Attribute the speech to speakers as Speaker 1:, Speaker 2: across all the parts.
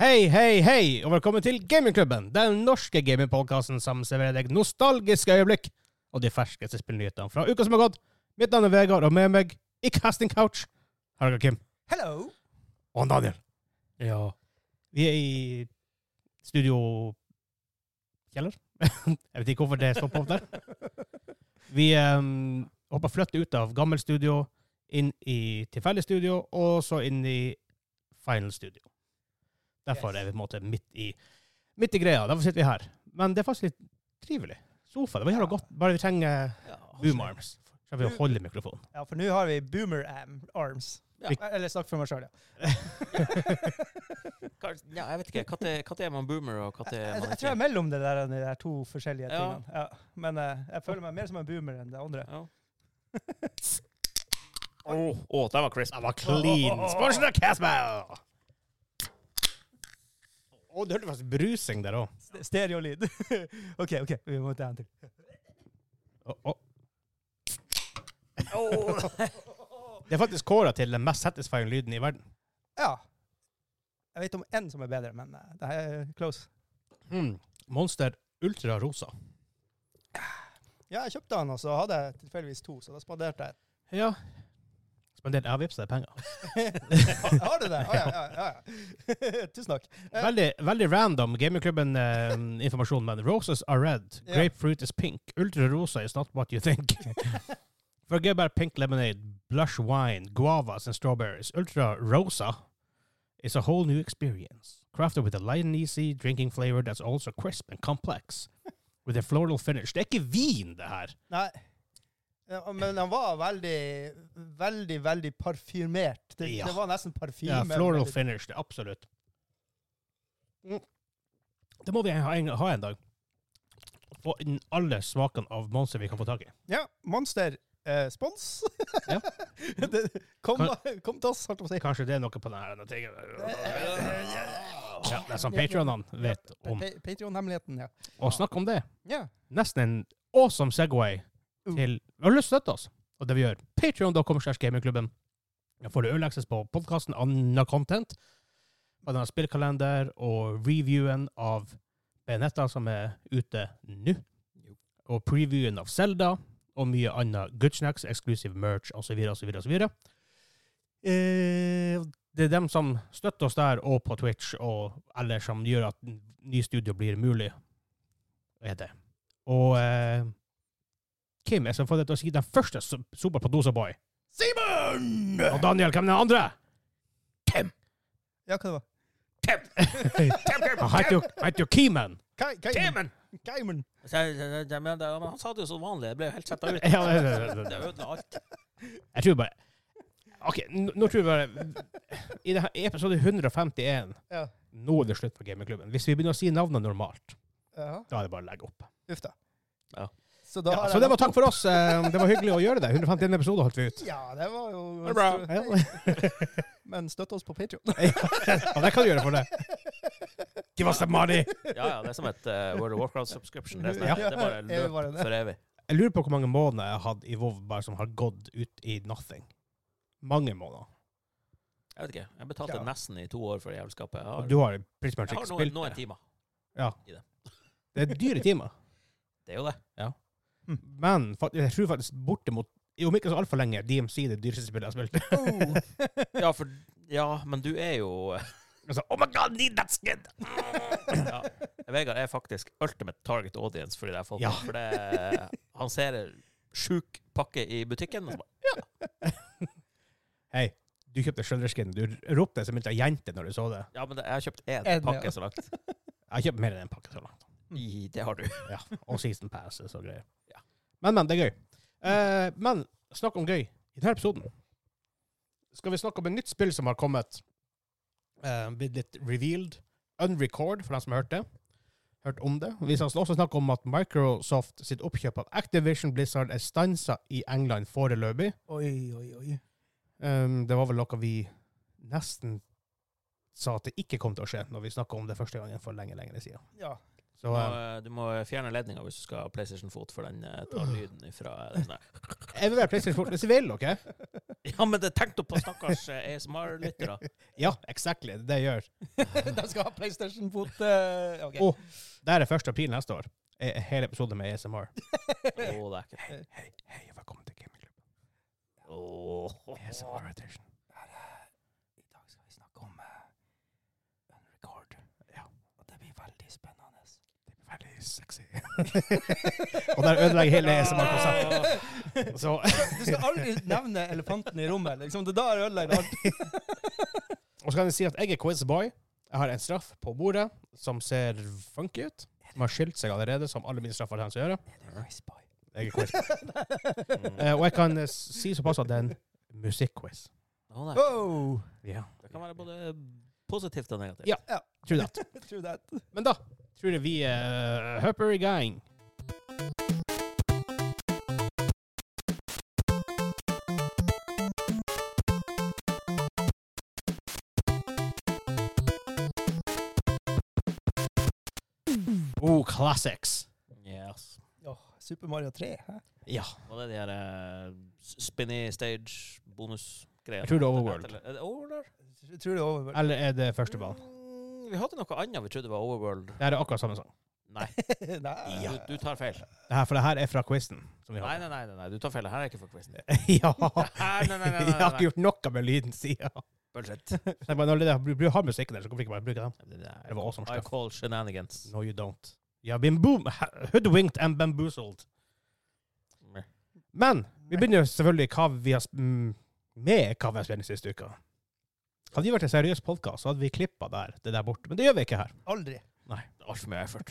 Speaker 1: Hei, hei, hei, og velkommen til Gamingklubben, den norske gamingpodkasten som serverer deg nostalgiske øyeblikk og de ferskeste spillnyhetene fra uka som har gått. Mitt navn er Vegard, og med meg i Casting Couch har dere Kim
Speaker 2: Hello!
Speaker 1: og Daniel. Ja. Vi er i studio Kjeller. Jeg vet ikke hvorfor det stopper opp der. Vi um, håper å flytte ut av gammelt studio, inn i tilfeldig studio, og så inn i final studio. Derfor
Speaker 2: Yes.
Speaker 1: er vi på en måte midt i, midt i greia. Derfor sitter vi her. Men det er faktisk litt trivelig. Sofa. Det var jævla
Speaker 2: Ja.
Speaker 1: godt. Bare vi trenger
Speaker 2: Ja,
Speaker 1: boom arms. Så vi holder mikrofonen.
Speaker 2: Ja, for nå har vi boomer am- arms. Eh,
Speaker 3: Ja.
Speaker 2: Eller snakk for meg sjøl, ja.
Speaker 3: Ja, jeg vet ikke. Katte, katte er man boomer, og katte
Speaker 2: Jeg,
Speaker 3: er
Speaker 2: jeg,
Speaker 3: man
Speaker 2: jeg tror jeg er
Speaker 3: ikke.
Speaker 2: mellom det der, de der to forskjellige
Speaker 3: Ja.
Speaker 2: tingene. Ja. Men eh, jeg føler meg mer som en boomer enn det andre.
Speaker 3: Ja. Å, å, den var crisp.
Speaker 1: Den var clean. Sponsored av Casper! Å, du hørte faktisk brusing der òg.
Speaker 2: Ste- Stereolyd. OK, OK. Vi må ta en til.
Speaker 1: Det er faktisk kåra til den mest satisfying lyden i verden.
Speaker 2: Ja. Jeg vet om én som er bedre, men eh, det her er close.
Speaker 3: Hmm.
Speaker 1: Monster Ultra Rosa.
Speaker 2: Ja, jeg kjøpte den, og så hadde jeg tilfeldigvis to, så da spanderte jeg.
Speaker 1: Ja. Spandert jeg vippsa deg penger.
Speaker 2: Ha, har du det? Å, ja, ja, ja, ja. Tusen takk. Eh.
Speaker 1: Veldig, veldig random gamingklubben-informasjon, men roses are red,
Speaker 2: Ja.
Speaker 1: grapefruit is pink, ultra rosa is not what you think. Forget about pink lemonade, blush wine, guavas and strawberries. Ultra rosa is a whole new experience, crafted with a light and easy drinking flavor that's also crisp and complex, with a floral finish. Det er ikke vin, det her!
Speaker 2: Nei. Ja, Men han var veldig, veldig, veldig parfymert. Det,
Speaker 1: Ja.
Speaker 2: det var nesten parfyme.
Speaker 1: Ja, floral
Speaker 2: Veldig-
Speaker 1: finish, det er absolutt. Det må vi ha en, ha en dag. Få inn alle smakene av monster vi kan få tak i.
Speaker 2: Ja, Monster eh, spons.
Speaker 1: Ja.
Speaker 2: det, kom,
Speaker 1: Kan-
Speaker 2: kom til oss, holdt jeg på å si.
Speaker 1: Kanskje det er noe på denne tingen. Ja, det er som Patreonene vet om.
Speaker 2: Pa- Patreon-hemmeligheten, ja.
Speaker 1: Og snakk om det.
Speaker 2: ja.
Speaker 1: Nesten en awesome Segway til Har du lyst til å støtte oss? Og det vi gjør, patreon.com slash gamingklubben. Da får du early access på podkasten, annet content, blant annet spillkalender og reviewen av Benetta som er ute nå, og previewen av Zelda, og mye annet goodsnacks, exclusive merch osv. osv. osv. Eh, Det er dem som støtter oss der og på Twitch, og eller som gjør at n- ny studio blir mulig. Er det. Og eh, Kim er som får deg til å si den første so- sopa på Dosa Boy.
Speaker 2: Simon!
Speaker 1: Og Daniel, hvem er den andre?
Speaker 2: Ja, hva det var?
Speaker 1: Han heter jo, han heter jo Keyman.
Speaker 2: Kai- Kaimen! Kaimen!
Speaker 3: Så jeg- jeg- jeg- jeg mener det, Men han sa det jo som vanlig. Jeg ble jo helt sett ut.
Speaker 1: Ja, det- det- det-
Speaker 3: Det ødela alt.
Speaker 1: Jeg tror bare OK, n- nå tror jeg bare I det her- i episode 151
Speaker 2: Ja.
Speaker 1: Nå er det slutt for gamingklubben. Hvis vi begynner å si navnet normalt,
Speaker 2: Ja,
Speaker 1: da er det bare å legge opp.
Speaker 2: uff da.
Speaker 3: Ja.
Speaker 2: Så da
Speaker 1: Ja,
Speaker 2: har
Speaker 1: så
Speaker 2: jeg
Speaker 1: det var
Speaker 2: lagt-
Speaker 1: takk for oss. Eh, Det var hyggelig å gjøre det. 151 episoder holdt vi ut.
Speaker 2: Ja, det var jo
Speaker 1: Det er bra.
Speaker 2: Men støtt oss på Patreon.
Speaker 1: Ja, det kan du gjøre for det. Give us the money.
Speaker 3: Ja, ja, det er som et eh, World of Warcraft-subscription. Det, er sånn
Speaker 2: Ja.
Speaker 3: her, det er bare
Speaker 2: Evig var det
Speaker 3: løp
Speaker 2: det.
Speaker 3: for evig.
Speaker 1: Jeg lurer på hvor mange måneder jeg har hatt i WoW bare som har gått ut i nothing. Mange måneder.
Speaker 3: Jeg vet ikke. Jeg betalte
Speaker 2: Ja.
Speaker 3: nesten i to år for jævelskapet. Jeg har,
Speaker 1: Og du har pretty much
Speaker 3: jeg
Speaker 1: ikke
Speaker 3: har noen,
Speaker 1: spilt
Speaker 3: noen
Speaker 1: det.
Speaker 3: timer.
Speaker 1: Ja.
Speaker 3: i det.
Speaker 1: Det er dyre timer.
Speaker 3: Det er jo det.
Speaker 1: Men fakt- jeg tror faktisk bortimot Om ikke så altfor lenge DMC det dyreste spillet jeg har spilt.
Speaker 3: Ja, for, ja men du er jo eh,
Speaker 1: altså, oh my god, need that skin!
Speaker 3: ja. Vegard er faktisk ultimate target audience for de der
Speaker 1: Ja.
Speaker 3: folkene. For det, eh, han ser en sjuk pakke i butikken, og så bare
Speaker 1: Hei, du kjøpte Shudder-skin. Du ropte som en liten jente når du så det.
Speaker 3: Ja, men det, jeg har kjøpt én
Speaker 2: En, ja.
Speaker 3: pakke så langt.
Speaker 1: Jeg har kjøpt mer enn en pakke så langt.
Speaker 3: I, det har du.
Speaker 1: Ja, Og season passes og greier.
Speaker 3: Ja.
Speaker 1: Men, men, det er gøy. Eh, men snakk om gøy. I denne episoden skal vi snakke om et nytt spill som har kommet. Eh, blitt litt revealed. Unrecord, for dem som har hørt det. Hørt om det. Vi skal også snakke om at Microsoft sitt oppkjøp av Activision Blizzard er stansa i England foreløpig.
Speaker 2: Oi, oi, oi.
Speaker 1: Um, det var vel noe vi nesten sa at det ikke kom til å skje, når vi snakka om det første gangen for lenge, lenge siden.
Speaker 2: Ja.
Speaker 1: Så
Speaker 3: Du må,
Speaker 1: eh,
Speaker 3: du må fjerne ledninga hvis du skal ha PlayStation Fot, for den eh, tar lyden ifra den der.
Speaker 1: jeg vil være PlayStation Sport hvis jeg vil, OK?
Speaker 3: Ja, men det tenkte på stakkars eh, ASMR-lyttere.
Speaker 1: Ja, exactly. Det er det jeg gjør.
Speaker 2: De skal ha PlayStation-fot. eh, ok.
Speaker 1: Å. Der er 1. april neste år. Eh, Hele episoden med ASMR.
Speaker 3: Å, det er ikke
Speaker 1: Hei, hei, og velkommen til Gamingklubben.
Speaker 3: Åh.
Speaker 1: ASMR Edition.
Speaker 2: I dag skal vi snakke om eh, Unrecord.
Speaker 1: Ja.
Speaker 2: Og det blir veldig spennende.
Speaker 1: Det blir veldig sexy. og der ødelegger hele ASMR-konseptet. Så
Speaker 2: Du skal aldri nevne elefanten i rommet. liksom. Det der ødelegger alt.
Speaker 1: Og så kan jeg si at jeg er quizboy. Jeg har en straff på bordet som ser funky ut. Som har skilt seg allerede, som alle mine straffer har tenkt å gjøre. Jeg er quiz. Eh, og jeg kan eh, si såpass at det er en musikkquiz.
Speaker 3: Å, nei.
Speaker 2: Wow!
Speaker 1: Ja.
Speaker 3: Det kan være både positivt og negativt.
Speaker 1: Ja. Tror det.
Speaker 2: True that.
Speaker 1: Men da tror jeg vi uh, hopper i gang. Oh, classics.
Speaker 3: Yes.
Speaker 2: Åh, Super Mario 3. Hæ?
Speaker 1: Ja.
Speaker 3: Og det er de her eh, spinny stage bonus-greier.
Speaker 1: Jeg tror det er Overworld.
Speaker 3: Er det Overworld?
Speaker 2: Jeg tror det er over.
Speaker 1: Eller er det første ball?
Speaker 3: Mm, vi hadde noe annet vi trodde var Overworld.
Speaker 1: Det her er akkurat samme sang.
Speaker 3: Nei,
Speaker 2: Nei.
Speaker 3: du, du tar feil.
Speaker 1: Det her, for det her er fra quizen. Som vi
Speaker 3: Nei,
Speaker 1: har.
Speaker 3: nei, nei, nei, nei, du tar feil. Her er ikke for quizen. Nei,
Speaker 1: ja.
Speaker 3: nei, nei, nei,
Speaker 1: Jeg
Speaker 3: nei,
Speaker 1: har ikke
Speaker 3: nei.
Speaker 1: gjort noe med lyden siden.
Speaker 3: Bullshit.
Speaker 1: Nei, men Når det er- du har musikken der, så hvorfor ikke bare bruke den?
Speaker 3: Det
Speaker 1: Det var awesome
Speaker 3: I
Speaker 1: stuff.
Speaker 3: call shenanigans.
Speaker 1: No, you don't. You have been boom, hoodwinked and bamboozled.
Speaker 3: Meh.
Speaker 1: Men vi begynner jo selvfølgelig hva vi har, sp- mm, med hva vi har spilt den siste uka. Hadde vi vært en seriøs podkast, hadde vi klippa der, det der borte. Men det gjør vi ikke her.
Speaker 2: Aldri.
Speaker 3: Det var Altfor mye effort.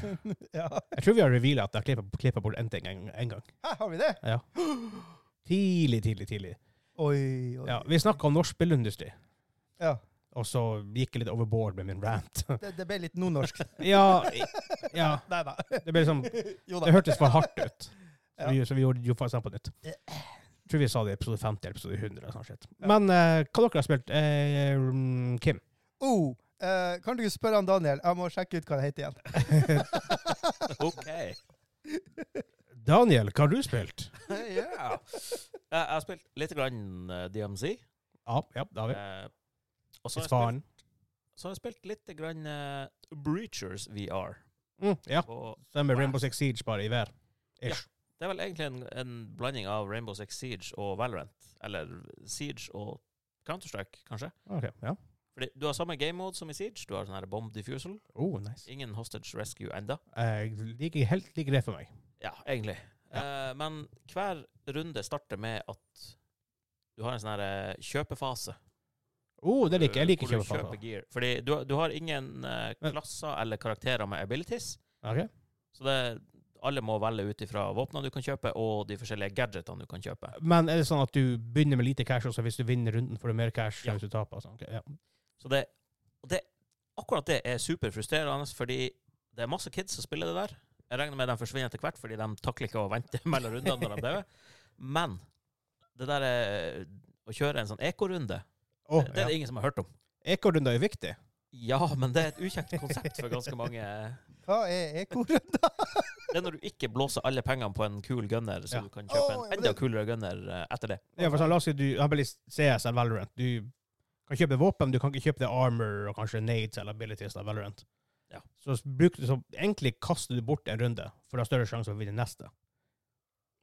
Speaker 2: Ja.
Speaker 1: Jeg tror vi har reveala at jeg har klippa bort en ting en, en gang.
Speaker 2: Hæ, har vi det?
Speaker 1: Tidlig, tidlig, tidlig.
Speaker 2: Oi, oi.
Speaker 1: Ja, vi snakka om norsk spillindustri,
Speaker 2: Ja.
Speaker 1: og så gikk jeg litt overboard med min rant.
Speaker 2: Det, det ble litt nordnorsk.
Speaker 1: ja, ja.
Speaker 2: Nei da.
Speaker 1: Det ble liksom
Speaker 2: Jo
Speaker 1: Det hørtes for hardt ut. Så
Speaker 2: Ja.
Speaker 1: vi, så vi gjorde jo faktisk det på nytt.
Speaker 2: Ja.
Speaker 1: Jeg tror vi sa det i episode 50 eller episode 100. eller sånn sett.
Speaker 2: Ja.
Speaker 1: Men eh, hva dere har spilt? Eh, mm, Kim?
Speaker 2: Oh, eh, kan du ikke spørre han Daniel? Jeg må sjekke ut hva det heter igjen.
Speaker 3: OK.
Speaker 1: Daniel, hva har du spilt?
Speaker 3: yeah. Jeg jeg har spilt litt grann eh, DMZ.
Speaker 1: Ja, ja det har vi.
Speaker 3: eh, Og så har jeg spilt-
Speaker 1: Svaren.
Speaker 3: så har jeg spilt litt grann eh, Breachers VR.
Speaker 1: Mm, ja.
Speaker 3: Og
Speaker 1: Så med Rainbow Six Siege bare i vær. Ish.
Speaker 3: Det er vel egentlig en, en blanding av Rainbow Six Siege og Valorant. Eller Siege og Counter-Strike, kanskje.
Speaker 1: Ok, ja.
Speaker 3: Fordi du har samme game mode som i Siege. Du har sånn her bomb diffusal.
Speaker 1: Oh, nice.
Speaker 3: Ingen hostage rescue enda.
Speaker 1: Jeg liker helt liker det for meg.
Speaker 3: Ja, egentlig. Eh, men hver runde starter med at du har en sånn her eh, kjøpefase.
Speaker 1: Oh, det liker jeg. Jeg liker
Speaker 3: Eh, Hvor du
Speaker 1: kjøpefaser.
Speaker 3: kjøper gear. Fordi du, du har ingen eh,
Speaker 1: Men-
Speaker 3: klasser eller karakterer med abilities.
Speaker 1: Ok.
Speaker 3: Så det, alle må velge ut ifra våpnene du kan kjøpe, og de forskjellige gadgetene du kan kjøpe.
Speaker 1: Men er det sånn at du begynner med lite cash, og så hvis du vinner runden, får du mer cash?
Speaker 3: Ja.
Speaker 1: enn Hvis du taper, og sånn? Ok, ja.
Speaker 3: Så det, og det, akkurat det er superfrustrerende, fordi det er masse kids som spiller det der. Jeg regner med de forsvinner etter hvert, fordi de takler ikke å vente mellom rundene når de dør. Men det der eh, å kjøre en sånn ekorunde,
Speaker 1: Å,
Speaker 3: det er
Speaker 1: ja.
Speaker 3: det ingen som har hørt om.
Speaker 1: Ekorrunder er viktig.
Speaker 3: Ja, men det er et ukjent konsept for ganske mange. eh,
Speaker 2: Hva er ekorund?
Speaker 3: Det er når du ikke blåser alle pengene på en kul gunner, så
Speaker 1: Ja.
Speaker 3: du kan kjøpe
Speaker 2: Åh, ja,
Speaker 3: en
Speaker 2: men
Speaker 3: enda
Speaker 2: det-
Speaker 3: kulere gunner eh, etter det.
Speaker 1: Ja, for sånn, la oss si du har bare litt CS eller Valorant. Du kan kjøpe våpen, men du kan ikke kjøpe det armor og kanskje nades eller abilities av Valorant.
Speaker 3: Ja.
Speaker 1: Så, s- bruk, så egentlig kaster du bort en runde, for du har større sjanse for å vinne neste.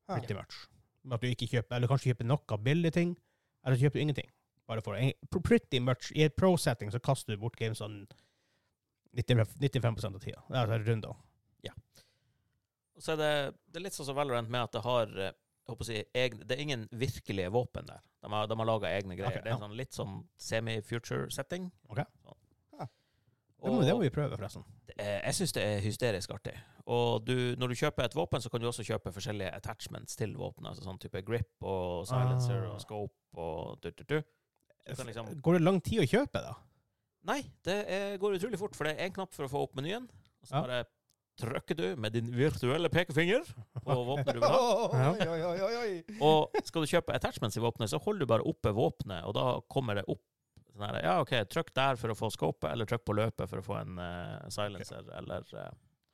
Speaker 2: Ah.
Speaker 1: Pretty much. Men At du ikke kjøper, eller kanskje kjøper nok ability ting, eller så kjøper du ingenting. Bare for en- pr- Pretty much, i et pro-setting så kaster du bort games sånn 90 95 av tida. Det er runder.
Speaker 3: Og så er det, det er litt sånn som Valorant med at det har eh, jeg håper å si, egne, Det er ingen virkelige våpen der. De har, de har laga egne greier.
Speaker 1: Ok,
Speaker 3: det er
Speaker 1: ja.
Speaker 3: sånn, litt sånn semi-future-setting.
Speaker 1: Ok.
Speaker 3: Sånn.
Speaker 2: Ja.
Speaker 1: Det må, det må vi prøve, forresten.
Speaker 3: det er- jeg syns det er hysterisk artig. Og du, når du kjøper et våpen, så kan du også kjøpe forskjellige attachments til våpenet. Altså sånn type grip og silencer
Speaker 1: Ah.
Speaker 3: og scope og du-du-du. Så du kan liksom
Speaker 1: Går det lang tid å kjøpe, da?
Speaker 3: Nei, det er, går utrolig fort, for det er én knapp for å få opp menyen. Og så
Speaker 1: Ja.
Speaker 3: bare trykker du med din virtuelle pekefinger på våpenet du vil ha.
Speaker 2: Oi, oi, oi, oi, oi.
Speaker 3: Og skal du kjøpe attachments i våpenet, så holder du bare oppe våpenet, og da kommer det opp sånn her Ja, OK, trykk der for å få scopet, eller trykk på løpet for å få en eh, silencer, eller eh,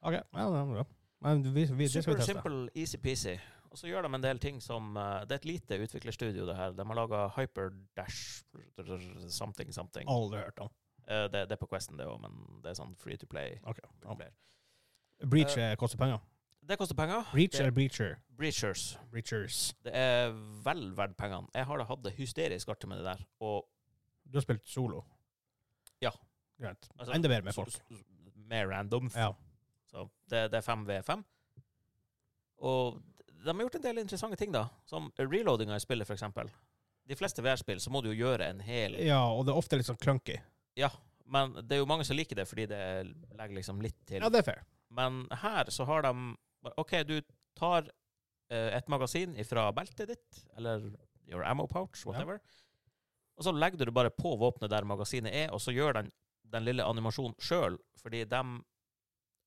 Speaker 1: Ok, ja, det er bra. Men vi, vi, det skal vi
Speaker 3: Super
Speaker 1: teste.
Speaker 3: simple, easy-peasy. Og så gjør de en del ting som eh, Det er et lite utviklerstudio, det her. De har laga Hyperdash something, something.
Speaker 1: Aldri hørt om.
Speaker 3: Eh, det, det er på Questen, det òg, men det er sånn free to play.
Speaker 1: Ok.
Speaker 3: multiplayer.
Speaker 1: Breach eh, koster penger.
Speaker 3: Det koster penger.
Speaker 1: Breach
Speaker 3: Det-
Speaker 1: eller breacher?
Speaker 3: Breachers.
Speaker 1: Breachers.
Speaker 3: Det er vel verdt pengene. Jeg har da hatt det hysterisk artig med det der. Og
Speaker 1: Du har spilt solo.
Speaker 3: Ja.
Speaker 1: Greit.
Speaker 3: Altså,
Speaker 1: Enda bedre med folk.
Speaker 3: s- s- Med random.
Speaker 1: Ja.
Speaker 3: Så det, det er 5v5. Og de har gjort en del interessante ting, da. Som reloadinga i spillet, for eksempel. De fleste VR-spill så må du jo gjøre en hel
Speaker 1: ja, og det er ofte litt sånn clunky.
Speaker 3: Men det er jo mange som liker det, fordi det legger liksom litt til.
Speaker 1: Ja, det er fair.
Speaker 3: Men her så har de bare, OK, du tar eh, et magasin ifra beltet ditt, eller your ammo pouch, whatever, og så legger du det bare på våpenet der magasinet er, og så gjør den den lille animasjonen sjøl, fordi de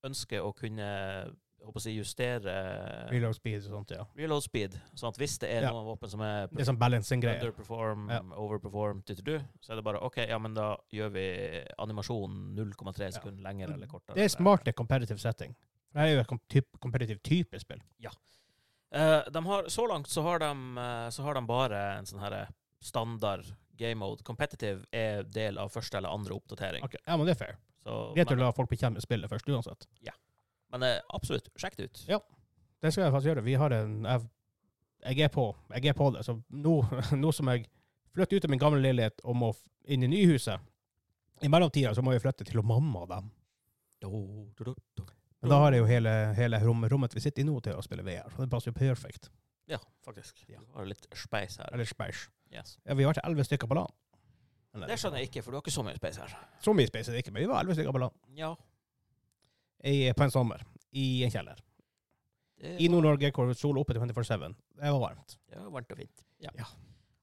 Speaker 3: ønsker å kunne jeg håper å si, justere
Speaker 1: Reload speed og sånt, ja.
Speaker 3: reload speed, sånn at hvis det er
Speaker 1: Ja.
Speaker 3: noen våpen som er
Speaker 1: Det er sånn balancing-greier.
Speaker 3: underperform,
Speaker 1: Ja.
Speaker 3: overperform, du-du-du, så er det bare OK, ja, men da gjør vi animasjonen 0,3
Speaker 1: Ja.
Speaker 3: sekunder lengre eller kortere.
Speaker 1: Det er smart i competitive setting. Det her er jo et kom- typ- competitive type spill.
Speaker 3: Eh, de har, så langt så har de, eh, så har de bare en sånn her eh, standard game mode. Competitive er del av første eller andre oppdatering.
Speaker 1: Ok, Ja, men det er fair.
Speaker 3: Så,
Speaker 1: Greit å
Speaker 3: men,
Speaker 1: la folk bekjenne spillet først, uansett.
Speaker 3: men eh, absolutt, sjekk det ut.
Speaker 1: Ja. Det skal jeg faktisk gjøre. Vi har en Jeg, jeg er på Jeg er på det. Så nå, nå som jeg flytter ut av min gamle leilighet og må f- inn i nyhuset I mellomtida så må jeg flytte til mamma og dem.
Speaker 3: Do, do, do, do.
Speaker 1: Men da har jeg jo hele, hele rom, rommet vi sitter i nå, til å spille VR. Så det passer jo perfekt.
Speaker 3: Ja, faktisk.
Speaker 1: Ja.
Speaker 3: Du har litt speis her.
Speaker 1: Eller speis.
Speaker 3: Yes.
Speaker 1: Ja, vi har vært elleve stykker på LAN.
Speaker 3: Det skjønner jeg ikke, for du har ikke så mye speis her.
Speaker 1: Så mye space er det ikke, men vi var elleve stykker på LAN
Speaker 3: Ja.
Speaker 1: I- på en sommer. I en kjeller.
Speaker 3: det
Speaker 1: I
Speaker 3: var-
Speaker 1: Nord-Norge hvor sola oppe til 24-7. Det var varmt.
Speaker 3: Det var varmt og fint.
Speaker 1: Ja.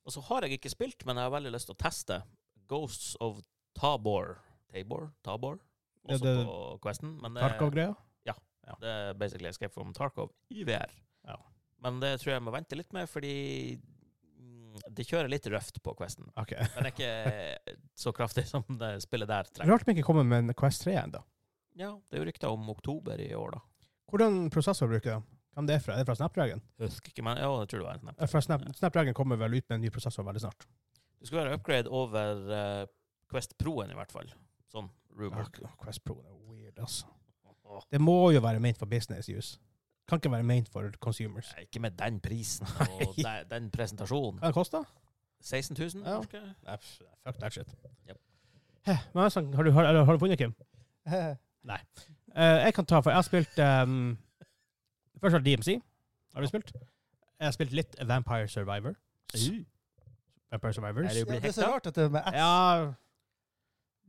Speaker 3: Og så har jeg ikke spilt, men jeg har veldig lyst til å teste Ghosts of Tabor. Tabor? Tabor?
Speaker 1: Ja,
Speaker 3: Også
Speaker 1: det-
Speaker 3: på Questen. Men det,
Speaker 1: Tarkov-greia.
Speaker 3: det er basically Escape from Tarkov i VR.
Speaker 1: Ja.
Speaker 3: Men det tror jeg må vente litt med, fordi mm, det kjører litt røft på Questen.
Speaker 1: Ok.
Speaker 3: Den er ikke så kraftig som det spillet der trenger.
Speaker 1: Rart vi ikke kommer med en Quest 3 ennå.
Speaker 3: Ja, det er jo rykter om oktober i år, da.
Speaker 1: Hvordan prosessor bruker de? Hvem det er fra? Er det fra Snapdragon?
Speaker 3: Husker ikke, men ja, jeg tror det var en snap.
Speaker 1: Eh, Fra Snap Snapdragon kommer vel ut med en ny prosessor veldig snart.
Speaker 3: Det skulle være upgrade over eh, Quest Pro-en, i hvert fall. Sånn rumor.
Speaker 1: Ah, Quest Pro det er weird, altså. Det må jo være ment for business use. Kan ikke være ment for consumers.
Speaker 3: Nei, Ikke med den prisen
Speaker 1: Nei.
Speaker 3: og den, den presentasjonen.
Speaker 1: Hva det koster
Speaker 3: 16 000?
Speaker 1: Ja.
Speaker 3: norske?
Speaker 1: Nei, f- Fuck that shit.
Speaker 3: Yep.
Speaker 1: Hæ, men altså, har, du, har, eller har du funnet, Kim? Eh, jeg kan ta, for jeg har spilt ehm, Først har jeg DMC. Har du spilt? Jeg har spilt litt Vampire Survivor. Vampire Survivors.
Speaker 3: Er det jo
Speaker 2: Ja,
Speaker 3: blitt
Speaker 2: det er så
Speaker 3: hekta?
Speaker 2: rart at det er med X.
Speaker 1: Ja,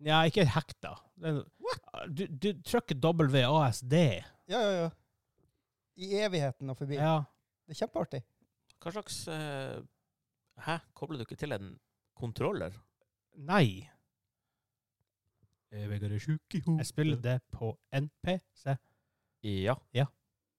Speaker 1: ja ikke hekta. Den, du, du trykker WASD.
Speaker 2: Ja, ja, ja. I evigheten og forbi.
Speaker 1: Ja.
Speaker 2: Det er kjempeartig.
Speaker 3: Hva slags eh, Hæ? Kobler du ikke til en kontroller?
Speaker 1: Nei.
Speaker 3: Vegard er sjuk i hodet.
Speaker 1: Jeg spiller det på NPC.
Speaker 3: Ja.
Speaker 1: Ja.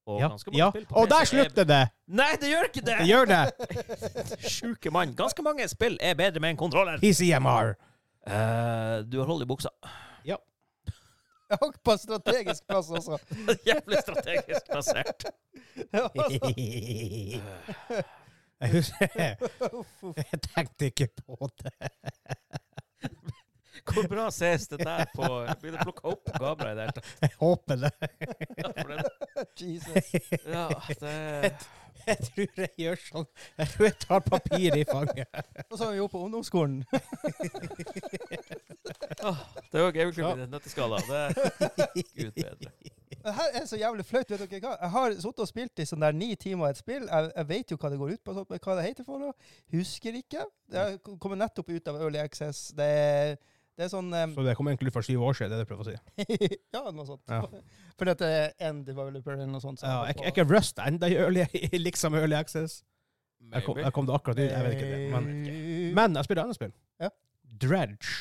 Speaker 3: Og
Speaker 1: Ja.
Speaker 3: ganske mange
Speaker 1: ja.
Speaker 3: spill på
Speaker 1: Og
Speaker 3: PC
Speaker 1: der
Speaker 3: er-
Speaker 1: slutter det!
Speaker 3: Nei, det gjør ikke det!
Speaker 1: Det gjør det!
Speaker 3: Sjuke mann. Ganske mange spill er bedre med en kontroller.
Speaker 1: PCMR.
Speaker 3: Eh, du har hold i buksa.
Speaker 2: Jeg har ikke på strategisk plass også.
Speaker 3: Jævlig strategisk plassert.
Speaker 2: Ja, altså.
Speaker 1: Jeg husker Jeg tenkte ikke på det.
Speaker 3: Hvor bra ses det der på Blir det plukka opp kamera i det hele tatt?
Speaker 1: Jeg håper det.
Speaker 3: Ja, for det-
Speaker 2: Jesus.
Speaker 3: Ja, det
Speaker 1: Jeg tror jeg gjør sånn. Jeg tror jeg tar papiret i fanget.
Speaker 2: Og så har vi jo på ungdomsskolen.
Speaker 3: Det er jo gameklubben i en nøtteskala. Det Gud bedre.
Speaker 2: Det her er så jævlig flaut. Vet dere hva? Jeg har sittet og spilt i sånn der ni timer et spill. Jeg, jeg vet jo hva det går ut på, sånt, men hva det heter for noe. Husker ikke. Det er- kommer nettopp ut av Early Access. Det er, det er sånn em,
Speaker 1: Så det kom egentlig ut for syv år siden, det er det jeg prøver å si.
Speaker 2: Ja, noe sånt.
Speaker 1: Ja.
Speaker 2: Fordi at det er en developer eller noe sånt. som
Speaker 1: Ja,
Speaker 2: er
Speaker 1: jeg,
Speaker 2: på-
Speaker 1: jeg er ikke Rust enda i early, liksom early access. Jeg kom, jeg kom det akkurat ut, jeg vet ikke det. Men,
Speaker 2: Eh,
Speaker 1: men jeg spiller andre spill.
Speaker 2: Ja.
Speaker 1: Dredge.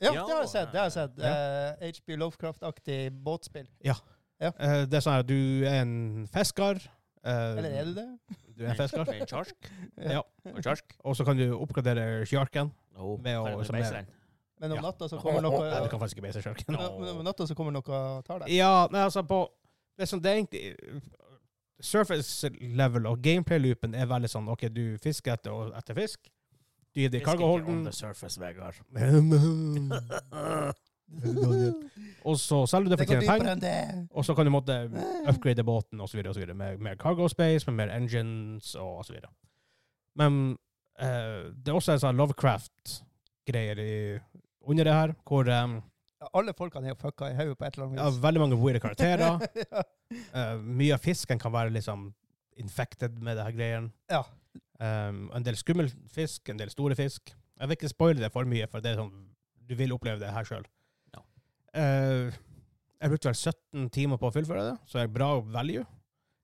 Speaker 2: Ja, det har jeg sett. Det har jeg sett. Eh, HB Lovecraft-aktig båtspill.
Speaker 1: Eh, det er sånn at du er en fisker. eh,
Speaker 2: Eller er det det?
Speaker 1: Du er en fisker.
Speaker 3: Med en kjark.
Speaker 1: Ja.
Speaker 3: Og kjark.
Speaker 1: Og så kan du oppgradere sjarken.
Speaker 3: No,
Speaker 1: Med å- som er-
Speaker 2: Men om
Speaker 1: Ja.
Speaker 2: natta så kommer noe
Speaker 1: Nei, du kan faktisk ikke beise sjarken.
Speaker 2: Men om natta så kommer noe og tar deg.
Speaker 1: Ja, nei, altså på det er, sånn, det er egentlig eh, surface level og gameplay-loopen er veldig sånn OK, du fisker etter, og etter fisk. Du gir det i kargoholden.
Speaker 3: surface, Vegard.
Speaker 1: Og så selger du det
Speaker 2: Det
Speaker 1: for å
Speaker 2: går
Speaker 1: tjene penger.
Speaker 2: dypere enn det.
Speaker 1: Og så kan du måtte upgrade båten og så videre, og så videre, med mer cargo space, med mer engines og og så videre. Men eh, det er også en sånn Lovecraft-greier i- under det her, hvor eh,
Speaker 2: Alle folkene er jo fucka i hodet på et eller
Speaker 1: ja,
Speaker 2: annet vis.
Speaker 1: veldig mange weirde karakterer.
Speaker 2: Ja.
Speaker 1: Eh, mye av fisken kan være liksom infected med det her greien.
Speaker 2: Ja.
Speaker 1: Um, en del skummel fisk, en del store fisk. Jeg vil ikke spoile det for mye, for det er sånn, du vil oppleve det her sjøl.
Speaker 3: Ja.
Speaker 1: jeg brukte vel 17 timer på å fullføre det, så jeg er bra value.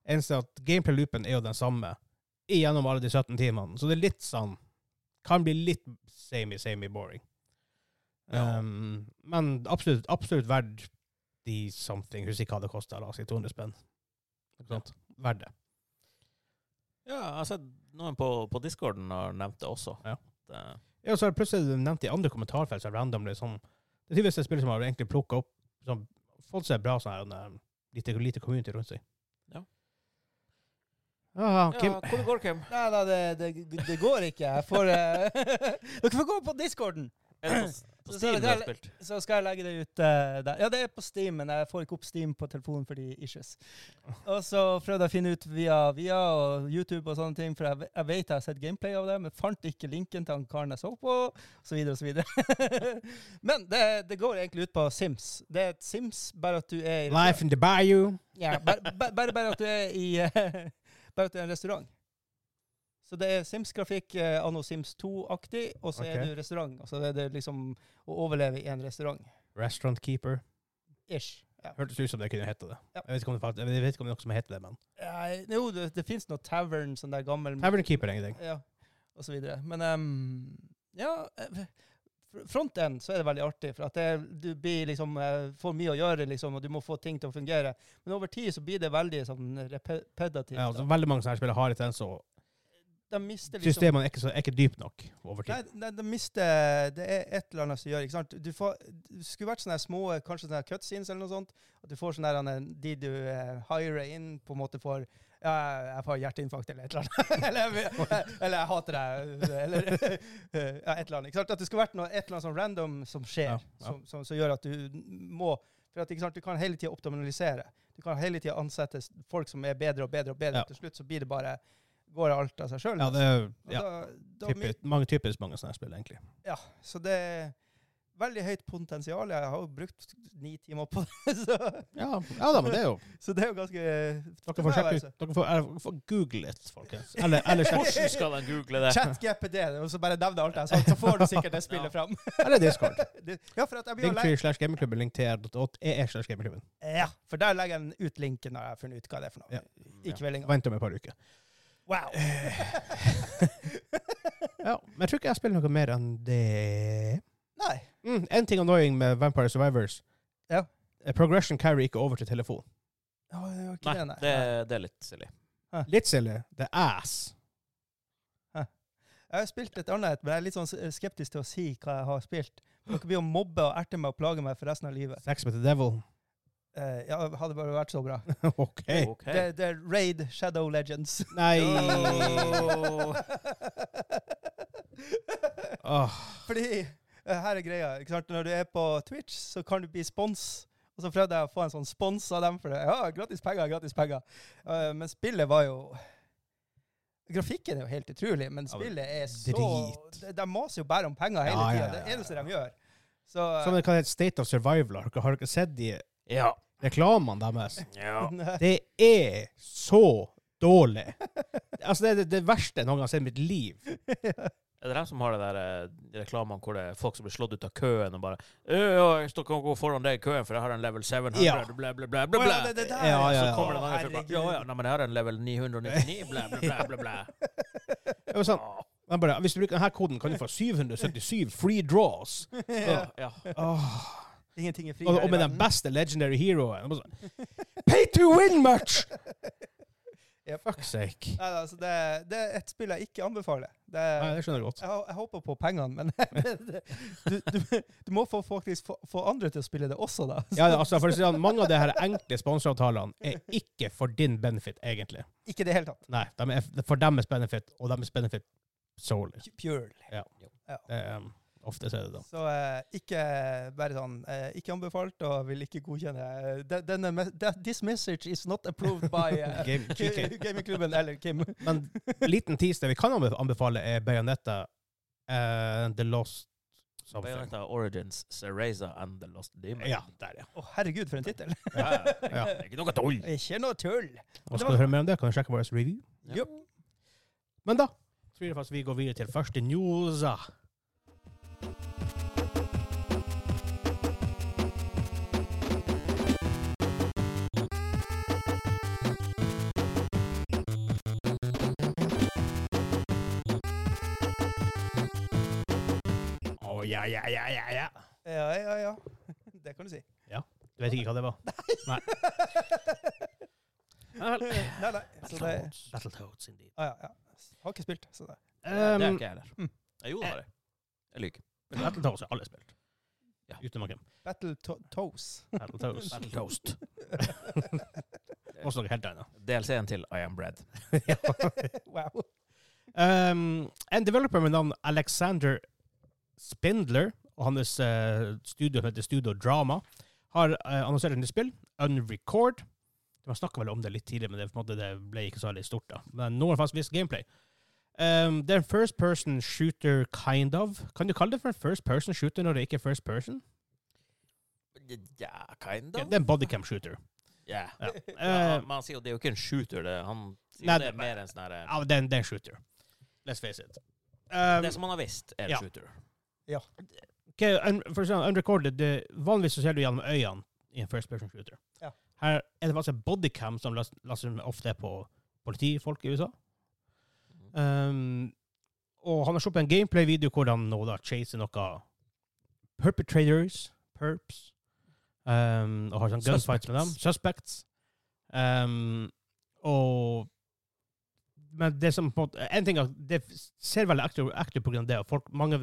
Speaker 1: Eneste er at gameplay-loopen er jo den samme gjennom alle de 17 timene, så det er litt sånn Kan bli litt samey, samey boring.
Speaker 3: Ja.
Speaker 1: Um, men absolutt, absolutt verdt de something Husker ikke hva det kosta, la oss si 200 spenn. Ikke sant? Verdt det.
Speaker 3: Ja, jeg har sett noen på, på discorden har nevnt det også.
Speaker 1: Ja.
Speaker 3: Det,
Speaker 1: Ja, og så har jeg plutselig nevnt i andre kommentarfelt så randomly sånn Det er tydeligvis et spill som har egentlig plukka opp sånn, Fått seg bra sånn her en, eh, lite, lite community rundt seg.
Speaker 3: Ja.
Speaker 1: Ah, Kim,
Speaker 3: ja, hvordan går det, Kim?
Speaker 2: Nei, nei, det, det, det går ikke. Jeg får eh, Dere får gå på discorden,
Speaker 3: Er det på,
Speaker 2: Så-
Speaker 3: på
Speaker 2: så
Speaker 3: Steam
Speaker 2: det
Speaker 3: du har
Speaker 2: er-
Speaker 3: spilt?
Speaker 2: så skal jeg legge det ut eh, der. Ja, det er på Steam, men jeg får ikke opp Steam på telefonen fordi issues. Og så prøvde jeg å finne ut via, via og YouTube og sånne ting, for jeg, ve- jeg vet jeg har sett gameplay av det, men fant ikke linken til han karen jeg så på, og så videre og så videre. men det, det går egentlig ut på Sims. Det er et Sims, bare at du er i
Speaker 1: Life in the Bayou.
Speaker 2: Ja, bare, bare, bare, bare at du er i eh, Bare at du er en restaurant. Så det er Sims-grafikk eh, anno Sims 2-aktig, og så
Speaker 1: Ok.
Speaker 2: er du restaurant. Og så er det liksom å overleve i en restaurant.
Speaker 1: Restaurant Keeper.
Speaker 2: Ish. Ja.
Speaker 1: Hørtes ut som det kunne hete det.
Speaker 2: Ja.
Speaker 1: Jeg, vet ikke om det fakt- jeg vet ikke om det er noe som heter det, men
Speaker 2: Nei, jo, det, det fins noe tavern, sånn der gammel
Speaker 1: Tavern Keeper er ingenting.
Speaker 2: Ja, og så videre. Men ehm, ja eh, fr- Front end så er det veldig artig, for at det, du blir liksom, eh, får mye å gjøre, liksom, og du må få ting til å fungere. Men over tid så blir det veldig sånn repetitivt.
Speaker 1: Ja, altså,
Speaker 2: da.
Speaker 1: veldig mange sånne her spillere har i tendens og
Speaker 2: De mister liksom
Speaker 1: Systemene er ikke, så, er ikke dype nok over tid.
Speaker 2: Nei, nei, de mister Det er et eller annet som gjør ikke sant? Du, får, du skulle vært sånne her små kanskje sånne her cutscenes eller noe sånt. At du får sånne her, eh, de du eh, hirer inn, på en måte får ja, jeg får hjerteinfarkt eller et eller annet. eller, jeg, eller jeg hater deg. Eller ja, et eller annet. Ikke sant? At det skulle vært noe, et eller annet sånn random som skjer,
Speaker 1: Ja, ja.
Speaker 2: Som, som, som gjør at du må For at, ikke sant? du kan hele tida optimalisere. Du kan hele tida ansette s- folk som er bedre og bedre og bedre.
Speaker 1: Ja.
Speaker 2: Til slutt så blir det bare Går alt av seg sjøl.
Speaker 1: Ja, det er ja,
Speaker 2: Altså, da, da mi-
Speaker 1: typisk, mange, typisk mange sånne her spill, egentlig.
Speaker 2: ja, så det er veldig høyt potensial. Jeg har jo brukt ni timer på det, så,
Speaker 1: Ja, ja da, men det er jo
Speaker 2: så det er jo ganske
Speaker 1: Dere får sjekke ut Dere får, eller, får google litt, folkens. Eller, eller, sjekk-
Speaker 3: Hvordan skal den google det?
Speaker 2: ChatGPD, og så bare nevne alt jeg har sagt, så får du sikkert det
Speaker 3: Ja.
Speaker 2: spillet fram.
Speaker 1: eller Discord.
Speaker 2: Det- ja, for at jeg blir jo lei.
Speaker 1: Linktree slash gamingklubben, linktr.ee slash gamingklubben.
Speaker 2: Ja, for der legger jeg ut linken når jeg har funnet ut hva det er for noe.
Speaker 1: Ja.
Speaker 2: I kveldinga.
Speaker 1: Vent om et par uker.
Speaker 2: Wow!
Speaker 1: Ja, men jeg tror ikke jeg spiller noe mer enn det.
Speaker 2: Nei.
Speaker 1: Mm, en ting annoying med Vampire Survivors.
Speaker 2: Ja.
Speaker 1: Eh, Progression carry ikke over til telefon.
Speaker 2: Å, det var ikke
Speaker 3: Nei,
Speaker 2: det, nei.
Speaker 3: det, det er litt silly.
Speaker 1: Litt silly. Det er ass.
Speaker 2: Jeg har spilt et annet, men jeg er litt sånn s- skeptisk til å si hva jeg har spilt. Dere blir å mobbe og erte meg og plage meg for resten av livet.
Speaker 1: Sex with the devil.
Speaker 2: Eh, ja, hadde bare vært så bra.
Speaker 1: OK.
Speaker 3: Ok.
Speaker 2: Det, det er Raid Shadow Legends.
Speaker 1: Nei
Speaker 3: Åh.
Speaker 1: Åh,
Speaker 2: Fordi eh, her er greia. Ikke sant? Når du er på Twitch, så kan du bli spons. Og så prøvde jeg å få en sånn spons av dem for det. Ja, gratis penger, gratis penger. Eh, men spillet var jo Grafikken er jo helt utrolig,
Speaker 1: Ja,
Speaker 2: men
Speaker 1: men
Speaker 2: spillet er så
Speaker 1: drit.
Speaker 2: De, de maser jo bare om penger hele
Speaker 1: Ja, ja, ja,
Speaker 2: tida. Det er det eneste
Speaker 1: ja.
Speaker 2: de gjør. Så, eh,
Speaker 1: Som Sånn, det kalles State of Survival. Har dere- Har dere sett de
Speaker 3: Ja.
Speaker 1: reklamene deres?
Speaker 3: ja.
Speaker 1: Det er så dårlig. Altså, det er det, det verste jeg noen gang har sett i mitt liv.
Speaker 3: Er det dem som har det der eh, de reklamene hvor det er folk som blir slått ut av køen og bare «Øh, jeg står ikke og går foran deg i køen, for jeg har en level 700,
Speaker 1: Ja.
Speaker 3: bla, bla, bla,
Speaker 2: Å
Speaker 3: bla,
Speaker 2: ja,
Speaker 3: bla.
Speaker 2: det, det der,
Speaker 1: Ja, ja,
Speaker 3: Så
Speaker 1: ja.
Speaker 3: kommer det en annen fyr
Speaker 2: Herregud.
Speaker 3: bare, ja, ja, nei, men jeg har en level 999, bla, bla, bla, bla, bla.
Speaker 1: Det var sånn, jeg bare, hvis du bruker denne koden, kan du få 777 free draws.
Speaker 3: Ja, ja.
Speaker 1: Åh.
Speaker 2: Ingenting er fri
Speaker 1: Og,
Speaker 2: her i
Speaker 1: og med
Speaker 2: verden.
Speaker 1: den beste legendary heroen. Jeg bare sånn, Pay to win much!
Speaker 2: Yep.
Speaker 1: Fuck sake.
Speaker 2: Nei, altså, det, det er et spill jeg ikke anbefaler. Det,
Speaker 1: Nei,
Speaker 2: jeg,
Speaker 1: det skjønner jeg godt.
Speaker 2: jeg håper på pengene, men det- du, du, du må få, faktisk få, få andre til å spille det også, da.
Speaker 1: Ja, ja, altså, for å si det sånn, mange av de her enkle sponsoravtalene er ikke for din benefit, egentlig.
Speaker 2: Ikke i det hele tatt.
Speaker 1: Nei, de er f- for deres benefit, og deres benefit solely.
Speaker 2: Pure.
Speaker 1: Det, er, um, ofte så er det da.
Speaker 2: Så eh, ikke bare sånn eh, Ikke anbefalt og vil ikke godkjenne. Eh, de- Denne, me- de- this message is not approved by eh,
Speaker 1: Game, GK.
Speaker 2: Ki- Gamingklubben eller Kim.
Speaker 1: Men liten teaser vi kan anbe- anbefale, er Bayonetta and The Lost Something.
Speaker 3: Bayonetta Origins, Sereza and The Lost Demon.
Speaker 1: Ja, der, ja.
Speaker 2: Å, herregud, for en tittel!
Speaker 3: Ja, ja. Det er Ikke noe tull!
Speaker 2: Ikke noe tull!
Speaker 1: Og skal du høre mer om det, kan du sjekke vår review.
Speaker 3: Ja.
Speaker 2: Jupp.
Speaker 1: Men da tror jeg faktisk vi går videre til første newsa. Å, ja, ja, ja, ja, ja.
Speaker 2: Ja, ja, ja. Det kan du si.
Speaker 1: Du vet ikke hva det var? Nei. Nei.
Speaker 2: Nei, nei. Så det,
Speaker 1: Battletoads. Battletoads, indeed.
Speaker 2: ah, ja, ja. Har ikke spilt, så det.
Speaker 3: Ja, det er
Speaker 1: Um,
Speaker 3: ikke jeg heller.
Speaker 2: Mm.
Speaker 3: Eh, Jo, det har jeg. Jeg lyver.
Speaker 1: Battletoads har alle spilt.
Speaker 3: Ja.
Speaker 1: Utenom Kim.
Speaker 2: Battle to Toes.
Speaker 1: Battletoads.
Speaker 3: Battletoast.
Speaker 1: Også noe helt annet.
Speaker 3: DLC-en til I Am Bread.
Speaker 2: Wow.
Speaker 1: Um, en developer med navn Alexander Spindler og hans eh, studio som heter Studio Drama, har eh, annonsert et nytt spill, Unrecord. Vi har snakka vel om det litt tidligere, men det, er på en måte, det ble ikke så veldig stort. da. Men nå har det faktisk vist gameplay. Um, det er en first person shooter, kind of. Kan du kalle det for en first person shooter når det ikke er first person?
Speaker 3: Ja, kind
Speaker 1: Det
Speaker 3: of.
Speaker 1: er en bodycam shooter.
Speaker 3: Ja.
Speaker 1: Ja.
Speaker 3: Ja,
Speaker 1: Eh,
Speaker 3: men han sier jo det er jo ikke en shooter. Det. Han sier
Speaker 1: Nei,
Speaker 3: jo det
Speaker 1: det-
Speaker 3: er mer en sånn herre
Speaker 1: Ja, det er en- det er en shooter. Let's face it. Um,
Speaker 3: Det som han har visst, er en
Speaker 1: ja.
Speaker 3: shooter.
Speaker 1: ok, un, for eksempel, unrecorded, det, vanligvis så ser du gjennom øynene i en first person shooter.
Speaker 2: Ja.
Speaker 1: Her er det faktisk en bodycam som las- laster med ofte på politifolk i USA. Um, og han har sluppet en gameplay-video hvor han nå da chaser noe perpetrators, perps, um, og har sånn gunfights med dem. Suspects. Um, og men det som på en måte, en ting er at det ser veldig ekte ekte på grunn av det, og folk, mange,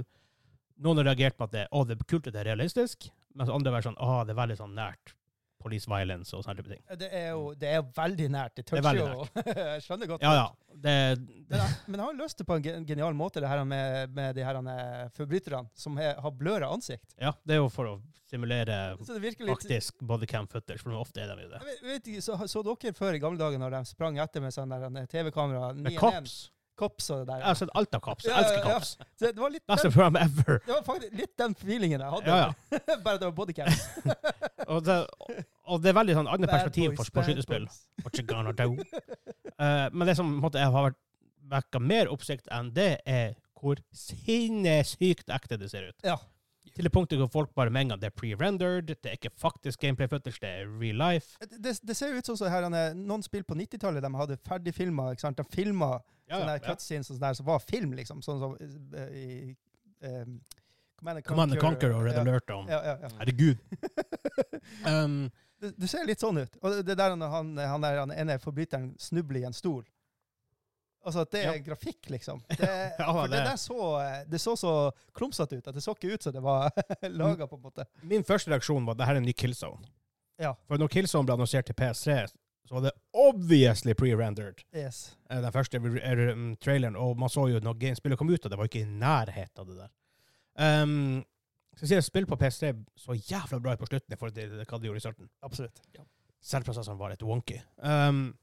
Speaker 1: noen har reagert på at det, å, det er kult at det er realistisk, mens andre har vært sånn, å, det er veldig sånn nært police violence og sånne type ting.
Speaker 2: Det er jo det er veldig nært.
Speaker 1: er
Speaker 2: Det toucher
Speaker 1: veldig
Speaker 2: jo. Jeg skjønner godt.
Speaker 1: Ja, ja. Det,
Speaker 2: Men, jeg- men jeg har løst det på en gen- genial måte, det her med, med de her eh, forbryterne som he- har bløra ansikt.
Speaker 1: ja, det er jo for å simulere
Speaker 2: Så det virker litt
Speaker 1: faktisk bodycam footage, for ofte er de jo det.
Speaker 2: Jeg vet, vet ikke, så, så dere før i gamle dager når de sprang etter med sånn der en TV-kamera?
Speaker 1: Men
Speaker 2: 911,
Speaker 1: cops,
Speaker 2: Cops og det
Speaker 1: jeg har
Speaker 2: der.
Speaker 1: sett alt av cops, jeg
Speaker 2: Ja, ja,
Speaker 1: elsker
Speaker 2: ja.
Speaker 1: cops.
Speaker 2: Så det var litt
Speaker 1: Best
Speaker 2: den,
Speaker 1: program ever.
Speaker 2: det var faktisk litt den feelingen jeg hadde.
Speaker 1: Ja, ja.
Speaker 2: Bare det var bodycam.
Speaker 1: Og det, og det er veldig sånn annet
Speaker 2: Bad
Speaker 1: perspektiv
Speaker 2: boys,
Speaker 1: for, på
Speaker 2: bad
Speaker 1: skytespill.
Speaker 2: boys.
Speaker 1: What you gonna do? Eh, men det som på en måte, har vært vekka mer oppsikt enn det, er hvor sinnssykt ekte det ser ut.
Speaker 2: Ja.
Speaker 1: Til det punktet hvor folk bare mener det er pre-rendered, det er ikke faktisk gameplay footage, det er real life.
Speaker 2: Det, det, det ser jo ut som så her, han er- noen spill på 90-tallet de hadde ferdigfilma. De filma sånne Sånn der cutscenes og sånne der som var film, liksom. Sånn som eh, i eh, Command and
Speaker 1: Command and Conquer og Red Alert og
Speaker 2: Ja, ja, ja.
Speaker 1: Herregud. Um,
Speaker 2: Det, det ser litt sånn ut. Og det- det der når han, han, der, han ene forbryteren snubler i en stol. Altså at det er
Speaker 1: Ja.
Speaker 2: grafikk, liksom. Det,
Speaker 1: Ja,
Speaker 2: for det,
Speaker 1: det-
Speaker 2: der så, det så så klumsete ut. at Det så ikke ut som det var laga, på en måte.
Speaker 1: min første reaksjon var at dette er en ny Killzone.
Speaker 2: Ja.
Speaker 1: For når Killzone ble annonsert til PS3, så var det obviously pre-rendered.
Speaker 2: Yes.
Speaker 1: eh, den første eh, um, traileren, og man så jo når game- spillet kom ut, og det var ikke i nærhet av det der. Um, så sier jeg spill på PS3 så jævla bra ut på slutten i forhold til hva de gjorde i starten.
Speaker 2: Absolutt.
Speaker 1: Selv prosessene var litt wonky. Um,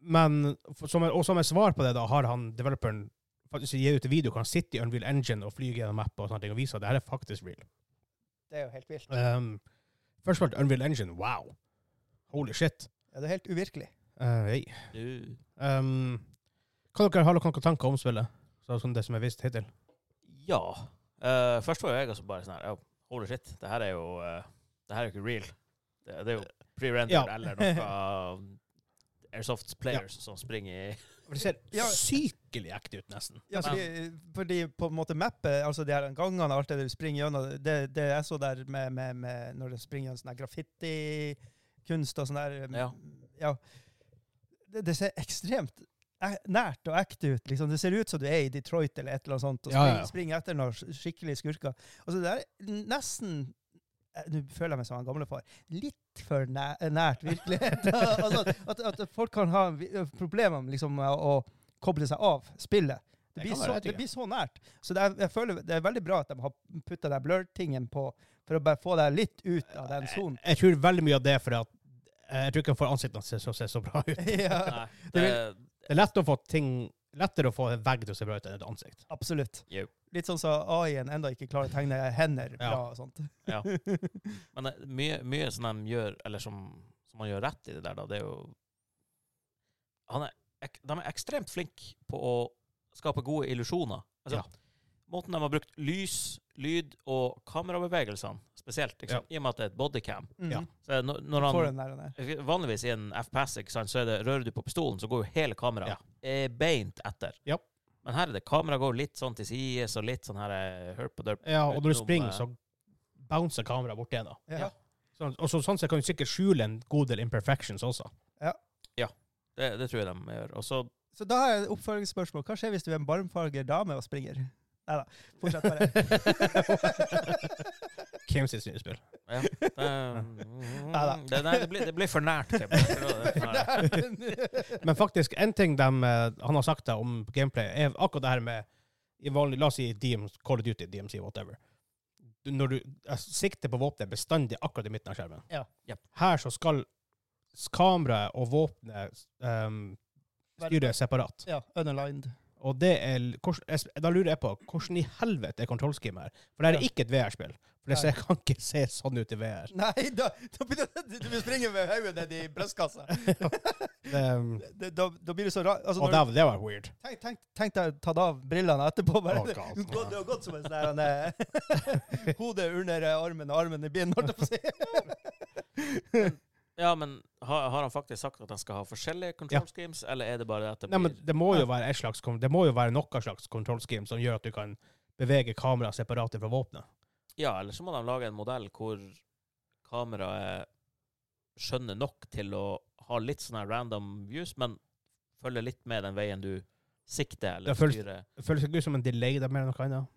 Speaker 1: men, for- som, en- og som et svar på det da, har han developeren faktisk gitt ut en video hvor han sitter i Unreal Engine og flyr gjennom mappa og sånne ting, og viser at det her er faktisk real.
Speaker 2: Det er jo helt vilt.
Speaker 1: Um, først var det Unreal Engine, wow. Holy shit.
Speaker 2: Ja, det er helt uvirkelig.
Speaker 1: Eh, hei.
Speaker 3: Du,
Speaker 1: Um, kan dere ha noen tanker om spillet? Så, sånn det som er visst hittil?
Speaker 3: ja. Eh, først var jo jeg også bare sånn her oh, Holy shit, det her er jo eh, Det her er jo ikke real. Det, det er jo pre-rendered
Speaker 1: Ja.
Speaker 3: eller noe Airsoft players som springer i
Speaker 1: For det ser
Speaker 2: Ja.
Speaker 1: sykelig ekte ut, nesten.
Speaker 2: Ja, fordi, fordi på en måte mappet, altså de her gangene og alt det du springer gjennom, det, det er så der med, med, med når du springer gjennom sånn her graffiti-kunst og sånn der
Speaker 3: Ja.
Speaker 2: ja. Det, det ser ekstremt e- nært og ekte ut. Liksom. Det ser ut som du er i Detroit eller et eller annet sånt, og
Speaker 1: Ja,
Speaker 2: spring,
Speaker 1: ja, ja.
Speaker 2: springer etter noen sk- skikkelige skurker. Og så det er nesten eh, Nå føler jeg meg som han gamlefar. Litt for næ nært virkeligheten. altså, at, at folk kan ha vi- problemer med liksom, å å koble seg av spillet. Det
Speaker 1: Det
Speaker 2: blir,
Speaker 1: kan være,
Speaker 2: så,
Speaker 1: jeg
Speaker 2: det
Speaker 1: tenker.
Speaker 2: blir så nært. Så det er, jeg føler det er veldig bra at de har putta den blur-tingen på, for å bare få deg litt ut av den sonen.
Speaker 1: Jeg, jeg tror veldig mye av det er fordi at jeg tror ikke han får ansiktene til å se så bra ut.
Speaker 2: ja.
Speaker 3: Nei,
Speaker 1: Det
Speaker 3: det,
Speaker 1: Det er lett å få ting, lettere å få en vegg til å se bra ut enn et ansikt.
Speaker 2: Absolutt.
Speaker 3: Jo.
Speaker 2: Litt sånn som AI-en enda ikke klarer å tegne hender bra
Speaker 1: Ja.
Speaker 2: og sånt.
Speaker 3: ja. Men det, mye, mye som de gjør, eller som, som man gjør rett i det der, da, det er jo han er, ek- De er ekstremt flinke på å skape gode illusjoner. Altså,
Speaker 1: Ja.
Speaker 3: Måten de har brukt lys, lyd og kamerabevegelsene spesielt, ikke sant? i og med at det er et bodycam
Speaker 2: Mm.
Speaker 1: Ja.
Speaker 3: så er det når, når
Speaker 2: Får
Speaker 3: han,
Speaker 2: den der, den der.
Speaker 3: Vanligvis i en F-pass ikke sant, så er det, rører du på pistolen, så går jo hele kameraet eh, beint etter.
Speaker 1: Ja.
Speaker 3: Men her er det kameraet går litt sånn til sides og litt sånn her eh, hurp og derp.
Speaker 1: Ja, og når du
Speaker 3: Utenom,
Speaker 1: springer,
Speaker 3: eh,
Speaker 1: så bouncer kameraet bort igjen. da.
Speaker 2: Ja.
Speaker 3: Ja.
Speaker 1: Sånn, og så, sånn sett kan du sikkert skjule en god del imperfections også.
Speaker 3: Det, det tror jeg de gjør. Og så
Speaker 2: Så da har jeg et oppfølgingsspørsmål. Hva skjer hvis du er en barmfarget dame og springer? Nei da, fortsett bare.
Speaker 1: Kim sitt spill.
Speaker 3: Ja. Det, mm,
Speaker 2: Neida.
Speaker 3: det, nei, det, blir, det blir for nært. Kim. Jeg tror det- nei.
Speaker 1: Men faktisk, en ting dem, eh, han har sagt der om gameplay, er akkurat det her med i vanlig, La oss si DM, Call of Duty, DMC, whatever. Du, når du eh, sikter på våpenet er bestandig akkurat i midten av skjermen.
Speaker 2: Ja.
Speaker 3: Jep.
Speaker 1: Her så skal s- kameraet og våpenet um, styre separat.
Speaker 2: Ja, underlined.
Speaker 1: Og det er, l- hvordan- jeg s- da lurer jeg på hvordan i helvete er kontrollskimet her? For det her
Speaker 2: Ja.
Speaker 1: er ikke et VR-spill. For det
Speaker 2: Nei.
Speaker 1: ser- kan ikke se sånn ut i VR.
Speaker 2: Nei, da, da blir det, du vil springe med hodet ned i brystkassa.
Speaker 1: Det, um,
Speaker 2: Det- Da, da blir det så rart. Altså,
Speaker 1: og
Speaker 2: når
Speaker 1: det,
Speaker 2: du-
Speaker 1: det var weird.
Speaker 2: tenk, tenk, tenk deg å ta deg av brillene etterpå. Bare.
Speaker 1: Å, God.
Speaker 2: Du har gått- du har gått som en sånn der, han, eh, Hodet under eh, armen og armen i binden, holdt jeg på å si.
Speaker 3: Ja, men har, har han faktisk sagt at han skal ha forskjellige control schemes, eller er det bare at det
Speaker 1: Nei, men
Speaker 3: blir
Speaker 1: det må jo være, et slags, kon- det må jo være noe slags kontrollskim som gjør at du kan bevege kameraet separat fra våpenet.
Speaker 3: Ja, eller så må de lage en modell hvor kameraet skjønner nok til å ha litt sånne random views, men følger litt med den veien du sikter eller
Speaker 1: Det føles-
Speaker 3: styrer.
Speaker 1: Det føles ikke ut som en delay der mer enn noe annet.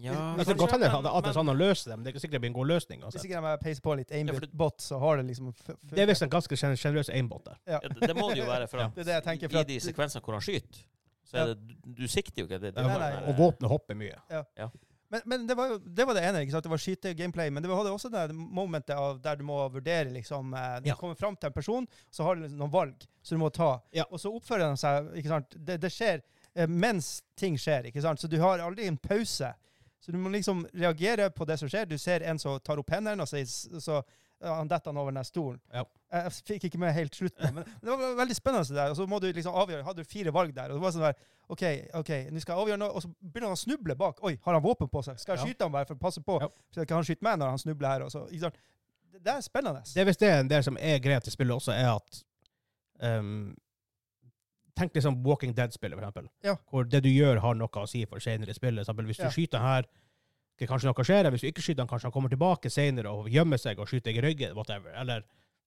Speaker 3: Ja,
Speaker 1: Altså, det kan godt hende at
Speaker 3: men-
Speaker 1: at det
Speaker 3: men-
Speaker 1: er sånn han løser dem. Det er sikkert det blir en god løsning.
Speaker 2: Hvis
Speaker 1: Altså.
Speaker 2: ikke de peiser på litt
Speaker 3: Ja, for det-
Speaker 2: aimbot, så har det liksom f- f-
Speaker 1: Det er visst en ganske gen- generøs aimbot der.
Speaker 2: Ja.
Speaker 3: Ja, det, det må det jo være, for
Speaker 1: Ja.
Speaker 3: at
Speaker 2: Det er det jeg tenker, for
Speaker 3: i
Speaker 2: at-
Speaker 3: de sekvensene hvor han skyter, så
Speaker 2: Ja.
Speaker 3: er det Du, du sikter jo ikke. Det, det er
Speaker 2: Nei,
Speaker 3: bare
Speaker 2: nei.
Speaker 3: den der-
Speaker 1: Og våpenet hopper mye.
Speaker 2: Men, men det, var jo, det var det ene. ikke sant? Det var skyte gameplay. Men det var det også det momentet av der du må vurdere liksom, eh, Når
Speaker 1: Ja.
Speaker 2: du kommer fram til en person, så har du liksom noen valg som du må ta.
Speaker 1: Ja.
Speaker 2: Og så oppfører de seg ikke sant? Det, det skjer eh, mens ting skjer. ikke sant? Så du har aldri en pause. Så du må liksom reagere på det som skjer. Du ser en som tar opp hendene, og så, så ja, han detter han over den der stolen.
Speaker 1: Ja.
Speaker 2: Jeg jeg fikk ikke med helt slutten, men det var veldig spennende. det der, og så må du liksom avgjøre, Hadde du fire valg der? og det var sånn der, OK, ok, nå skal jeg avgjøre noe. Og så begynner han å snuble bak. Oi, har han våpen på seg? Skal jeg
Speaker 1: Ja.
Speaker 2: skyte han bare for å passe på?
Speaker 1: Ja.
Speaker 2: Så kan han skyte meg når han snubler her. Og så, ikke sant? Det- Det er spennende.
Speaker 1: Det er visst det en del som er greit i spillet også, er at ehm, Tenk liksom Walking Dead-spillet, for eksempel.
Speaker 2: Ja.
Speaker 1: Hvor det du gjør, har noe å si for senere i spillet. For Eksempel, hvis du
Speaker 2: Ja.
Speaker 1: skyter han her, ok, kanskje noe skjer. Hvis du ikke skyter han, kanskje han kommer tilbake senere og gjemmer seg og skyter deg i ryggen. Whatever. Eller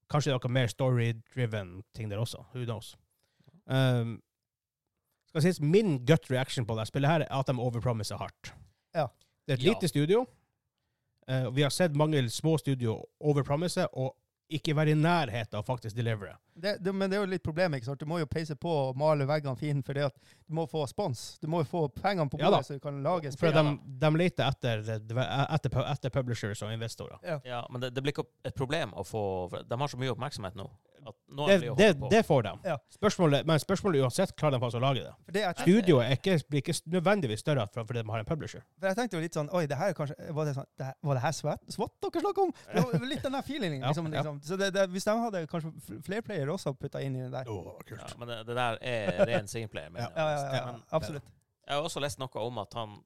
Speaker 1: kanskje det er noe mer story-driven ting der også. Who knows? Ehm, skal sies, min gut reaction på det spillet her er at de overpromiser hardt.
Speaker 2: Ja.
Speaker 1: Det er et
Speaker 3: Ja.
Speaker 1: lite studio. Eh, og vi har sett mange små studio overpromise og ikke være i nærheten av faktisk delivere.
Speaker 2: Det, det, men det er jo litt problemet. ikke sant? Du må jo peise på og male veggene fine, for du må få spons. Du må jo få pengene på
Speaker 1: Ja da.
Speaker 2: bordet, så du kan lage
Speaker 1: For
Speaker 2: spill.
Speaker 1: de, de leter etter, etter, etter publishers og investorer.
Speaker 3: Ja, men det, det blir ikke et problem å få for De har så mye oppmerksomhet nå. At nå
Speaker 1: Det,
Speaker 3: blir jo
Speaker 1: det,
Speaker 3: hoppet på.
Speaker 1: det får de.
Speaker 2: Ja.
Speaker 1: Spørsmålet, men spørsmålet uansett klarer de faktisk å lage det.
Speaker 2: For det jeg tenkte-
Speaker 1: Studioet er ikke, blir ikke nødvendigvis større for- fordi de har en publisher.
Speaker 2: For jeg tenkte jo litt sånn Oi, det her er kanskje Var det, sånn, det her, var det her svett, svett dere snakket om? Det var litt den der feelingen.
Speaker 1: Ja,
Speaker 2: liksom.
Speaker 1: ja.
Speaker 2: liksom. Så det, det, hvis de hadde kanskje fl- flerplayer også putta inn i den der
Speaker 3: ja, Men det, det der er ren singleplayer. mener jeg.
Speaker 2: Ja, ja, ja, ja
Speaker 3: Men
Speaker 2: absolutt.
Speaker 3: jeg har også lest noe om at han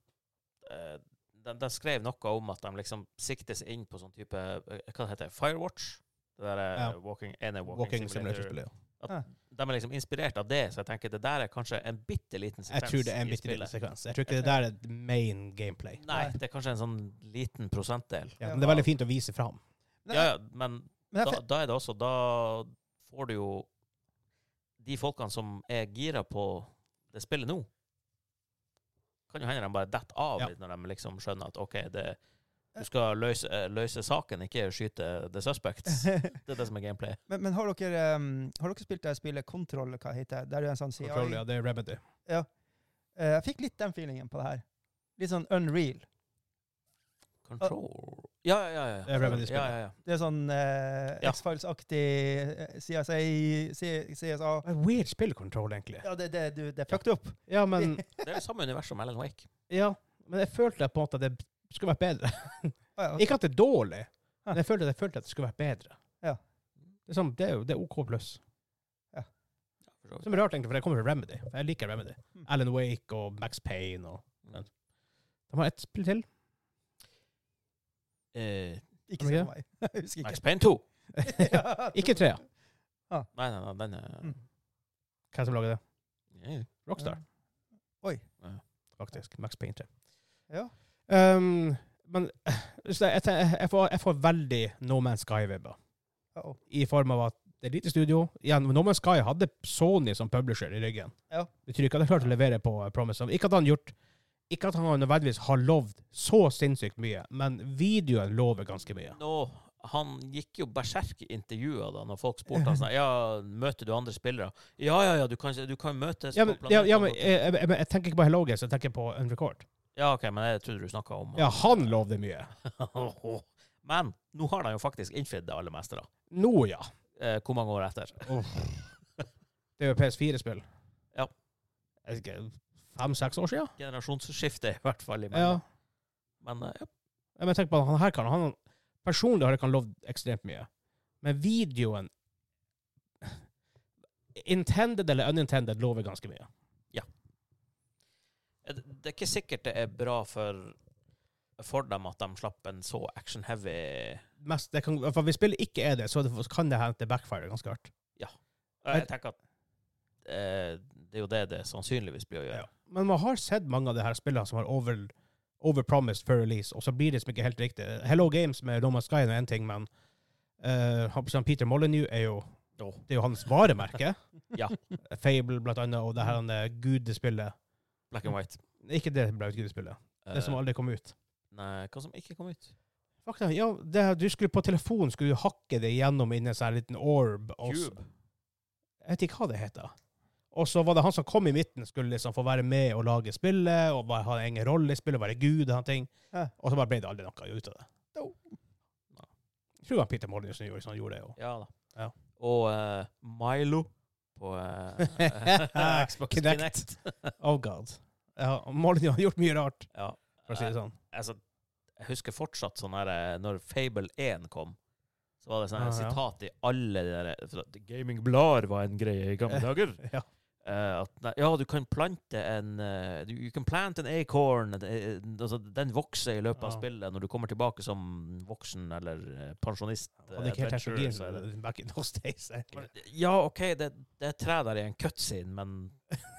Speaker 3: eh, de, de skrev noe om at de liksom siktes inn på sånn type eh, Hva det heter Firewatch? Det der eh,
Speaker 1: Ja.
Speaker 3: walking, ene walking,
Speaker 1: Walking
Speaker 3: simulator.
Speaker 1: simulator-spillet. ja.
Speaker 3: De er liksom inspirert av det, så jeg tenker det der er kanskje en bitte liten
Speaker 1: Jeg
Speaker 3: sekvens
Speaker 1: tror det er en
Speaker 3: i
Speaker 1: bitte liten
Speaker 3: spillet.
Speaker 1: sekvens. Jeg tror ikke det der er main gameplay.
Speaker 3: Nei, det er kanskje en sånn liten prosentdel.
Speaker 1: Ja, men det er veldig fint å vise fram.
Speaker 2: Nei,
Speaker 3: Ja, ja, men
Speaker 2: Men jeg,
Speaker 3: da, da er det også Da får du jo de folkene som er gira på det spillet nå, kan jo hende de bare detter av
Speaker 1: Ja.
Speaker 3: litt når de liksom skjønner at OK, det, du skal løse, eh, løse saken, ikke skyte the suspects. Det er det som er gameplay.
Speaker 2: men, men har dere, um, har dere spilt det spillet Control, eller hva det heter? Der er en sånn CI.
Speaker 1: Control, ja, det er Remedy.
Speaker 2: Eh, jeg fikk litt den feelingen på det her. Litt sånn unreal.
Speaker 3: Control Ja, ja, ja.
Speaker 1: Det er
Speaker 3: ja.
Speaker 1: Remedy-spillet.
Speaker 3: ja, ja, ja.
Speaker 2: Det er sånn eh,
Speaker 3: Ja.
Speaker 2: X-Files-aktig eh, CSA, C- CSA.
Speaker 1: Det er et weird spillkontroll, egentlig.
Speaker 2: Ja, det, det, du, det er fucked up.
Speaker 1: Ja, men,
Speaker 3: Det er det samme univers som Alan Wake.
Speaker 1: ja, men jeg følte på en måte at det skulle vært bedre.
Speaker 2: Ah, ja,
Speaker 1: Ikke at det er dårlig, men jeg følte, jeg følte at det skulle vært bedre.
Speaker 2: Ja.
Speaker 1: Det er, sånn, det er jo det er OK pluss.
Speaker 3: Ja, for så vidt.
Speaker 1: Som er rart, egentlig, for det kommer fra Remedy. For jeg liker Remedy.
Speaker 2: Mm.
Speaker 1: Alan Wake og Max Payne og
Speaker 3: Mm.
Speaker 1: De har ett spill til.
Speaker 3: Eh,
Speaker 2: Ikke se på meg. Jeg husker
Speaker 3: Max
Speaker 2: ikke.
Speaker 3: Payne 2.
Speaker 2: Ja,
Speaker 1: Ikke trea.
Speaker 3: Nei, nei, nei, den er
Speaker 2: Mm.
Speaker 1: Hvem som lager det?
Speaker 3: ja,
Speaker 1: Rockstar,
Speaker 2: Oi.
Speaker 1: faktisk. Max Payne 3.
Speaker 2: Ja.
Speaker 1: Um, men så jeg, jeg, jeg, får, jeg får veldig No Man's Sky-vibber.
Speaker 2: Uh -oh.
Speaker 1: I form av at det er lite studio. Igjen, No Man's Sky hadde Sony som publisher i ryggen.
Speaker 2: Ja.
Speaker 1: Det betyr ikke at de klarte å levere på eh, Promise. of- Ikke at han gjort ikke at han nødvendigvis har lovd så sinnssykt mye, men videoen lover ganske mye.
Speaker 3: Nå, han gikk jo berserk i intervjuer da når folk spurte han sånn Ja, møter du andre spillere? Ja, ja, ja, du kan, du kan møtes
Speaker 1: Ja, men,
Speaker 3: på
Speaker 1: ja, ja, men
Speaker 3: planeten.
Speaker 1: jeg, jeg, jeg, jeg tenker ikke på Hello Games, jeg tenker på Unrecord.
Speaker 3: ja, OK, men jeg trodde du snakka om
Speaker 1: Ja, han lovde mye.
Speaker 3: Men nå har de jo faktisk innfridd det aller meste, da.
Speaker 1: Nå, ja.
Speaker 3: Eh, hvor mange år etter?
Speaker 1: Det er jo PS4-spill.
Speaker 3: Ja.
Speaker 1: Jeg vet ikke, Fem-seks år siden?
Speaker 3: Generasjonsskifte, i hvert fall. i
Speaker 1: Ja.
Speaker 3: mellom. Men eh, ja.
Speaker 1: Ja, Men tenk på at han her kan han, Personlig har ikke han lovd ekstremt mye. Men videoen Intended eller unintended lover ganske mye.
Speaker 3: Det Eh, det er ikke sikkert det er bra for, for dem at de slapp en så action-heavy Eh,
Speaker 1: Mest, det kan, for hvis spillet ikke er det, så det- kan det hente backfire ganske hardt.
Speaker 3: Og Jeg tenker at eh, det er jo det det sannsynligvis blir å gjøre.
Speaker 1: Ja. Men man har sett mange av de her spillene som har over, overpromised før release, og så blir det liksom ikke helt riktig. Hello Games med No Man's Sky er én ting, men eh, han- sånn Peter Molyneux er jo
Speaker 3: Åh.
Speaker 1: Det er jo hans varemerke.
Speaker 3: Ja.
Speaker 1: Fable, blant annet, og det her eh, gudespillet.
Speaker 3: Black and white.
Speaker 1: Ikke det ble et gudespillet. Det som
Speaker 3: Eh,
Speaker 1: aldri kom ut.
Speaker 3: Nei, hva som ikke kom ut?
Speaker 1: Fakta, ja, det, her- du skulle på telefonen skulle du hakke det gjennom inni en sånn liten orb. og så-
Speaker 3: Cube.
Speaker 1: Jeg vet ikke hva det heter. Og så var det han som kom i midten, skulle liksom få være med og lage spillet, og bare ha en egen rolle i spillet, være gud og sånne ting.
Speaker 2: Ja.
Speaker 1: Og så bare ble det aldri noe ut av det.
Speaker 2: No.
Speaker 1: Jeg tror han Peter Molyneux som gjorde som han gjorde det. Og.
Speaker 3: Ja da.
Speaker 1: Ja.
Speaker 3: Og eh, Milo på eh, Xbox
Speaker 1: Kinect.
Speaker 3: Kinect.
Speaker 1: Oh god. Ja, Molyneux har gjort mye rart,
Speaker 3: ja.
Speaker 1: for å si det sånn.
Speaker 3: altså, jeg husker fortsatt sånn her eh, Når Fable 1 kom, så var det sånn her
Speaker 1: Ah, ja.
Speaker 3: sitat i alle de der for at Gaming Blar var en greie i gamle dager.
Speaker 1: Ja.
Speaker 3: Eh, at, nei, ja, du kan plante en eh, du- You can plant an acorn. eh, eh, altså, den vokser i løpet av
Speaker 1: Ja.
Speaker 3: spillet når du kommer tilbake som voksen eller eh, pensjonist. eh,
Speaker 1: Hadde ikke helt
Speaker 3: adventurer,
Speaker 1: teknologien
Speaker 3: så er
Speaker 1: som
Speaker 3: det-
Speaker 1: back in those days, egentlig.
Speaker 3: Ja, OK, det, det er et tre der i en cutscene, men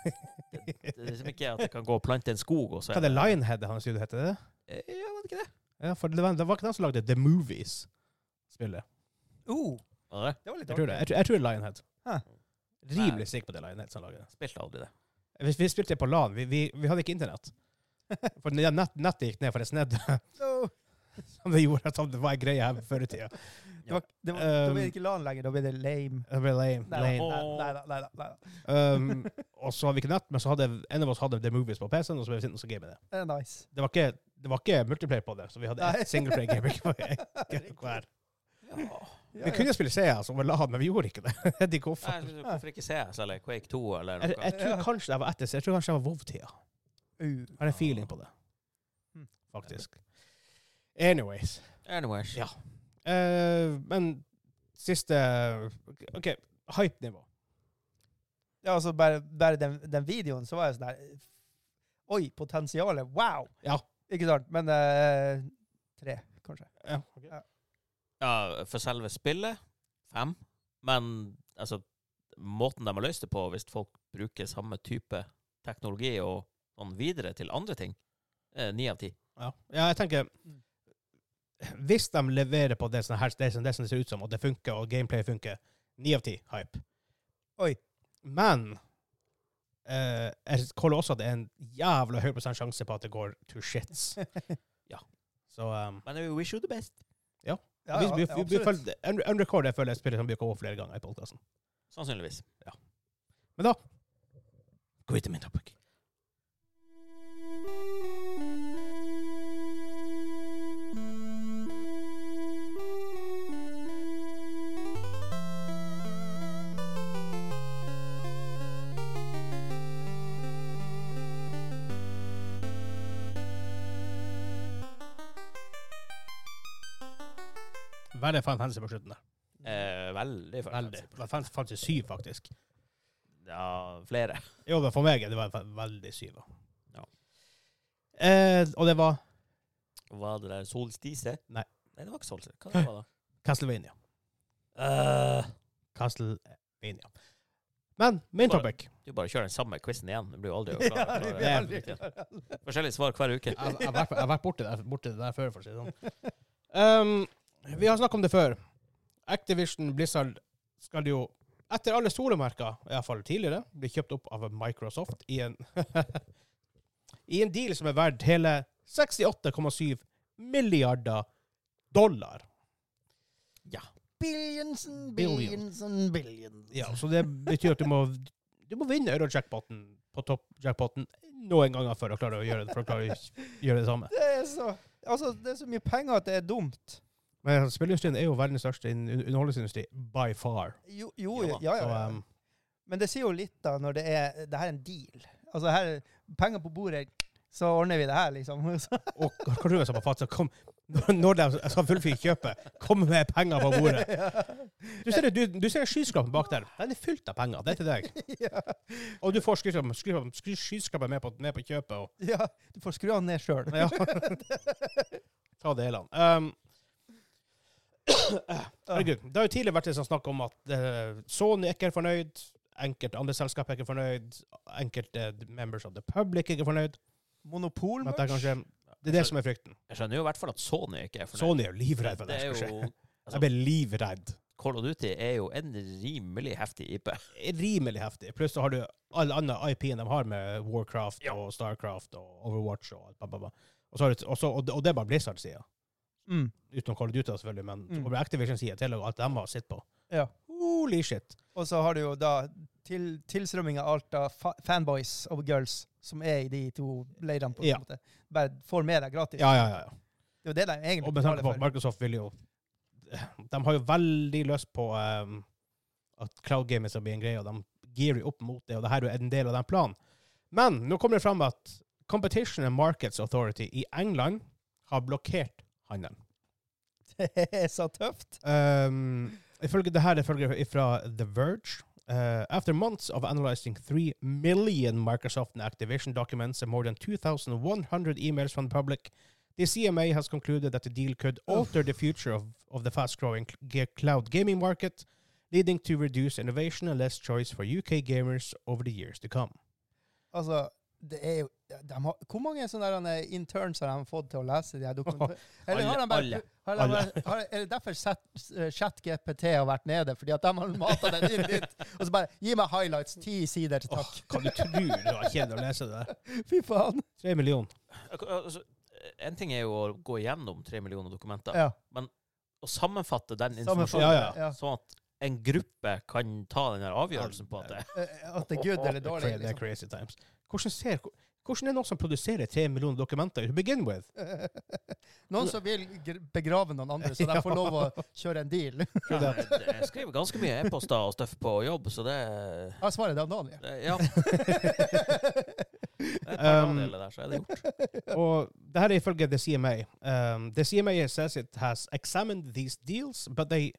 Speaker 3: det er liksom ikke at jeg kan gå og plante en skog, og så
Speaker 1: Hva er det Lionhead han studio heter? det?
Speaker 3: Eh, Ja, var det ikke det?
Speaker 1: Ja, for det var, det var ikke han som lagde The Movies-spillet.
Speaker 2: Oh,
Speaker 3: Var det det?
Speaker 2: det var
Speaker 1: Uh,
Speaker 2: litt
Speaker 1: Jeg tror det. Jeg tror, jeg tror det er Lionhead.
Speaker 2: Hæ.
Speaker 3: Nei.
Speaker 1: Rimelig sikker på det er Lionhead som lager det.
Speaker 3: Spilte aldri det.
Speaker 1: Vi, vi spilte det på LAN. Vi, vi, vi hadde ikke internett. For nett- nettet gikk ned for det snedde
Speaker 2: No.
Speaker 1: som det gjorde at det var en greie her før i tida.
Speaker 2: Det var, det var, da blir
Speaker 1: Um,
Speaker 2: det ikke LAN lenger, da blir det lame.
Speaker 1: Det ble lame.
Speaker 2: Nei,
Speaker 1: lame.
Speaker 2: nei,
Speaker 3: Åh.
Speaker 2: nei, nei, nei, nei,
Speaker 1: Um, og så hadde vi ikke nett, men så hadde en av oss hadde The Movies på PC-en, og så ble vi sittende og game det.
Speaker 2: Det er nice.
Speaker 1: Det var ikke, det var ikke multiplayer på det, så vi hadde
Speaker 2: Nei.
Speaker 1: ett singleplayer-gaming hver.
Speaker 3: Ja.
Speaker 2: Ja,
Speaker 1: Vi
Speaker 2: ja.
Speaker 1: kunne spille CS over LAN, men vi gjorde ikke det. Jeg vet ikke hvorfor.
Speaker 3: Nei, jeg synes- hvorfor ikke CS eller Quake 2 eller noe?
Speaker 1: Jeg, jeg tror kanskje det var etter, jeg tror kanskje det var WoW-tida.
Speaker 2: Uh,
Speaker 1: Jeg har en feeling på det,
Speaker 2: Hmm.
Speaker 1: faktisk. Anyways.
Speaker 3: Anyways.
Speaker 1: Ja. Eh, men siste OK, hype-nivå.
Speaker 2: Ja, altså bare, bare den, den videoen, så var jeg sånn der Oi, potensialet! Wow!
Speaker 1: Ja.
Speaker 2: Ikke sant? Men eh, tre, kanskje.
Speaker 1: Ja.
Speaker 3: Ja, for selve spillet, fem. Men altså, måten de har løst det på, hvis folk bruker samme type teknologi og sånn videre til andre ting, eh, ni av ti.
Speaker 1: Ja. ja, jeg tenker
Speaker 2: Mm.
Speaker 1: Hvis de leverer på det som, her, det, som, det som det ser ut som, og det funker, og gameplay funker, ni av ti hype.
Speaker 2: Oi.
Speaker 1: Men eh, jeg kaller også at det er en jævla høy prosent sjanse på at det går to shits. ja. Så um,
Speaker 3: Men we wish you the best.
Speaker 2: Ja,
Speaker 1: vi,
Speaker 2: ja,
Speaker 1: vi,
Speaker 2: ja,
Speaker 1: vi, vi,
Speaker 2: absolutt.
Speaker 1: følger- en, en rekord jeg føler jeg spiller som vi kommer over flere ganger i podkasten.
Speaker 3: Sannsynligvis.
Speaker 1: Men da
Speaker 3: Gå videre min topic.
Speaker 1: Veldig fan fancy på slutten der.
Speaker 3: Eh, veldig
Speaker 1: Veldig.
Speaker 3: fornøyd.
Speaker 1: Det var fan- fancy syv, faktisk.
Speaker 3: Ja, flere.
Speaker 1: Jo, men for meg er det var veldig syv. da.
Speaker 3: Ja.
Speaker 1: Eh, og det var
Speaker 3: Var det der solstise?
Speaker 1: Nei.
Speaker 3: Nei, det var ikke solstise. Hva det var det da?
Speaker 1: Castlevania.
Speaker 3: Eh,
Speaker 1: Castlevania. Men main
Speaker 3: Bare-
Speaker 1: topic.
Speaker 3: du bare kjører den samme quizen igjen. Du blir jo aldri
Speaker 2: Ja,
Speaker 3: å klare.
Speaker 2: vi blir
Speaker 1: er
Speaker 2: aldri
Speaker 3: Klare-
Speaker 2: klar.
Speaker 3: Forskjellige svar hver uke.
Speaker 1: Jeg jeg har vært- jeg har vært borti det, borti det der før, for å si det sånn. Um, vi har snakket om det før. Activision Blizzard skal jo, etter alle solemerker, iallfall tidligere, bli kjøpt opp av Microsoft i en, i en deal som er verdt hele 68,7 milliarder dollar.
Speaker 2: Billions and
Speaker 1: Billion.
Speaker 2: billions and billions.
Speaker 1: Ja, så det betyr at du må, du må vinne eurojackpoten på toppjackpoten noen ganger for å klare å gjøre det, for å klare å gjøre det samme.
Speaker 2: Det er så Altså, det er så mye penger at det er dumt.
Speaker 1: Men spillindustrien er jo verdens største in- underholdningsindustri by far.
Speaker 2: Jo, jo
Speaker 3: Jo
Speaker 2: ja,
Speaker 3: da.
Speaker 2: ja,
Speaker 1: Så,
Speaker 2: ja.
Speaker 1: um,
Speaker 2: Men det sier jo litt, da, når det er Det her er en deal. Altså, her Penger på bordet, så ordner vi det her, liksom. Så,
Speaker 1: Og Kartunen sa på fatsa kom, når de skal fullfyre kjøpet, kom med penger på bordet. Du ser, det- du, du ser skyskrapen bak der. Den er fylt av penger. Det er til deg.
Speaker 2: ja,
Speaker 1: Og du får skyskrapen, skyskrapen, sky- skyskrapen med, på, med på kjøpet. Og,
Speaker 2: ja. Du får skru han ned sjøl.
Speaker 1: ja. Ta delene. Um, herregud. Det har jo tidligere vært litt sånn snakk om at eh, Sony er ikke er fornøyd. Enkelte andre selskap er ikke fornøyd. Enkelte members of the public er ikke fornøyd. Men at det, er
Speaker 2: Monopolmerch.
Speaker 1: kanskje, det er det som er frykten.
Speaker 3: Jeg skjønner jo i hvert fall at Sony ikke er fornøyd.
Speaker 1: Sony er jo livredd for
Speaker 3: det
Speaker 1: det
Speaker 3: er
Speaker 1: som skal skje.
Speaker 3: jo
Speaker 1: Jeg ble livredd.
Speaker 3: Call of Duty er jo en rimelig heftig IP.
Speaker 1: rimelig heftig. Pluss så har du alle andre IP-en de har med Warcraft
Speaker 3: Ja.
Speaker 1: og Starcraft og Overwatch og alt bla, bla, bla. Og, så har du, og, så, og, det- og det er bare Blizzard-sida.
Speaker 2: Mm.
Speaker 1: Utenom Call of Duty, selvfølgelig, men
Speaker 2: Mm.
Speaker 1: over Activision-sida til og alt de har sett på.
Speaker 2: Ja.
Speaker 1: Holy shit.
Speaker 2: Og så har du jo da til, tilstrømming av alt av fa fanboys og girls som er i de to leirene, på en
Speaker 1: Ja.
Speaker 2: måte. Bare får med deg gratis.
Speaker 1: Ja, ja, ja. ja.
Speaker 2: Det er jo det de egentlig
Speaker 1: Og med tanke
Speaker 2: betaler
Speaker 1: på at
Speaker 2: for.
Speaker 1: Microsoft vil jo eh, De har jo veldig lyst på ehm, at cloud gaming skal bli en greie, og de gearer jo opp mot det, og det her er jo en del av den planen. Men nå kommer det fram at Competition and Markets Authority i England har blokkert handelen.
Speaker 2: Det er så tøft.
Speaker 1: Um, ifølge det her, ifølge fra The Verge. Uh, after months of analyzing 3 million Microsoft and Activision documents and more than 2,100 emails from the public, the CMA has concluded that the deal could alter the future of, of the fast growing cloud gaming market, leading to reduced innovation and less choice for UK gamers over the years to come.
Speaker 2: Altså, det er jo de har, Hvor mange sånne der, eh, interns har de fått til å lese de her dokumentene? Eller har de bare,
Speaker 3: alle.
Speaker 2: Har de bare, har, er det derfor chat- ChatGPT har vært nede? Fordi at de har mata den inn dit? Og så bare Gi meg highlights. Ti sider,
Speaker 1: Åh,
Speaker 2: takk.
Speaker 1: kan du tro det var kjedelig å lese det der?
Speaker 2: Fy faen.
Speaker 1: 3 millioner.
Speaker 3: Altså, en ting er jo å gå igjennom tre millioner dokumenter,
Speaker 2: Ja.
Speaker 3: og sammenfatte den
Speaker 2: Sammenfatt-
Speaker 3: informasjonen,
Speaker 1: ja,
Speaker 2: ja.
Speaker 3: sånn at en gruppe kan ta den her avgjørelsen på at det
Speaker 2: Eh, At det er good eller
Speaker 1: Det er, cra-
Speaker 2: dårlig.
Speaker 1: det er
Speaker 2: Liksom.
Speaker 1: crazy times. Hvordan, ser, hvordan er det noen som produserer 3 millioner dokumenter to begin with?
Speaker 2: Noen som vil gr- begrave noen andre, så de får lov å kjøre en deal.
Speaker 1: Tror du at-
Speaker 3: eh, Jeg skriver ganske mye e-poster og stuff på jobb, så det
Speaker 2: Ja, svaret er noen, ja.
Speaker 3: det- Ja. Jeg tar
Speaker 1: Um,
Speaker 3: andeler der, så er det gjort.
Speaker 1: Og det her er ifølge The CMA. Um, the CMA says it has examined these deals, but they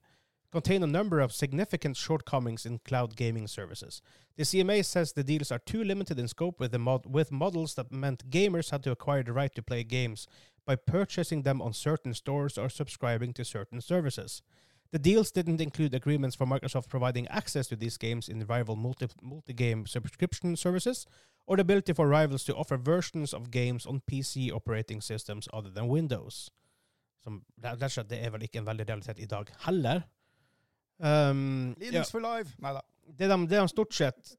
Speaker 1: contain a number of significant shortcomings in cloud gaming services. The CMA says the deals are too limited in scope with, the mod- with models that meant gamers had to acquire the right to play games by purchasing them on certain stores or subscribing to certain services. The deals didn't include agreements for Microsoft providing access to these games in rival multi- multi-game subscription services, or the ability for rivals to offer versions of games on PC operating systems other than Windows. Som, rett og slett, det er vel ikke en veldig realitet i dag heller. Um, ja.
Speaker 2: Linux for life. Nei da.
Speaker 1: det, de, det de stort sett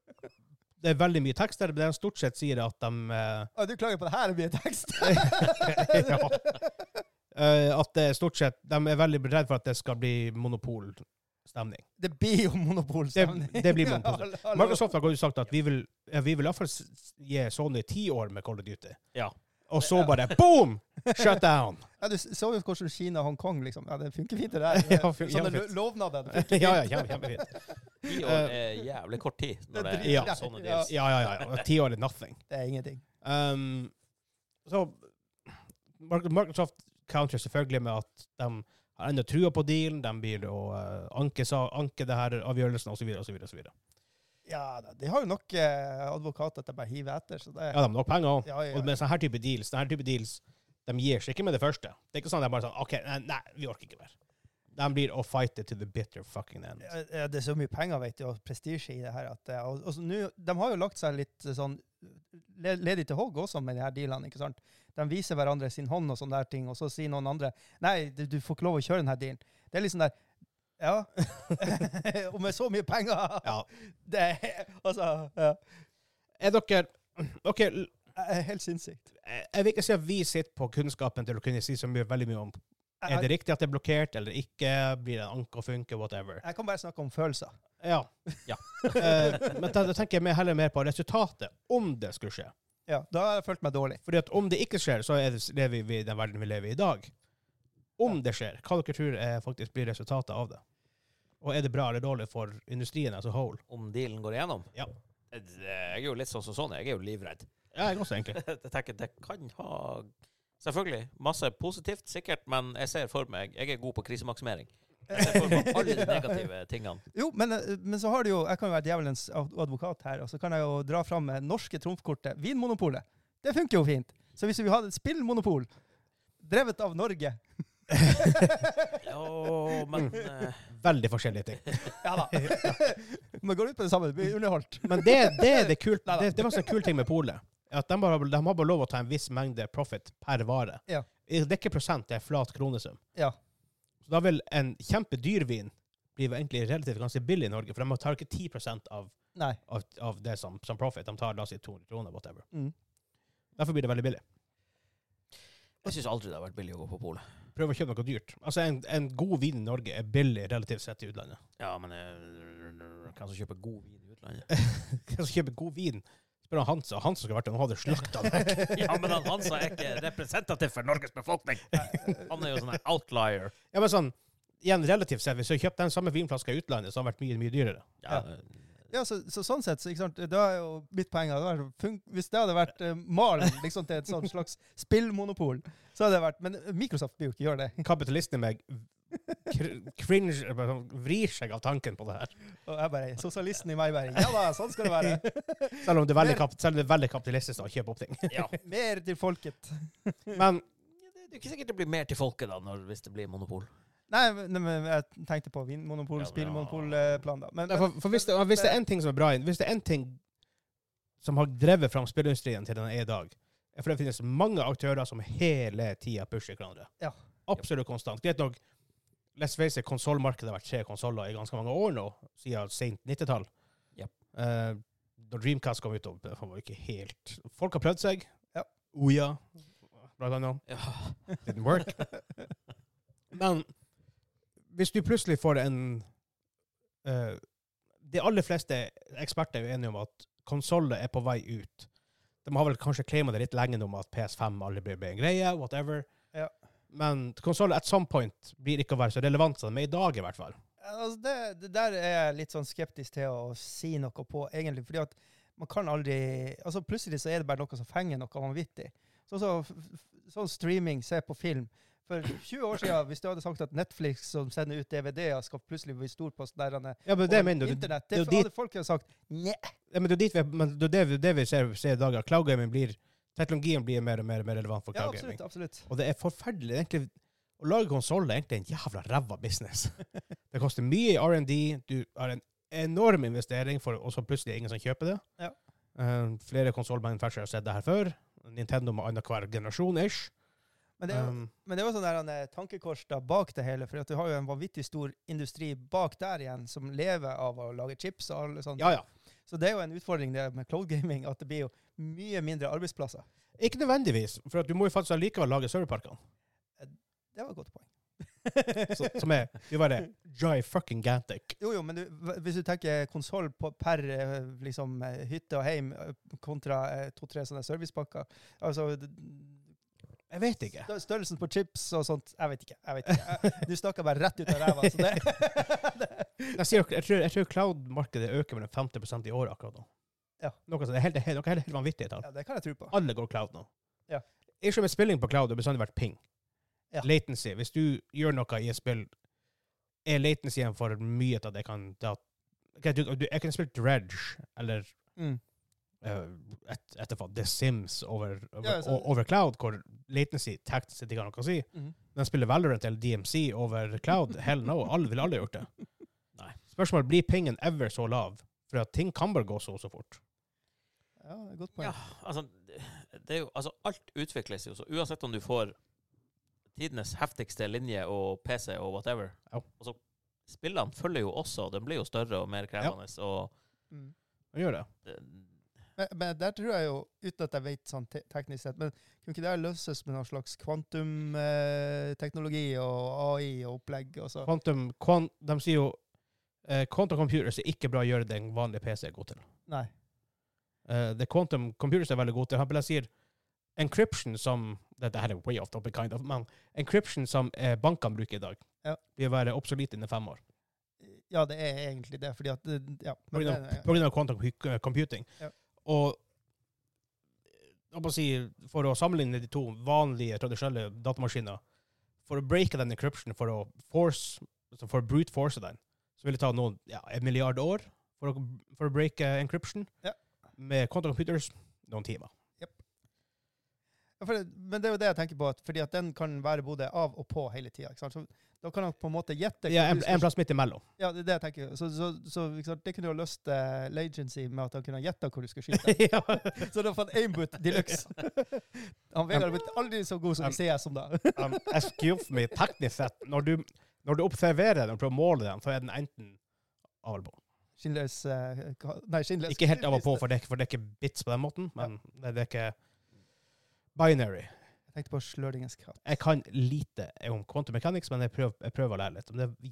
Speaker 1: Det er veldig mye tekst der, men det de stort sett sier, er at de eh,
Speaker 2: Å, du klager på det her, det blir tekst!
Speaker 1: ja. Eh, At det er stort sett De er veldig redd for at det skal bli monopolstemning.
Speaker 2: Det blir jo monopolstemning.
Speaker 1: Det- det blir monopolstemning.
Speaker 2: Ja, hallo.
Speaker 1: Microsoft har gått ut og sagt at vi vil, ja, vi vil iallfall gi Sony ti år med Call of Duty.
Speaker 3: Ja.
Speaker 1: Og så bare boom! Shut down!
Speaker 2: Ja, du så jo hvordan Kina og Hongkong liksom. Ja, det funker fint, det der.
Speaker 1: Ja, fun- ja,
Speaker 2: Sånne lo-
Speaker 1: fint.
Speaker 2: lovnader. det
Speaker 1: ja,
Speaker 2: funker
Speaker 1: ja, ja,
Speaker 2: fint.
Speaker 1: ja,
Speaker 3: Ti år er jævlig kort tid når det er
Speaker 1: Ja.
Speaker 3: sånne
Speaker 2: Ja.
Speaker 3: deals.
Speaker 1: ja, ja, ja. Ti år er nothing.
Speaker 2: Det er ingenting.
Speaker 1: Um, så Mark- Microsoft counter selvfølgelig med at de har ennå trua på dealen, de blir å eh, anke, sa, anke det her avgjørelsen osv. osv.
Speaker 2: Ja da, de har jo nok eh, advokater til å bare hive etter, så
Speaker 1: Ja,
Speaker 2: det
Speaker 1: de har nok penger òg.
Speaker 2: Ja, ja,
Speaker 1: Og
Speaker 2: ja.
Speaker 1: med sånne her type deals, denne her type deals, de gir seg ikke med det første. Det er ikke sånn at de bare sånn OK, nei, nei vi orker ikke mer. De blir å fight it to the bitter fucking end.
Speaker 2: Ja, ja, det er så mye penger, vet du, og prestisje i det her. At, eh, og, og så nå- de har jo lagt seg litt eh, sånn le- ledig til hogg også med de her dealene, ikke sant? De viser hverandre sin hånd og sånne der ting, og så sier noen andre Nei, du, du får ikke lov å kjøre denne dealen. Det er liksom der Ja. og med så mye penger!
Speaker 1: Ja.
Speaker 2: Det er altså ja.
Speaker 1: Er dere OK, l-
Speaker 2: Det er Helt sinnssykt.
Speaker 1: jeg jeg vil ikke si at vi sitter på kunnskapen til å kunne si så mye, veldig mye om
Speaker 2: Jeg-
Speaker 1: Er det riktig at det er blokkert eller ikke? Blir det en anke og funke? Whatever.
Speaker 2: Jeg kan bare snakke om følelser.
Speaker 1: Ja.
Speaker 3: Ja.
Speaker 1: Eh, men da da tenker jeg mer- heller mer på resultatet, om det skulle skje.
Speaker 2: Ja, da har jeg følt meg dårlig.
Speaker 1: Fordi at om det ikke skjer, så er det, lever vi i den verden vi lever i i dag. Om det skjer, hva dere tror er, faktisk blir resultatet av det? Og er det bra eller dårlig for industrien as a whole?
Speaker 3: Om dealen går igjennom.
Speaker 1: Ja.
Speaker 3: Jeg er jo litt sånn som sånn. Jeg er jo livredd.
Speaker 1: Ja, jeg også, egentlig.
Speaker 3: Jeg tenker det kan ha Selvfølgelig. Masse positivt, sikkert, men jeg ser for meg Jeg er god på krisemaksimering. Jeg ser for meg alle de negative tingene.
Speaker 2: Jo, men, eh, men så har det jo Jeg kan jo være djevelens ad- advokat her, og så kan jeg jo dra fram eh, norske trumfkortet. Vinmonopolet. Det funker jo fint. Så hvis vi hadde et spillmonopol drevet av Norge
Speaker 3: Å, men eh,
Speaker 1: Veldig forskjellige ting.
Speaker 2: Ja da. Men går ut på det samme. Det blir underholdt.
Speaker 1: Men det, det er det kult. Det, det var en kul ting med polet. At de, bare, de har bare lov å ta en viss mengde profit per vare.
Speaker 2: Ja.
Speaker 1: Det er ikke prosent, det er flat kronesum.
Speaker 2: Ja.
Speaker 1: Så da vil en kjempedyr vin bli egentlig relativt ganske billig i Norge, for de tar ikke 10 av
Speaker 2: Nei.
Speaker 1: av, av det som, som profit. De tar la oss si 200 kroner, whatever.
Speaker 2: Mm.
Speaker 1: Derfor blir det veldig billig.
Speaker 3: jeg syns aldri det har vært billig å gå på polet.
Speaker 1: Prøv å kjøpe noe dyrt. Altså, en, en god vin i Norge er billig relativt sett i utlandet.
Speaker 3: Ja, men eh, hvem som kjøper god vin i utlandet?
Speaker 1: Hvem som kjøper god vin? Spør han Hansa. Hansa skulle vært der, han hadde slakta den.
Speaker 3: Ja, men han, han sa jeg ikke er representativ for Norges befolkning. Han er jo sånn en outlier.
Speaker 1: Ja, men sånn, igjen, relativt sett, hvis du kjøpte den samme vinflaska i utlandet, så hadde den vært mye, mye dyrere.
Speaker 3: Ja,
Speaker 2: Ja, så, så sånn sett, så, ikke sant? da er jo mitt poeng at det hadde vært fun- Hvis det hadde vært eh, malen liksom, til et sånt slags spillmonopol, så hadde det vært Men Microsoft vil jo ikke gjøre det.
Speaker 1: Kapitalisten i meg kr- cringe, eller bare sånn, vrir seg av tanken på det her.
Speaker 2: Og jeg bare Sosialisten i meg bare Ja da, sånn skal det være.
Speaker 1: Selv om det er veldig, kap selv om det er veldig kapitalistisk å kjøpe opp ting.
Speaker 3: ja.
Speaker 2: Mer til folket.
Speaker 1: Men
Speaker 3: Det er jo ikke sikkert det blir mer til folket da, når, hvis det blir monopol.
Speaker 2: Nei, men, nei, men jeg tenkte på vinmonopol,
Speaker 3: Ja, men-
Speaker 2: spillmonopolplan, da. Men,
Speaker 1: Nei, for, for hvis, det, hvis det er en ting som er bra i- Hvis det er en ting som har drevet fram spillindustrien til den er i dag, er fordi det finnes mange aktører som hele tida pusher hverandre.
Speaker 2: Ja.
Speaker 1: Absolutt konstant. Greit nok, let's face it, konsollmarkedet har vært tre konsoller i ganske mange år nå, siden sent 90-tall.
Speaker 3: Ja.
Speaker 1: Eh, da Dreamcast kom ut, og det var jo ikke helt Folk har prøvd seg.
Speaker 2: Ja.
Speaker 1: Ouya, blant annet.
Speaker 3: Ja.
Speaker 1: Didn't work. Men hvis du plutselig får en eh, De aller fleste eksperter er jo enige om at konsoller er på vei ut. De har vel kanskje claima det litt lenge nå med at PS5 aldri blir blir en greie, whatever.
Speaker 2: Ja.
Speaker 1: Men konsoller at some point blir ikke å være så relevant som de er i dag, i hvert fall.
Speaker 2: altså, det, det der er jeg litt sånn skeptisk til å si noe på, egentlig. Fordi at man kan aldri Altså, plutselig så er det bare noe som fenger noe vanvittig. Sånn som f- f- sånn streaming, se på film. For 20 år siden, hvis du hadde sagt at Netflix som sender ut DVD-er, skal plutselig bli stor på sånn der denne-
Speaker 1: Ja, men det mener du.
Speaker 2: internett,
Speaker 1: det er
Speaker 2: det
Speaker 1: jo dit-
Speaker 2: hadde folk sagt Nja.
Speaker 1: Ja, men det er dit vi, men det, er det, vi- det vi ser, ser i dag, at cloud gaming blir Teknologien blir mer og mer, og mer relevant for
Speaker 2: Ja,
Speaker 1: cloud gaming.
Speaker 2: absolutt. absolutt.
Speaker 1: Og det er forferdelig. egentlig. Å lage konsoller er egentlig en jævla ræva business. Det koster mye i R&D. Du har en enorm investering, for, og så plutselig er det ingen som kjøper det.
Speaker 2: Ja.
Speaker 1: Eh, flere konsollmanufacturere har sett det her før. Nintendo med annenhver generasjon-ish.
Speaker 2: Men det, er jo-
Speaker 1: Um,
Speaker 2: men det var sånn der han, eh, tankekors da bak det hele, for at du har jo en vanvittig stor industri bak der igjen, som lever av å lage chips og alle sånne.
Speaker 1: ja, ja.
Speaker 2: Så det er jo en utfordring det med cloud gaming, at det blir jo mye mindre arbeidsplasser.
Speaker 1: Ikke nødvendigvis, for at du må jo faktisk allikevel lage serverparkene.
Speaker 2: Det var et godt poeng.
Speaker 1: så- Som er jo bare Jai fucking Gantic.
Speaker 2: Jo, jo, men du, hva- hvis du tenker konsoll per eh, liksom, eh, hytte og heim eh, kontra eh, to-tre sånne servicepakker altså, d-
Speaker 1: Jeg vet ikke.
Speaker 2: stø- Størrelsen på chips og sånt Jeg vet ikke. jeg vet ikke. Jeg- Du snakker bare rett ut av ræva. Så det,
Speaker 1: Jeg, sier, jo- jeg tror, jeg tror cloud-markedet øker mellom 50 i året akkurat nå.
Speaker 2: Ja.
Speaker 1: Noe sånt. Det er helt, helt, helt, helt vanvittige tall.
Speaker 2: ja, det kan jeg tro på.
Speaker 1: Alle går cloud nå.
Speaker 2: Ja.
Speaker 1: Ikke med spilling på cloud, det har bestandig vært ping.
Speaker 2: Ja.
Speaker 1: Latency. Hvis du gjør noe i et spill, er latencyen for mye til at jeg kan da, Ok, du, du, Jeg kan spille Dredge eller
Speaker 2: Mm.
Speaker 1: eh, et, etterpå The Sims over, over,
Speaker 2: Ja, så-
Speaker 1: o- over cloud, hvor latency teknisk sett ikke har noe å si.
Speaker 2: Mhm.
Speaker 1: Men spiller Valorant eller DMC over cloud? Hell no. Alle vil aldri gjort det.
Speaker 3: Nei.
Speaker 1: Spørsmålet blir pingen ever så lav, for at ting kan bare gå så og så fort.
Speaker 2: Ja, det er et godt poeng.
Speaker 3: Ja, altså, det er jo, altså Alt utvikles jo, så uansett om du får tidenes heftigste linje og PC og whatever
Speaker 1: Ja.
Speaker 3: og så Spillene følger jo også, og de blir jo større og mer krevende. og
Speaker 2: Mm.
Speaker 1: Man gjør det.
Speaker 3: det-
Speaker 2: Men, men der tror jeg jo, uten at jeg vet sånn te teknisk sett, men kunne ikke det løses med noen slags kvantumteknologi eh, teknologi og AI og opplegg? Og så?
Speaker 1: Quantum, quan- de sier jo eh, Quantum computers er ikke bra å gjøre det en vanlig PC er god til.
Speaker 2: Nei.
Speaker 1: Eh, det quantum computers er veldig god til. For eksempel, Jeg sier encryption som Dette her er way off topic, kind of, men encryption som eh, bankene bruker i dag,
Speaker 2: Ja.
Speaker 1: vil være obsolete innen fem år.
Speaker 2: Ja, det er egentlig det, fordi at det- Ja.
Speaker 1: På
Speaker 2: Men,
Speaker 1: grunn
Speaker 2: det-
Speaker 1: av- på grunn av quantum hu- computing.
Speaker 2: Ja.
Speaker 1: Og jeg må si, for å sammenligne de to vanlige, tradisjonelle datamaskiner For å breake den encryption, for å force, altså for å brute force den, så vil det ta noen, ja, en milliard år for å, for å breake encryption.
Speaker 2: Ja.
Speaker 1: Med quantum computers noen timer.
Speaker 2: Ja, for det, men det er jo det jeg tenker på, at, fordi at den kan være både av og på hele tida. Da kan han på en måte gjette
Speaker 1: Ja,
Speaker 2: hva
Speaker 1: en,
Speaker 2: du skal-
Speaker 1: en plass midt imellom.
Speaker 2: Ja, det er det jeg tenker. Så, så, så ikke sant, det kunne jo ha løst eh, lagency med at han kunne ha gjetta hvor du skulle skyte.
Speaker 1: ja.
Speaker 2: så da fant Aimboot de luxe. han Vegard ble aldri så god som
Speaker 1: Um,
Speaker 2: vi ser som da.
Speaker 1: um, excuse me, teknisk sett, når du, når du observerer den og prøver å måle den, så er den enten av eller på.
Speaker 2: Schindlers eh, ka- Nei, Schindlers
Speaker 1: Ikke helt av og på, for det, er ikke- for det er ikke bits på den måten, men det, det er ikke binary.
Speaker 2: Jeg tenkte på Slørdingens katt.
Speaker 1: Jeg kan lite om quantum mechanics, men jeg prøver, jeg prøver å lære litt. Det er-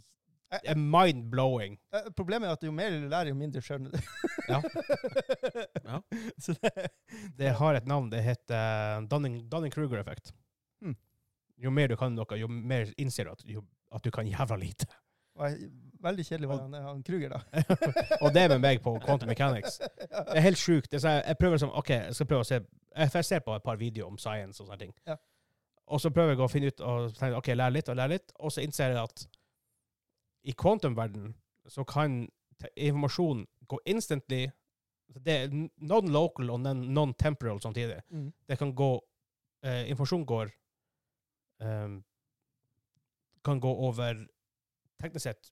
Speaker 2: Jeg-
Speaker 1: er mind-blowing.
Speaker 2: Eh, Problemet er at jo mer du lærer, jo mindre skjønner du.
Speaker 1: Ja.
Speaker 3: Ja.
Speaker 2: Så det,
Speaker 1: Det har et navn, det heter eh, Dunning, Dunning-Kruger-effekt.
Speaker 2: Mm.
Speaker 1: Jo mer du kan noe, jo mer innser du at, jo, at du kan jævla lite.
Speaker 2: var veldig kjedelig var han, han Kruger, da.
Speaker 1: og det er med meg på quantum mechanics. Det er helt sjukt. Det er sånn- Jeg prøver som, ok, jeg skal prøve å se jeg- For jeg ser på et par videoer om science og sånne ting.
Speaker 2: Ja.
Speaker 1: Og så prøver jeg å finne ut og tenker, ok, lære litt og lære litt, og så innser jeg at i quantum-verden så kan te- informasjon gå instantly Det er n- non-local og non- non-temporal samtidig.
Speaker 2: Mm.
Speaker 1: Det kan gå eh, Informasjon går eh, Kan gå over teknisk sett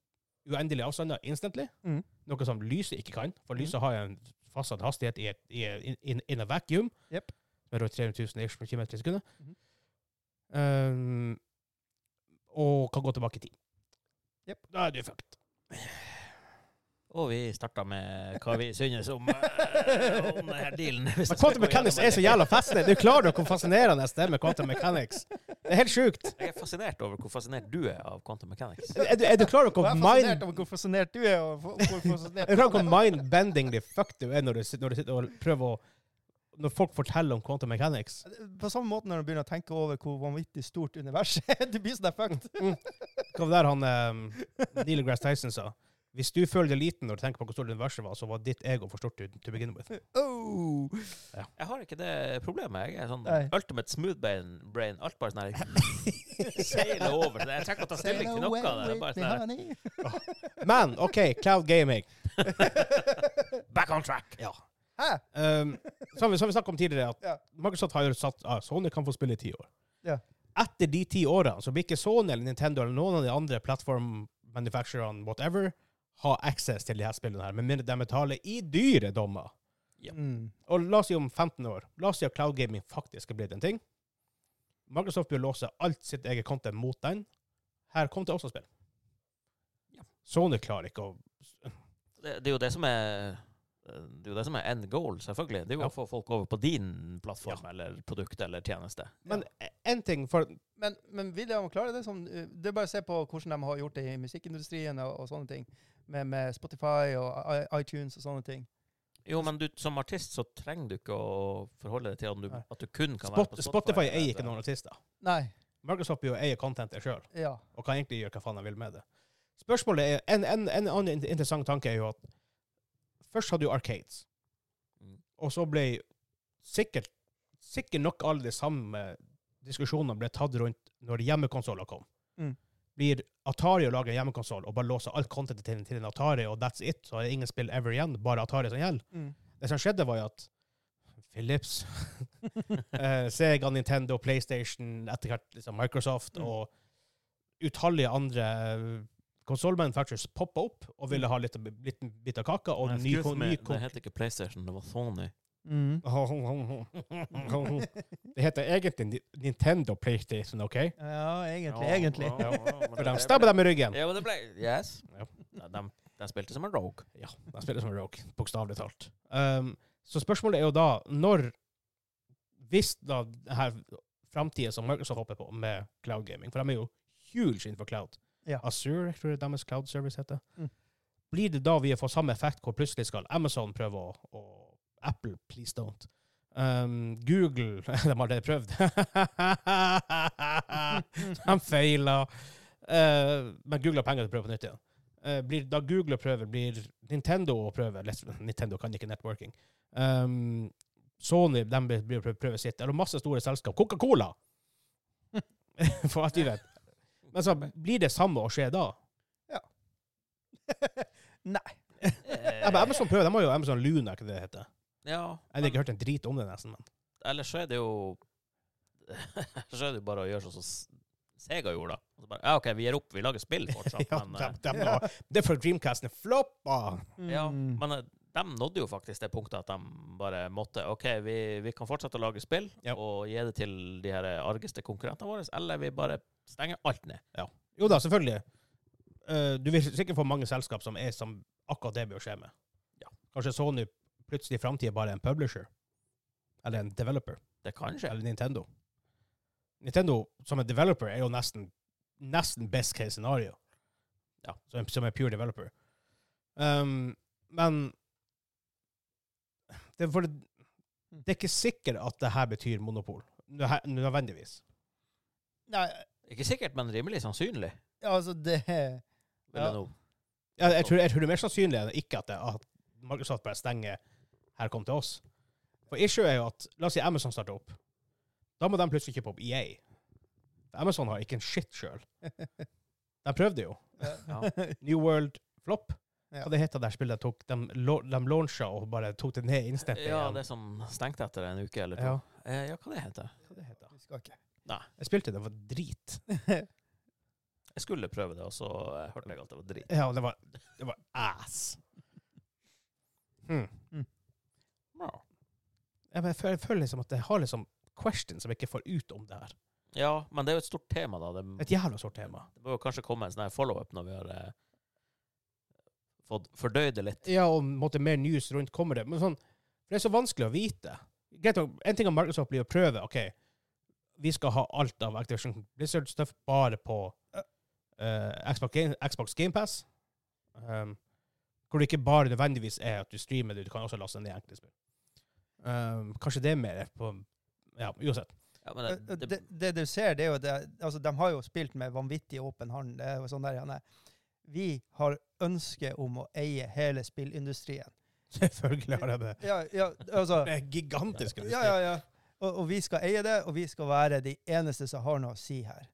Speaker 1: uendelige avstander instantly.
Speaker 2: Mm.
Speaker 1: Noe som lyset ikke kan, for
Speaker 2: Mm.
Speaker 1: lyset har jo en fastsatt hastighet i et, i, in, in, in a vacuum,
Speaker 2: Jep.
Speaker 1: med rundt 300 000 ish km i sekundet,
Speaker 2: Mhm.
Speaker 1: um, og kan gå tilbake i tid.
Speaker 2: Jep.
Speaker 1: Da er du fucked.
Speaker 3: Og vi starta med hva vi synes om, eh, om denne dealen.
Speaker 1: Men
Speaker 3: hvis jeg skal
Speaker 1: quantum
Speaker 3: gå gjennom
Speaker 1: mechanics
Speaker 3: det.
Speaker 1: er så jævla fascinerende. Du klarer dere hvor fascinerende det er med quantum mechanics. Det er helt sjukt.
Speaker 3: Jeg er fascinert over hvor fascinert du er av quantum mechanics.
Speaker 1: Er, er du- er du klar over
Speaker 2: Og
Speaker 1: hvor
Speaker 2: jeg er
Speaker 1: mind...
Speaker 2: fascinert over hvor fascinert du er. Og hvor- hvor fascinert
Speaker 1: Er du klar over hvor mind-bending the fuck du er når du, sitter- når du sitter og prøver å Når folk forteller om quantum mechanics?
Speaker 2: På samme måte når du begynner å tenke over hvor vanvittig stort universet er. Du blir sånn der fucked.
Speaker 1: Hva var det han um, Neil Grass Tyson sa? Hvis du føler deg liten når du tenker på hvor stort universet var, så var ditt ego for stort to, to begin with.
Speaker 2: Oh.
Speaker 3: Jeg har ikke det problemet. Jeg er sånn
Speaker 2: Nei.
Speaker 3: ultimate smooth brain. brain. Alt bare sånn her Seiler over. Jeg trenger ikke å ta stilling til noe av det. det. er Bare sånn her,
Speaker 1: Men OK, cloud gaming.
Speaker 3: Back on track!
Speaker 2: Hæ?
Speaker 1: Um, som, vi, som vi snakket om tidligere, at
Speaker 2: Ja.
Speaker 1: Microsoft har jo satt at Sony kan få spille i ti år.
Speaker 2: Ja.
Speaker 1: Etter de ti årene så blir ikke Sony eller Nintendo eller noen av de andre plattformmanufacturerne whatever ha access til de her spillene her, med mindre de betaler i dyre dommer.
Speaker 3: Ja.
Speaker 2: Mm.
Speaker 1: Og la oss si om 15 år, la oss si at cloud gaming faktisk er blitt en ting. Microsoft vil låse alt sitt eget content mot den. Her kom til oss å spille.
Speaker 3: Ja.
Speaker 1: Sony klarer ikke å
Speaker 3: Det, det er jo det som er det er jo det som er end goal, selvfølgelig. Det er jo
Speaker 1: Ja.
Speaker 3: å få folk over på din plattform eller produkt eller tjeneste.
Speaker 1: Men én ting for
Speaker 2: Men, men vil de klare det? Som, eh, det er bare å se på hvordan de har gjort det i musikkindustrien og, og sånne ting. Med, med Spotify og i- iTunes og sånne ting.
Speaker 3: Jo, men du, som artist så trenger du ikke å forholde deg til at du,
Speaker 2: Nei.
Speaker 3: at du kun kan
Speaker 1: Spot,
Speaker 3: være på Spotify.
Speaker 1: Spotify eier ikke
Speaker 3: eller-
Speaker 1: noen artister.
Speaker 2: Nei.
Speaker 1: Microsoft vil jo eie contentet sjøl,
Speaker 2: Ja.
Speaker 1: og kan egentlig gjøre hva faen de vil med det. Spørsmålet er, En, en, en annen in- interessant tanke er jo at først hadde jo Arcades,
Speaker 3: Mm.
Speaker 1: og så ble sikkert, sikkert nok alle de samme diskusjonene ble tatt rundt når hjemmekonsoller kom.
Speaker 2: Mm.
Speaker 1: Blir Atari å lage en hjemmekonsoll og bare låse alt contentet til, til en Atari, og that's it, så er det ingen spill ever igjen, bare Atari som gjelder?
Speaker 2: Mm.
Speaker 1: Det som skjedde, var jo at Philips, eh, Sega, Nintendo, PlayStation, etter hvert liksom Microsoft
Speaker 2: Mm.
Speaker 1: og utallige andre eh, konsollmanufacturers poppa opp og ville ha litt, litt bit av kaka. Og
Speaker 3: Mm. Nei,
Speaker 1: ny,
Speaker 3: excuse me,
Speaker 1: ny,
Speaker 3: det heter ikke PlayStation, det var Sony.
Speaker 2: Mm.
Speaker 1: Det heter egentlig Ni- Nintendo PlayStation, OK?
Speaker 2: Ja, egentlig.
Speaker 3: Ja,
Speaker 2: egentlig.
Speaker 3: ja, ja, men
Speaker 1: For
Speaker 3: det-
Speaker 1: de stabber dem i ryggen.
Speaker 3: Ja, men det ble Yes.
Speaker 1: Ja.
Speaker 3: Nei, De, de spilte som en rogue.
Speaker 1: Ja, de spiller som Rogue, bokstavelig talt. Um, så spørsmålet er jo da, når Hvis da det her framtida som Microsoft hopper på med cloud gaming, for de er jo huge innenfor cloud
Speaker 2: Ja.
Speaker 1: Azure, tror jeg deres cloud service heter.
Speaker 2: Mm.
Speaker 1: Blir det da vi får samme effekt hvor plutselig skal Amazon prøve å og Apple, please don't. Um, Google De har allerede prøvd. de feila. Eh, men Google har penger til å prøve på nytt igjen. Eh, blir, da Google prøver, blir Nintendo å prøve Let's- Nintendo kan ikke networking. Um, Sony de blir- blir å prøve, prøve sitt. Eller masse store selskap. Coca-Cola! For alt vi vet. Men så blir det samme å skje da?
Speaker 2: Nei.
Speaker 3: Eh,
Speaker 1: Ja, men Amazon prøver, de har jo Amazon Luna, ikke det det heter.
Speaker 3: Ja,
Speaker 1: Jeg har
Speaker 3: men
Speaker 1: ikke hørt en drit om det, nesten. Men.
Speaker 3: ellers så er det jo Så er det jo bare å gjøre sånn som S- Sega gjorde, da. Og så bare, ja, OK, vi gir opp, vi lager spill fortsatt,
Speaker 1: Ja,
Speaker 3: men eh,
Speaker 1: de, de har, det er for Dreamcasten floppa!
Speaker 3: Ja,
Speaker 2: Mm.
Speaker 3: men eh, de nådde jo faktisk det punktet at de bare måtte OK, vi, vi kan fortsette å lage spill
Speaker 1: Ja.
Speaker 3: og gi det til de her argeste konkurrentene våre, eller vi bare stenger alt ned.
Speaker 1: Jo da, selvfølgelig. Eh, du vil sikkert få mange selskap som er som akkurat det bør skje med.
Speaker 3: Ja.
Speaker 1: Kanskje Sony plutselig i framtida bare er en publisher. Eller en developer.
Speaker 3: Det kan skje.
Speaker 1: Eller Nintendo. Nintendo som en developer er jo nesten, nesten best case scenario.
Speaker 3: Ja.
Speaker 1: Som, en- som en pure developer. Um, men det er, for,
Speaker 3: Mm.
Speaker 1: det er ikke sikkert at det her betyr monopol. Nø- Nødvendigvis.
Speaker 2: Nei,
Speaker 3: Ikke sikkert, men rimelig sannsynlig.
Speaker 2: altså det
Speaker 3: vil
Speaker 2: Ja.
Speaker 3: jeg nå-
Speaker 1: Jeg, jeg, tror, jeg tror det er mer sannsynlig enn ikke at, det, at Microsoft bare stenger 'her kom til oss'. For issue er jo at La oss si Amazon starter opp. Da må de plutselig kjøpe opp EA. For Amazon har ikke en shit sjøl. De prøvde jo.
Speaker 3: Ja.
Speaker 1: New World Flop.
Speaker 2: Ja.
Speaker 1: Hva det heter det der spillet de tok? De, lo- de launcha og bare tok det ned i innsnittet.
Speaker 3: ja,
Speaker 1: igjen.
Speaker 3: det som stengte etter en uke eller to.
Speaker 1: ja.
Speaker 3: Ja, eh, ja hva det heter
Speaker 1: Hva det heter?
Speaker 2: Vi skal ikke.
Speaker 1: Jeg spilte det, det var drit.
Speaker 3: Jeg skulle prøve det, og så eh, hørte jeg at det var drit.
Speaker 1: Ja, det var, det var ass. Hmm.
Speaker 3: Ja.
Speaker 1: Ja, men Jeg føler, jeg føler liksom at jeg har liksom questions som jeg ikke får ut om det her.
Speaker 3: ja, men det er jo et stort tema, da. Det,
Speaker 1: Et jævla stort tema.
Speaker 3: det bør jo kanskje komme en sånn her follow-up når vi har eh, fått fordøyd det litt.
Speaker 1: Ja, og måtte mer news rundt kommer det. Men sånn, for det er så vanskelig å vite. Greit, nok, en ting om Microsoft blir å prøve, ok, vi skal ha alt av Activision Blizzard-stuff bare på eh, Xbox, Game, Xbox Game Pass, um, hvor det ikke bare nødvendigvis er at du streamer det, du kan også laste ned enkelte spill. Um, kanskje det er mer på, ja, uansett.
Speaker 3: Ja, men Eh, det,
Speaker 2: det, det, det du ser, det er jo det, altså, De har jo spilt med vanvittig åpen hand. Det er jo sånn der, Janne. Vi har ønske om å eie hele spillindustrien.
Speaker 1: Selvfølgelig har jeg det.
Speaker 2: Ja, ja, altså,
Speaker 1: Det er gigantisk.
Speaker 2: ja, ja, ja. Og, og vi skal eie det, og vi skal være de eneste som har noe å si her.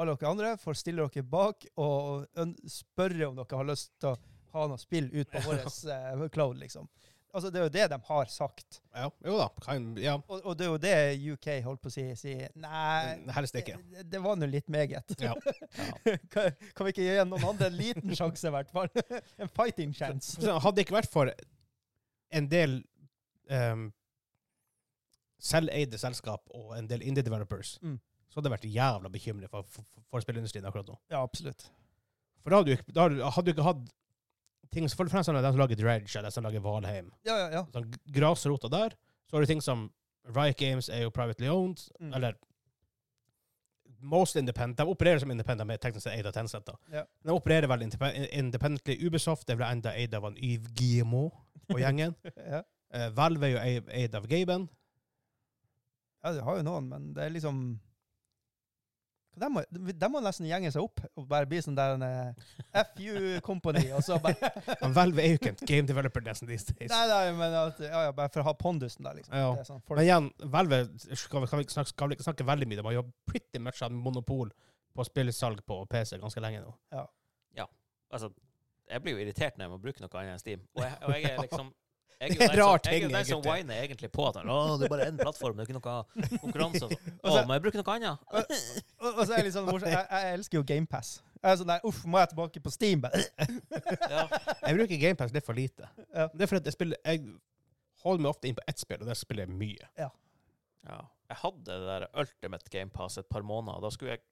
Speaker 2: Alle dere andre får stille dere bak og øn- spørre om dere har lyst til å ha noe spill ut på vår eh, cloud, liksom. Altså, det er jo det de har sagt.
Speaker 1: Ja, jo da, kan, ja.
Speaker 2: Og, og det er jo det UK holdt på å si. si nei,
Speaker 1: Helst Mm, ikke.
Speaker 2: Det, det var nå litt meget.
Speaker 1: Ja.
Speaker 2: kan, kan vi ikke gi noen andre en liten sjanse, i hvert fall? en fighting chance.
Speaker 1: Så hadde det ikke vært for en del ehm, um, selveide selskap og en del indie developers,
Speaker 2: Mm.
Speaker 1: så hadde jeg vært jævla bekymret for, for, for spillindustrien akkurat nå.
Speaker 2: Ja, absolutt.
Speaker 1: For da hadde du, ikke- da hadde du- hadde du ikke hatt ting som For det fremste er det de som lager Dredge, eller de som lager Valheim.
Speaker 2: Ja, ja, ja.
Speaker 1: Sånn grasrota der. Så har du ting som Riot Games er jo privately owned,
Speaker 2: Mm.
Speaker 1: eller Most independent. De opererer som independent med teknisk sett eid av Tencent. da.
Speaker 2: Ja.
Speaker 1: De opererer veldig indepe- independently. Ubisoft er vel enda eid av en Yves Guillemot og gjengen.
Speaker 2: ja.
Speaker 1: Eh, Valve er jo ei- eid av Gaben.
Speaker 2: Ja, du har jo noen, men det er liksom De må, de må nesten gjenge seg opp og bare bli sånn der en eh, FU Company, og så bare
Speaker 1: Men Valve er jo ikke en game developer nesten these days.
Speaker 2: Nei, nei, men at, ja, ja, bare for å ha pondusen der, liksom.
Speaker 1: Ja.
Speaker 2: Det er sånn, folk,
Speaker 1: Men igjen, Valve skal vi, kan vi ikke snakke, skal vi ikke snakke veldig mye. De har jo pretty much hatt monopol på spillsalg på PC ganske lenge nå.
Speaker 3: Altså, jeg blir jo irritert når jeg må bruke noe annet enn Steam. Og jeg, og jeg er liksom jeg
Speaker 1: Det er
Speaker 3: den som-
Speaker 1: rar
Speaker 3: Jeg er
Speaker 1: ting,
Speaker 3: jo den som
Speaker 1: egentlig.
Speaker 3: whiner egentlig på at «Å, det er bare én plattform, det er ikke noe konkurranse. og sånn.
Speaker 2: Og så-
Speaker 3: Å, må jeg bruke noe annet?
Speaker 2: og, og så er det litt sånn morsomt. Jeg, jeg elsker jo GamePass. Jeg er sånn der Uff, må jeg tilbake på Steam? Bare,
Speaker 3: Ja.
Speaker 1: Jeg bruker GamePass litt for lite.
Speaker 2: Ja.
Speaker 1: Det er fordi at jeg, spiller, jeg holder meg ofte inn på ett spill, og der spiller jeg mye.
Speaker 3: Ja. Jeg hadde det der Ultimate Game Pass et par måneder, og da skulle jeg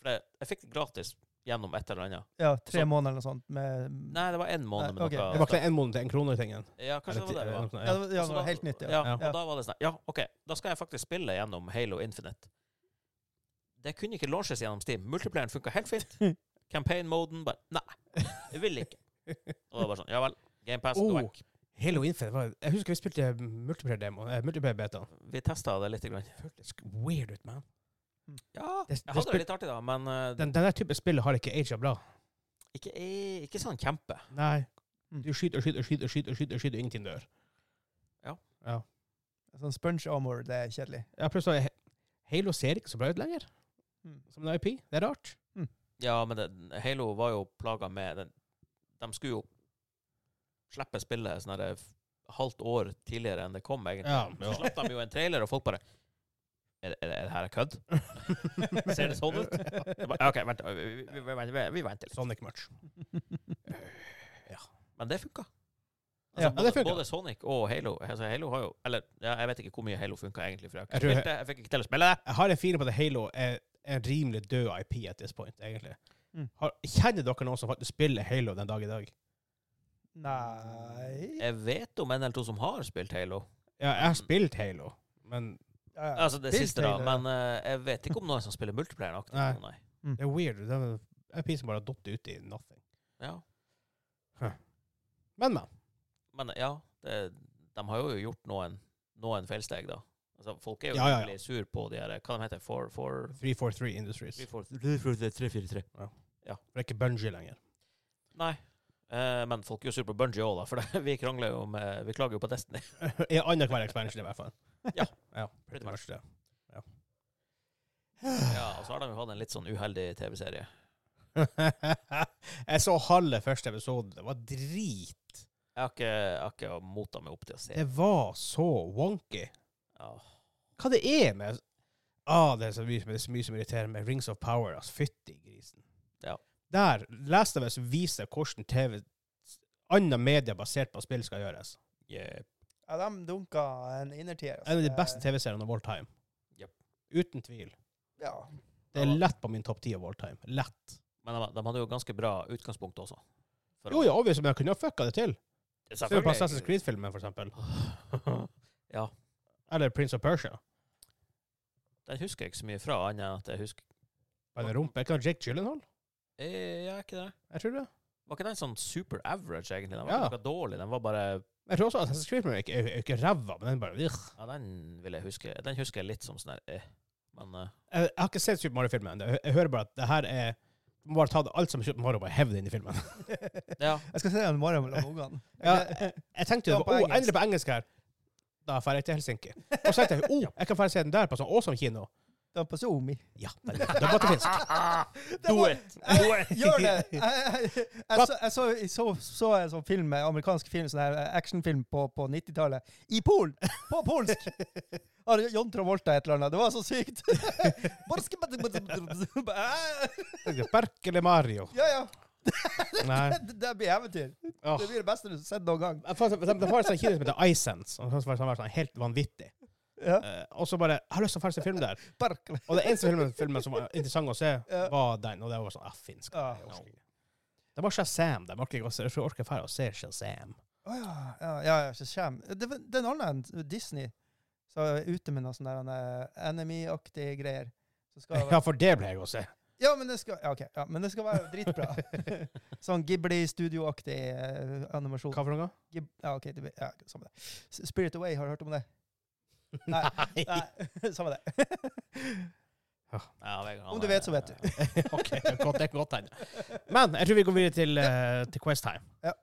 Speaker 3: For jeg, jeg fikk det gratis gjennom et eller annet.
Speaker 2: ja, tre
Speaker 3: Så-
Speaker 2: måneder eller noe sånt med
Speaker 3: Nei, det var én måned med
Speaker 2: Nei, ok.
Speaker 1: Det
Speaker 3: noe
Speaker 1: var ikke en måned til en krone i tingen.
Speaker 3: Ja, kanskje det var det det var.
Speaker 2: Ja, det var- ja,
Speaker 3: Og så
Speaker 2: det var
Speaker 3: da-
Speaker 2: helt nytt, ja.
Speaker 3: altså, Ja,
Speaker 1: Ja.
Speaker 3: og da var det sånn Ja, OK, da skal jeg faktisk spille gjennom Halo Infinite. Det kunne ikke launches gjennom Steam. Multiplayeren funka helt fint. Campaign-moden bare Nei, jeg vil ikke. Og det var sånn Ja vel. GamePass
Speaker 1: Oh.
Speaker 3: oh. vekk.
Speaker 1: Halo Infinite var Jeg husker vi spilte multiplayer demo, eh, multiplayer beta.
Speaker 3: Vi testa det lite grann.
Speaker 1: Føltes weird ut, man.
Speaker 3: Ja,
Speaker 1: Det- det
Speaker 3: Hm. jeg hadde
Speaker 1: spil-
Speaker 3: det litt artig da, men eh,
Speaker 1: Den, den der type spill har ikke aga bra.
Speaker 3: ikke, ikke sånn kjempe.
Speaker 1: Nei.
Speaker 3: Hm.
Speaker 2: Mm.
Speaker 1: Du skyter og skyter og skyter, og skyter, og skyter, og skyter, og ingenting dør.
Speaker 2: sånn sponge armor. Det er kjedelig.
Speaker 1: Ja, plutselig Halo ser ikke så bra ut lenger,
Speaker 2: Mm.
Speaker 1: som en IP. Det er rart.
Speaker 3: Ja, men det, Halo var jo plaga med den, De skulle jo slippe spillet sånn her f- halvt år tidligere enn det kom, egentlig.
Speaker 1: Ja,
Speaker 3: Så slapp de jo en trailer, og folk bare Er, det- er, det- er det her kødd? Ser det sånn ut? Jeg bare, OK, vent. Vi, vi, vi, vi, vi, vi venter litt.
Speaker 1: Sonic Match.
Speaker 3: Men det funka.
Speaker 1: Ja,
Speaker 3: både,
Speaker 1: det funka.
Speaker 3: både Sonic og Halo. Altså, Halo har jo Eller ja, jeg vet ikke hvor mye Halo funka egentlig, for jeg,
Speaker 1: Jeg
Speaker 3: jeg,
Speaker 1: tror-
Speaker 3: spilte, jeg fikk ikke til å spille det.
Speaker 1: Jeg har en feeling på at Halo er en rimelig død IP at this point, egentlig.
Speaker 2: Mm.
Speaker 1: Har, kjenner dere noen som faktisk spiller Halo den dag i dag?
Speaker 2: Nei
Speaker 3: Jeg vet om en eller to som har spilt Halo.
Speaker 1: Ja, jeg har spilt Halo, men
Speaker 2: ja, ja.
Speaker 3: Altså det
Speaker 2: Spilt
Speaker 3: siste, da.
Speaker 2: Halo, ja.
Speaker 3: Men eh, jeg vet ikke om noen som spiller multiplayer aktivt.
Speaker 1: Nei.
Speaker 3: Nei.
Speaker 1: det er weird. Det er en IP som bare har datt ut i nothing.
Speaker 3: Ja.
Speaker 1: Men, men.
Speaker 3: Men ja, det, de har jo gjort noen, noen feilsteg, da. Altså, folk er jo
Speaker 1: Ja, ja, ja.
Speaker 3: veldig sur på de her Hva de heter for, for,
Speaker 1: 343 Industries.
Speaker 3: for,
Speaker 1: For
Speaker 3: for,
Speaker 1: det er ikke Bungie lenger.
Speaker 3: Nei. Eh, men folk er jo sur på Bungie òg, da. For det, vi krangler jo om eh, Vi klager jo på Destiny.
Speaker 1: I annenhver expansion, i hvert fall.
Speaker 3: Ja.
Speaker 1: ja pretty much det.
Speaker 3: Ja, Og så har de jo hatt en litt sånn uheldig TV-serie.
Speaker 1: jeg så halve første episode. Det var drit.
Speaker 3: Jeg har ikke, jeg har ikke mota meg opp til å se.
Speaker 1: Det var så wonky.
Speaker 3: Ja.
Speaker 1: Hva det er med ah, det, er så mye, det er så mye som irriterer meg. Rings of Power, altså. Fytti grisen.
Speaker 3: Ja.
Speaker 1: Der leste jeg som viser hvordan TV andre medier basert på spill skal gjøres.
Speaker 3: Jep.
Speaker 2: Ja, de dunka en innertier. altså.
Speaker 1: En av de
Speaker 2: Det-
Speaker 1: beste TV-seriene av all time.
Speaker 3: Yep.
Speaker 1: Uten tvil.
Speaker 2: Ja.
Speaker 1: Det er lett på min topp ti av all time. Lett.
Speaker 3: Men de, de hadde jo ganske bra utgangspunkt også. For
Speaker 1: Jo,
Speaker 3: å-
Speaker 1: ja, obviously, men jeg kunne ha fucka det til. Se på Assassin's
Speaker 3: Selvfølgelig.
Speaker 1: Creed-filmen, for eksempel.
Speaker 3: ja.
Speaker 1: Eller Prince of Persia.
Speaker 3: Den husker jeg ikke så mye fra, annet enn at jeg husker
Speaker 1: Bare en rumpe. Er ikke han Jake Gyllenhaal?
Speaker 3: eh, Ja, ikke det?
Speaker 1: Jeg tror det.
Speaker 3: Var ikke den sånn super average, egentlig? Den var
Speaker 1: Ja.
Speaker 3: ikke noe dårlig. Den var bare
Speaker 1: Jeg tror også Assassin's Creed men ikke, er ikke ræva, men den bare Ugh.
Speaker 3: Ja, den vil jeg huske. Den husker jeg litt som sånn der eh. Men eh,
Speaker 1: jeg, jeg har ikke sett Super Mario-filmen ennå. Jeg, jeg hører bare at det her er du må bare ta det- alt som er Super Mario, og bare hevde inn i filmen.
Speaker 3: ja.
Speaker 2: Jeg skal se den i morgen mellom ungene.
Speaker 1: Ja, jeg, jeg tenkte jo
Speaker 2: Ta på
Speaker 1: å,
Speaker 2: engelsk.
Speaker 1: endelig på engelsk her. Da drar jeg til Helsinki. Og så tenkte jeg å, jeg kan dra se den der på sånn awesome kino.
Speaker 2: Da på Zoom.
Speaker 1: Ja, den er den var til finsk.
Speaker 3: Do
Speaker 2: var-
Speaker 3: it!
Speaker 2: Jeg- Gjør det! Jeg, jeg, jeg, jeg, så, jeg, så, jeg så, så en sånn film, en amerikansk film, sånn her actionfilm på, på 90-tallet. I Polen! På polsk! Har John Travolta et eller annet. Det var så sykt! Borske-
Speaker 1: Jeg tenkte, Berkele Mario.
Speaker 2: Ja, ja.
Speaker 1: Nei.
Speaker 2: Det, det blir eventyr.
Speaker 1: Åh.
Speaker 2: Det blir det beste du har sett noen gang.
Speaker 1: Jeg fant- Det var en sånn kino som heter iSense, og som var sånn, var sånn helt vanvittig.
Speaker 2: Ja.
Speaker 1: Eh, og så bare Jeg har lyst til å ferdig se film der.
Speaker 2: Barkley.
Speaker 1: Og det eneste filmen, filmen som var interessant å se,
Speaker 2: Ja.
Speaker 1: var den. Og det var sånn ah, finsk.
Speaker 2: Ja.
Speaker 1: jeg orker ikke. Det var Shazam. Det orker jeg ikke å se. Jeg orker ikke å se Shazam.
Speaker 2: Å ja. Ja, ja, ja så skjem. Det var den andre Disney som er ute med noe sånn der eh, enemy-aktige greier. Så skal det være-
Speaker 1: Ja, for det ble jeg å se.
Speaker 2: Ja, men det skal, ja, ok. ja, men det skal være dritbra. sånn Ghibli-studioaktig eh, animasjon.
Speaker 1: Hva for noe?
Speaker 2: Gib ja, ok. Det, blir- ja, samme det. S- Spirit Away, har du hørt om det? Nei.
Speaker 1: Nei.
Speaker 2: Nei, samme det.
Speaker 3: Ja, Vegard, han
Speaker 2: Om du
Speaker 3: er-
Speaker 2: vet, så vet du.
Speaker 1: OK, godt, det kan godt hende. Men jeg tror vi går videre til, eh, til Quest Time.
Speaker 2: Ja.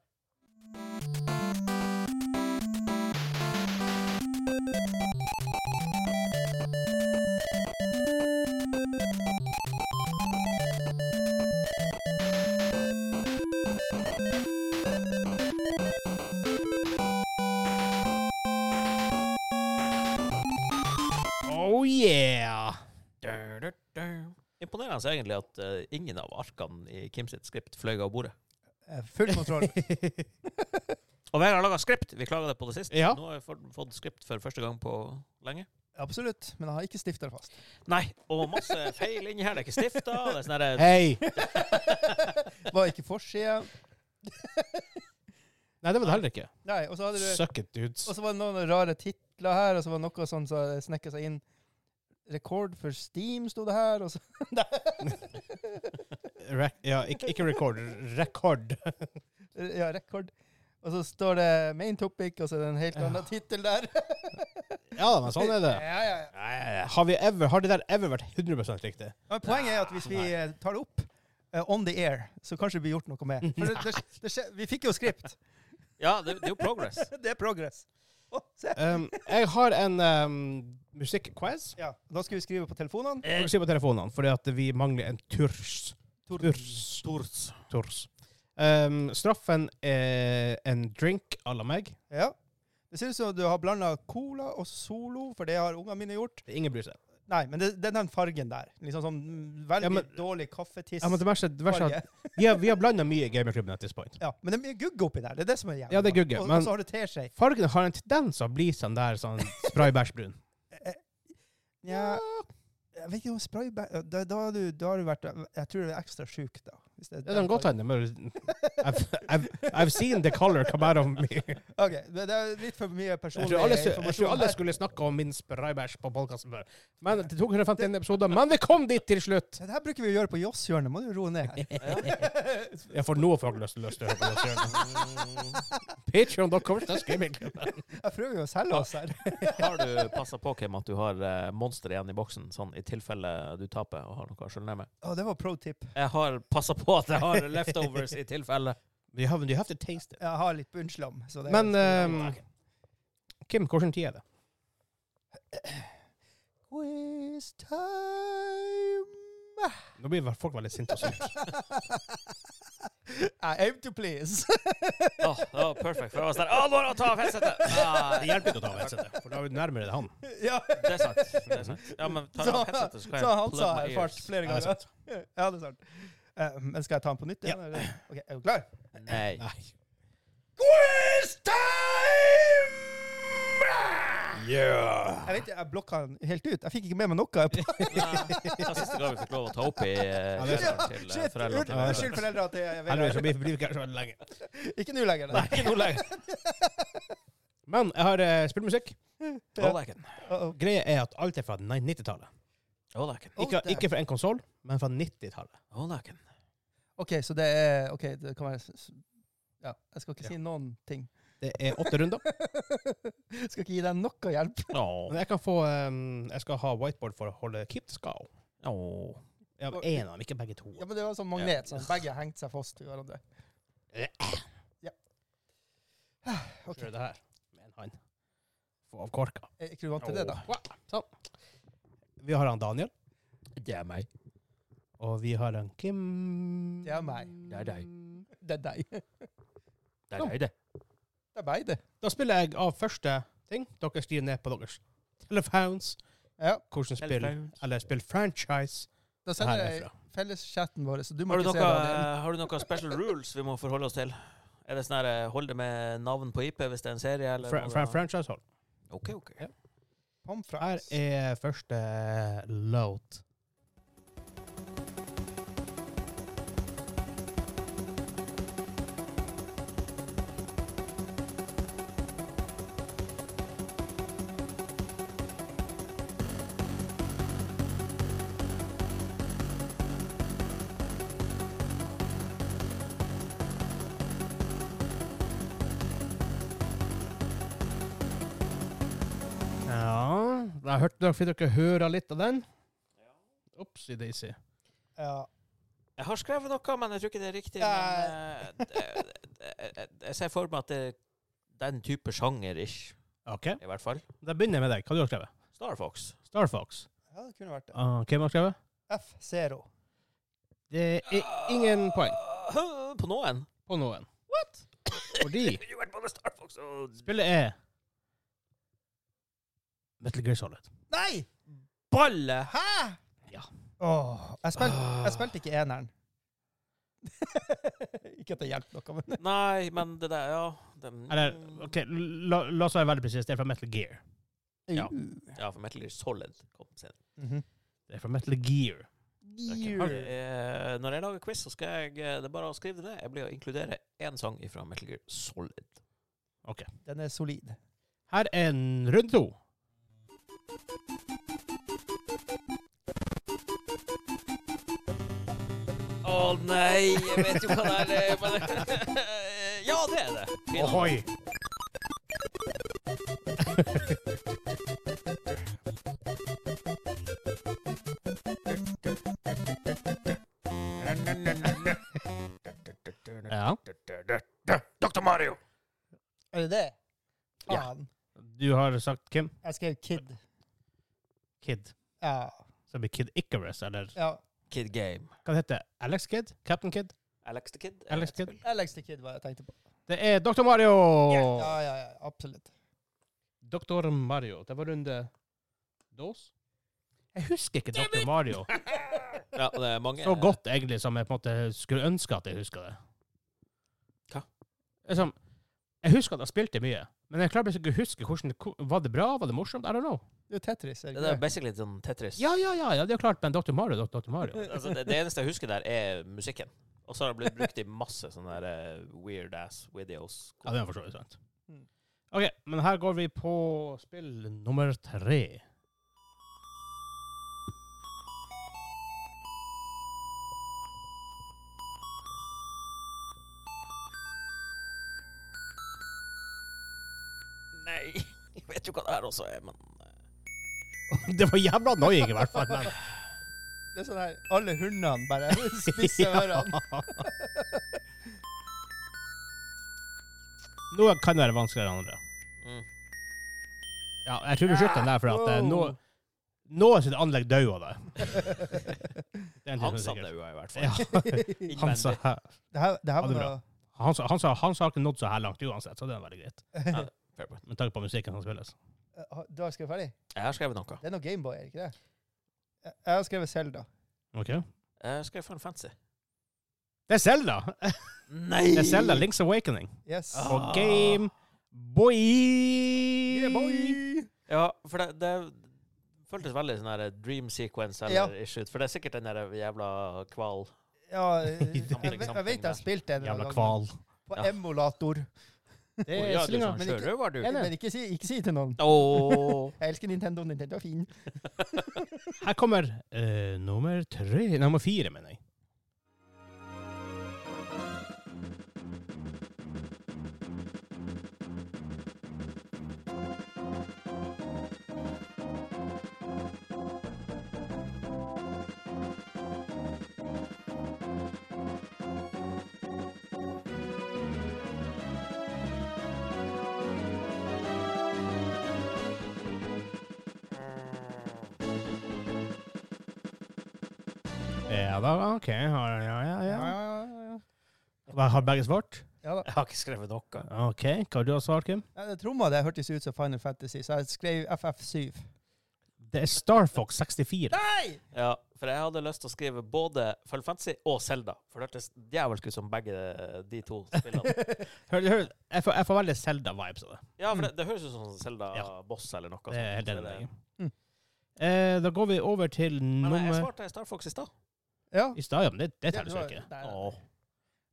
Speaker 1: Oh yeah!
Speaker 3: Dur, dur, dur. Imponerende egentlig at eh, ingen av arkene i Kim sitt skript fløy av bordet.
Speaker 2: Eh, Full kontroll.
Speaker 3: Og Vegard har laga skript! Vi klaga det på det sist.
Speaker 1: Ja.
Speaker 3: Nå har jeg fått- fått skript for første gang på lenge.
Speaker 2: Absolutt. Men jeg har ikke stifta det fast.
Speaker 3: Nei, og masse feil inni her. Det er ikke stifta. Det er sånn derre
Speaker 1: Hei!
Speaker 2: Var ikke forsida.
Speaker 1: Nei, det var det heller ikke.
Speaker 2: Nei, og så hadde du
Speaker 1: Suck it, dudes.
Speaker 2: Og så var det noen rare titler her, og så var det noe sånn som snekka seg inn. Rekord for Steam sto det her, og så
Speaker 1: Rek ja, ikke, ikke record. Rekord.
Speaker 2: Ja, rekord. Og så står det main topic, og så er det en helt
Speaker 1: Ja.
Speaker 2: annen tittel der.
Speaker 1: Ja da, men sånn er det.
Speaker 2: Ja, ja, ja.
Speaker 1: Nei, Har, vi ever, har det der ever vært 100 riktig?
Speaker 2: Ja, Men poenget er at hvis vi
Speaker 1: Nei.
Speaker 2: eh, tar det opp eh, on the air, så kanskje det blir gjort noe med. For det, det, skje- det, skje- vi fikk jo skript.
Speaker 3: Ja, det, det er jo progress.
Speaker 2: Det er progress. Å, se.
Speaker 1: Um, jeg har en um, musikkquiz.
Speaker 2: Ja, da skal vi skrive på telefonene.
Speaker 3: Eh,
Speaker 1: Jeg sier på telefonene, fordi at vi mangler en turs. Turs.
Speaker 3: Stort.
Speaker 1: turs. Um, straffen er en drink à la meg.
Speaker 2: Ja. Det ser ut som du har blanda cola og Solo, for det har ungene mine gjort.
Speaker 1: Ingen bryr seg.
Speaker 2: Nei, men det, det er den fargen der. Liksom sånn mm, veldig
Speaker 1: Ja, men-
Speaker 2: dårlig kaffetiss.
Speaker 1: Ja, men det verste, det verste er
Speaker 2: farge.
Speaker 1: at vi har, vi har blanda mye i gamerklubben at this point.
Speaker 2: Ja, men det er mye gugg oppi der. Det er det som er jævlig.
Speaker 1: Ja, det er
Speaker 2: bra.
Speaker 1: gugge,
Speaker 2: Og,
Speaker 1: men-
Speaker 2: og så har det teskje.
Speaker 1: Fargene har en tendens å bli sånn der sånn spraybærsbrun.
Speaker 2: Eh, Ja, jeg vet ikke om spraybær da, da, har du- da har du vært Jeg tror du er ekstra sjuk, da. Hvis det er
Speaker 1: Det kan
Speaker 2: den
Speaker 1: godt
Speaker 2: fargen.
Speaker 1: hende, men I've, I've, I've seen the color come out of me.
Speaker 2: Ok, det det er litt for mye
Speaker 1: Jeg
Speaker 2: personlig
Speaker 1: tror alle, jeg tror
Speaker 2: informasjon.
Speaker 1: alle skulle snakke om min spraybæsj på podkasten før. Men det tok 151 episoder. Men vi kom dit til slutt!
Speaker 2: her. Det her bruker vi å gjøre på Joss-hjørnet. Må du roe ned her.
Speaker 1: Jeg får nå folk lyst lyst til å høre på oss. Patreon.com. slash gamingklubben.
Speaker 2: Jeg prøver jo å selge oss her.
Speaker 3: Har du passa på, Kim, at du har eh, monster igjen i boksen, sånn i tilfelle du taper og har noe å skylde ned med?
Speaker 2: Å, det var pro tip.
Speaker 3: Jeg har passa på at jeg har leftovers i tilfelle.
Speaker 1: You have, you have to taste it.
Speaker 2: Jeg har litt bunnslam. Så det er-
Speaker 1: Men ehm, Kim, hvilken tid er det?
Speaker 2: Quiz time!
Speaker 1: Nå blir vel folk veldig sinte og sure.
Speaker 2: I aim to please.
Speaker 3: Åh, det var perfekt. For jeg var sånn Å, nå er det å ta av headsetet! Ah,
Speaker 1: Det hjelper ikke å ta av headsetet, for da er vi nærmere det han.
Speaker 2: ja.
Speaker 3: Det er sant. Det er sant. Ja, men ta
Speaker 2: Så,
Speaker 3: av headsetet, så kan
Speaker 2: så
Speaker 3: jeg
Speaker 2: han
Speaker 3: plug
Speaker 2: sa
Speaker 3: my
Speaker 2: jeg fart
Speaker 3: ears.
Speaker 2: flere
Speaker 1: Ja, det er
Speaker 2: ganger. Ja, det er sant. Eh, men skal jeg ta den på nytt? igjen, eller? Ok, er du klar?
Speaker 3: Nei.
Speaker 1: Nei.
Speaker 2: Quiz time!
Speaker 1: Yeah.
Speaker 2: Jeg vet ikke, jeg blokka den helt ut. Jeg fikk ikke med meg noe.
Speaker 3: Det var siste gang vi fikk lov å ta opp i
Speaker 1: Ja, det er
Speaker 3: kjelleren
Speaker 1: sant.
Speaker 3: til eh,
Speaker 2: Shit,
Speaker 3: foreldrene til
Speaker 2: Unnskyld, foreldre. At jeg,
Speaker 1: Heldigvis så blir blir vi ikke her så veldig lenge.
Speaker 2: ikke nå lenger.
Speaker 3: Nei, ikke nå lenger.
Speaker 1: Men jeg har eh, spilt musikk.
Speaker 3: Åleken.
Speaker 2: Uh-oh.
Speaker 1: Greia er at alt er fra 90-tallet.
Speaker 3: Åleken.
Speaker 2: Oh,
Speaker 1: Ikke,
Speaker 2: damn.
Speaker 1: ikke fra en konsoll, men fra 90-tallet.
Speaker 3: Åleken.
Speaker 2: OK, så det er OK, det kan være s- s- Ja, jeg skal ikke
Speaker 1: Ja.
Speaker 2: si noen ting.
Speaker 1: Det er åtte runder.
Speaker 2: skal ikke gi deg noe hjelp.
Speaker 1: Men jeg kan få um, Jeg skal ha whiteboard for å holde keep the scow.
Speaker 3: Åh.
Speaker 1: Ja,
Speaker 2: Og-
Speaker 1: en av dem, ikke begge to.
Speaker 2: Ja, men det var sånn magnet, sånn. Begge hengte seg fast til hverandre. ok.
Speaker 1: Prøv det her med en hand. Få av korka.
Speaker 2: Er ikke du vant til det, da?
Speaker 1: Wow. Sånn. Vi har han Daniel,
Speaker 3: Det er meg.
Speaker 1: og vi har han Kim
Speaker 2: Det er meg.
Speaker 3: Det er deg.
Speaker 2: Det er deg.
Speaker 3: Det er deg,
Speaker 2: Det
Speaker 3: det.
Speaker 2: er meg, det.
Speaker 1: Da spiller jeg av første ting. Dere skriver ned på deres telefones
Speaker 2: Ja.
Speaker 1: hvordan spill
Speaker 3: Telefones.
Speaker 1: Eller spill franchise.
Speaker 2: Da
Speaker 1: Her
Speaker 2: sender
Speaker 1: er
Speaker 2: jeg
Speaker 1: fra.
Speaker 2: felleschatten vår, så du må
Speaker 3: Har du,
Speaker 2: ikke se
Speaker 3: noe, eh,
Speaker 2: Daniel.
Speaker 3: har du noe special rules vi må forholde oss til? Er det sånn her eh, hold det med navn på IP hvis det er en serie, eller
Speaker 1: Fra,
Speaker 3: må det
Speaker 1: fra
Speaker 3: ha-
Speaker 1: franchise hold.
Speaker 3: OK, OK.
Speaker 1: Ja. Her
Speaker 2: Pomfrans.
Speaker 1: er første låt. Ja Jeg hørte dere, fikk dere høre litt av den? Opsi daisy.
Speaker 2: Ja.
Speaker 3: Jeg har skrevet noe, men jeg tror ikke det er riktig.
Speaker 2: Nei.
Speaker 3: Men, eh, jeg, jeg, jeg ser for meg at det er den type sjanger-ish,
Speaker 1: OK,
Speaker 3: i hvert fall.
Speaker 1: da begynner jeg med deg. Hva har du skrevet?
Speaker 3: Star Fox.
Speaker 1: Star Fox.
Speaker 2: ja, det kunne vært det.
Speaker 1: Ah, hvem har skrevet?
Speaker 2: F0.
Speaker 1: Det er ingen poeng
Speaker 3: På noen.
Speaker 1: på noen.
Speaker 3: What?
Speaker 1: Fordi
Speaker 3: Jeg har vært både Star Fox og
Speaker 1: spillet er Metal Gear Solid.
Speaker 2: Nei!
Speaker 3: Balle!
Speaker 2: Hæ?!
Speaker 1: Ja.
Speaker 2: Åh, jeg, spil,
Speaker 3: Ah.
Speaker 2: jeg spilte ikke eneren. ikke at det hjelper noe, men
Speaker 3: Nei, men det der, ja den,
Speaker 1: Eller, OK, la, la oss være veldig presise. Det er fra Metal Gear.
Speaker 3: Ja. Ja, for Metal Gear Solid kom senere.
Speaker 2: Mhm.
Speaker 1: Det er fra Metal Gear.
Speaker 3: Ok, det er- eh, Når jeg lager quiz, så skal jeg eh, Det er bare å skrive det ned. Jeg blir å inkludere én sang fra Metal Gear Solid.
Speaker 2: Den er solid.
Speaker 1: Her er en runde to.
Speaker 3: Å nei, jeg vet jo hva det er, men Ja, det er det!
Speaker 1: Ohoi! Ja.
Speaker 3: Dr. Mario!
Speaker 2: Er det det?
Speaker 1: Ja.
Speaker 2: Faen.
Speaker 1: Du har sagt Kim?
Speaker 2: Jeg skrev Kid.
Speaker 1: Kid.
Speaker 2: Ja.
Speaker 1: Så det blir Kid Icarus, eller
Speaker 2: ja.
Speaker 3: Kid Game.
Speaker 1: hva det heter det? Alex Kid? Captain Kid?
Speaker 3: Alex the Kid. er
Speaker 1: Alex
Speaker 3: et
Speaker 1: Kid.
Speaker 3: spill.
Speaker 2: Alex the Kid var jeg tenkte på.
Speaker 1: Det er Dr. Mario!
Speaker 2: Ja, ja, ja. Absolutt.
Speaker 1: Dr. Mario. Det var runde Dos? Jeg husker ikke Dr. Mario
Speaker 3: Ja, det er mange
Speaker 1: så godt, egentlig, som jeg på en måte skulle ønske at jeg husker det.
Speaker 3: Hva?
Speaker 1: Liksom, jeg husker at jeg spilte mye, men jeg klarer bare ikke å huske hvordan det ko- Var det bra? Var det morsomt? I don't know.
Speaker 2: Det er Tetris. Er
Speaker 3: Det er
Speaker 2: det,
Speaker 3: basically sånn Tetris.
Speaker 1: Ja, ja, ja, ja det er klart, men Dr. Mario, Dr. Dr. Mario.
Speaker 3: Altså, det, det eneste jeg husker der, er musikken. Og så har det blitt brukt i masse sånne der, eh, weird ass videos.
Speaker 1: Ja, det er for så vidt sant.
Speaker 2: Mm.
Speaker 1: OK, men her går vi på spill nummer tre.
Speaker 3: Nei, jeg vet jo hva det her også er, men eh,
Speaker 1: Det var jævla annoying, i hvert fall. Men.
Speaker 2: det er sånn her Alle hundene bare spisser ørene.
Speaker 1: Noe kan være vanskeligere enn andre.
Speaker 3: mm.
Speaker 1: Ja, jeg tror vi slutter den der, for at eh, nå, nå er sitt anlegg død av det. Det er en ting
Speaker 3: Han
Speaker 1: som
Speaker 3: sa
Speaker 1: er
Speaker 3: det jo i hvert fall.
Speaker 1: sikkert. Ja, han sa,
Speaker 3: Innvendig.
Speaker 2: Det her, det
Speaker 1: Ja,
Speaker 2: her var
Speaker 1: det er
Speaker 2: noe
Speaker 1: bra. han, sa, han, sa, han sa ikke nådd så her langt uansett, så det er veldig greit.
Speaker 3: Fair point.
Speaker 1: Med tanke på musikken som spilles.
Speaker 2: Eh, har- Du har skrevet ferdig?
Speaker 3: Jeg har skrevet noe.
Speaker 2: Det er noe Gameboy, er det ikke det? Jeg- Jeg har skrevet Zelda.
Speaker 1: Ok.
Speaker 3: Jeg skrev Final Fantasy.
Speaker 1: Det er Zelda!
Speaker 3: Nei!
Speaker 1: Det er Zelda Link's Awakening.
Speaker 2: Yes.
Speaker 3: Ah.
Speaker 1: På Game Boy!
Speaker 2: Yeah, boy!
Speaker 3: Ja, for det, det føltes veldig sånn her dream sequence
Speaker 2: Ja.
Speaker 3: eller issue. For det er sikkert den der eh, jævla kval.
Speaker 2: Ja, eh, jeg,
Speaker 1: Something,
Speaker 2: jeg, jeg vet jeg har
Speaker 3: something
Speaker 2: spilt det en
Speaker 1: Jævla
Speaker 2: gang,
Speaker 1: kval.
Speaker 2: På
Speaker 3: Ja.
Speaker 2: emulator.
Speaker 1: Det
Speaker 3: Å,
Speaker 1: er
Speaker 3: ja, du
Speaker 1: slinga.
Speaker 3: som
Speaker 2: men ikke-
Speaker 3: sjørøver, var du.
Speaker 1: Ja.
Speaker 2: Men ikke si, ikke si det til noen.
Speaker 3: Åh.
Speaker 2: Jeg elsker Nintendo. Nintendo er fin.
Speaker 1: Her kommer eh, nummer tre nei, Nummer fire, mener jeg. Ja da, OK. Ja, ja, ja, ja.
Speaker 2: ja, ja.
Speaker 1: Hva Har begge svart?
Speaker 2: ja da.
Speaker 3: Jeg har ikke skrevet noe.
Speaker 1: OK. Hva har du svart, Kim?
Speaker 2: Nei, det Tromma det hørtes ut som Final Fantasy, så jeg skrev FF7.
Speaker 1: Det er Star Fox 64.
Speaker 2: Nei!
Speaker 3: Ja, For jeg hadde lyst til å skrive både Full Fantasy og Selda. For det hørtes djevelsk ut som begge de to spillene.
Speaker 1: Hør, hør, jeg, får, jeg får veldig Zelda-vibes av det.
Speaker 3: Ja, for det, det høres ut som Selda-boss eller noe.
Speaker 1: Det er helt enig
Speaker 3: sånt.
Speaker 1: med
Speaker 3: sånn,
Speaker 1: deg.
Speaker 3: Så det-
Speaker 1: Mm. Eh, da går vi over til
Speaker 3: Men jeg
Speaker 1: nummer
Speaker 3: svarte Star Fox i stad.
Speaker 2: Ja.
Speaker 1: I stad, ja, men det, det
Speaker 2: Ja,
Speaker 1: teller jo
Speaker 2: var-
Speaker 1: ikke.
Speaker 2: Nei, nei.
Speaker 3: Åh.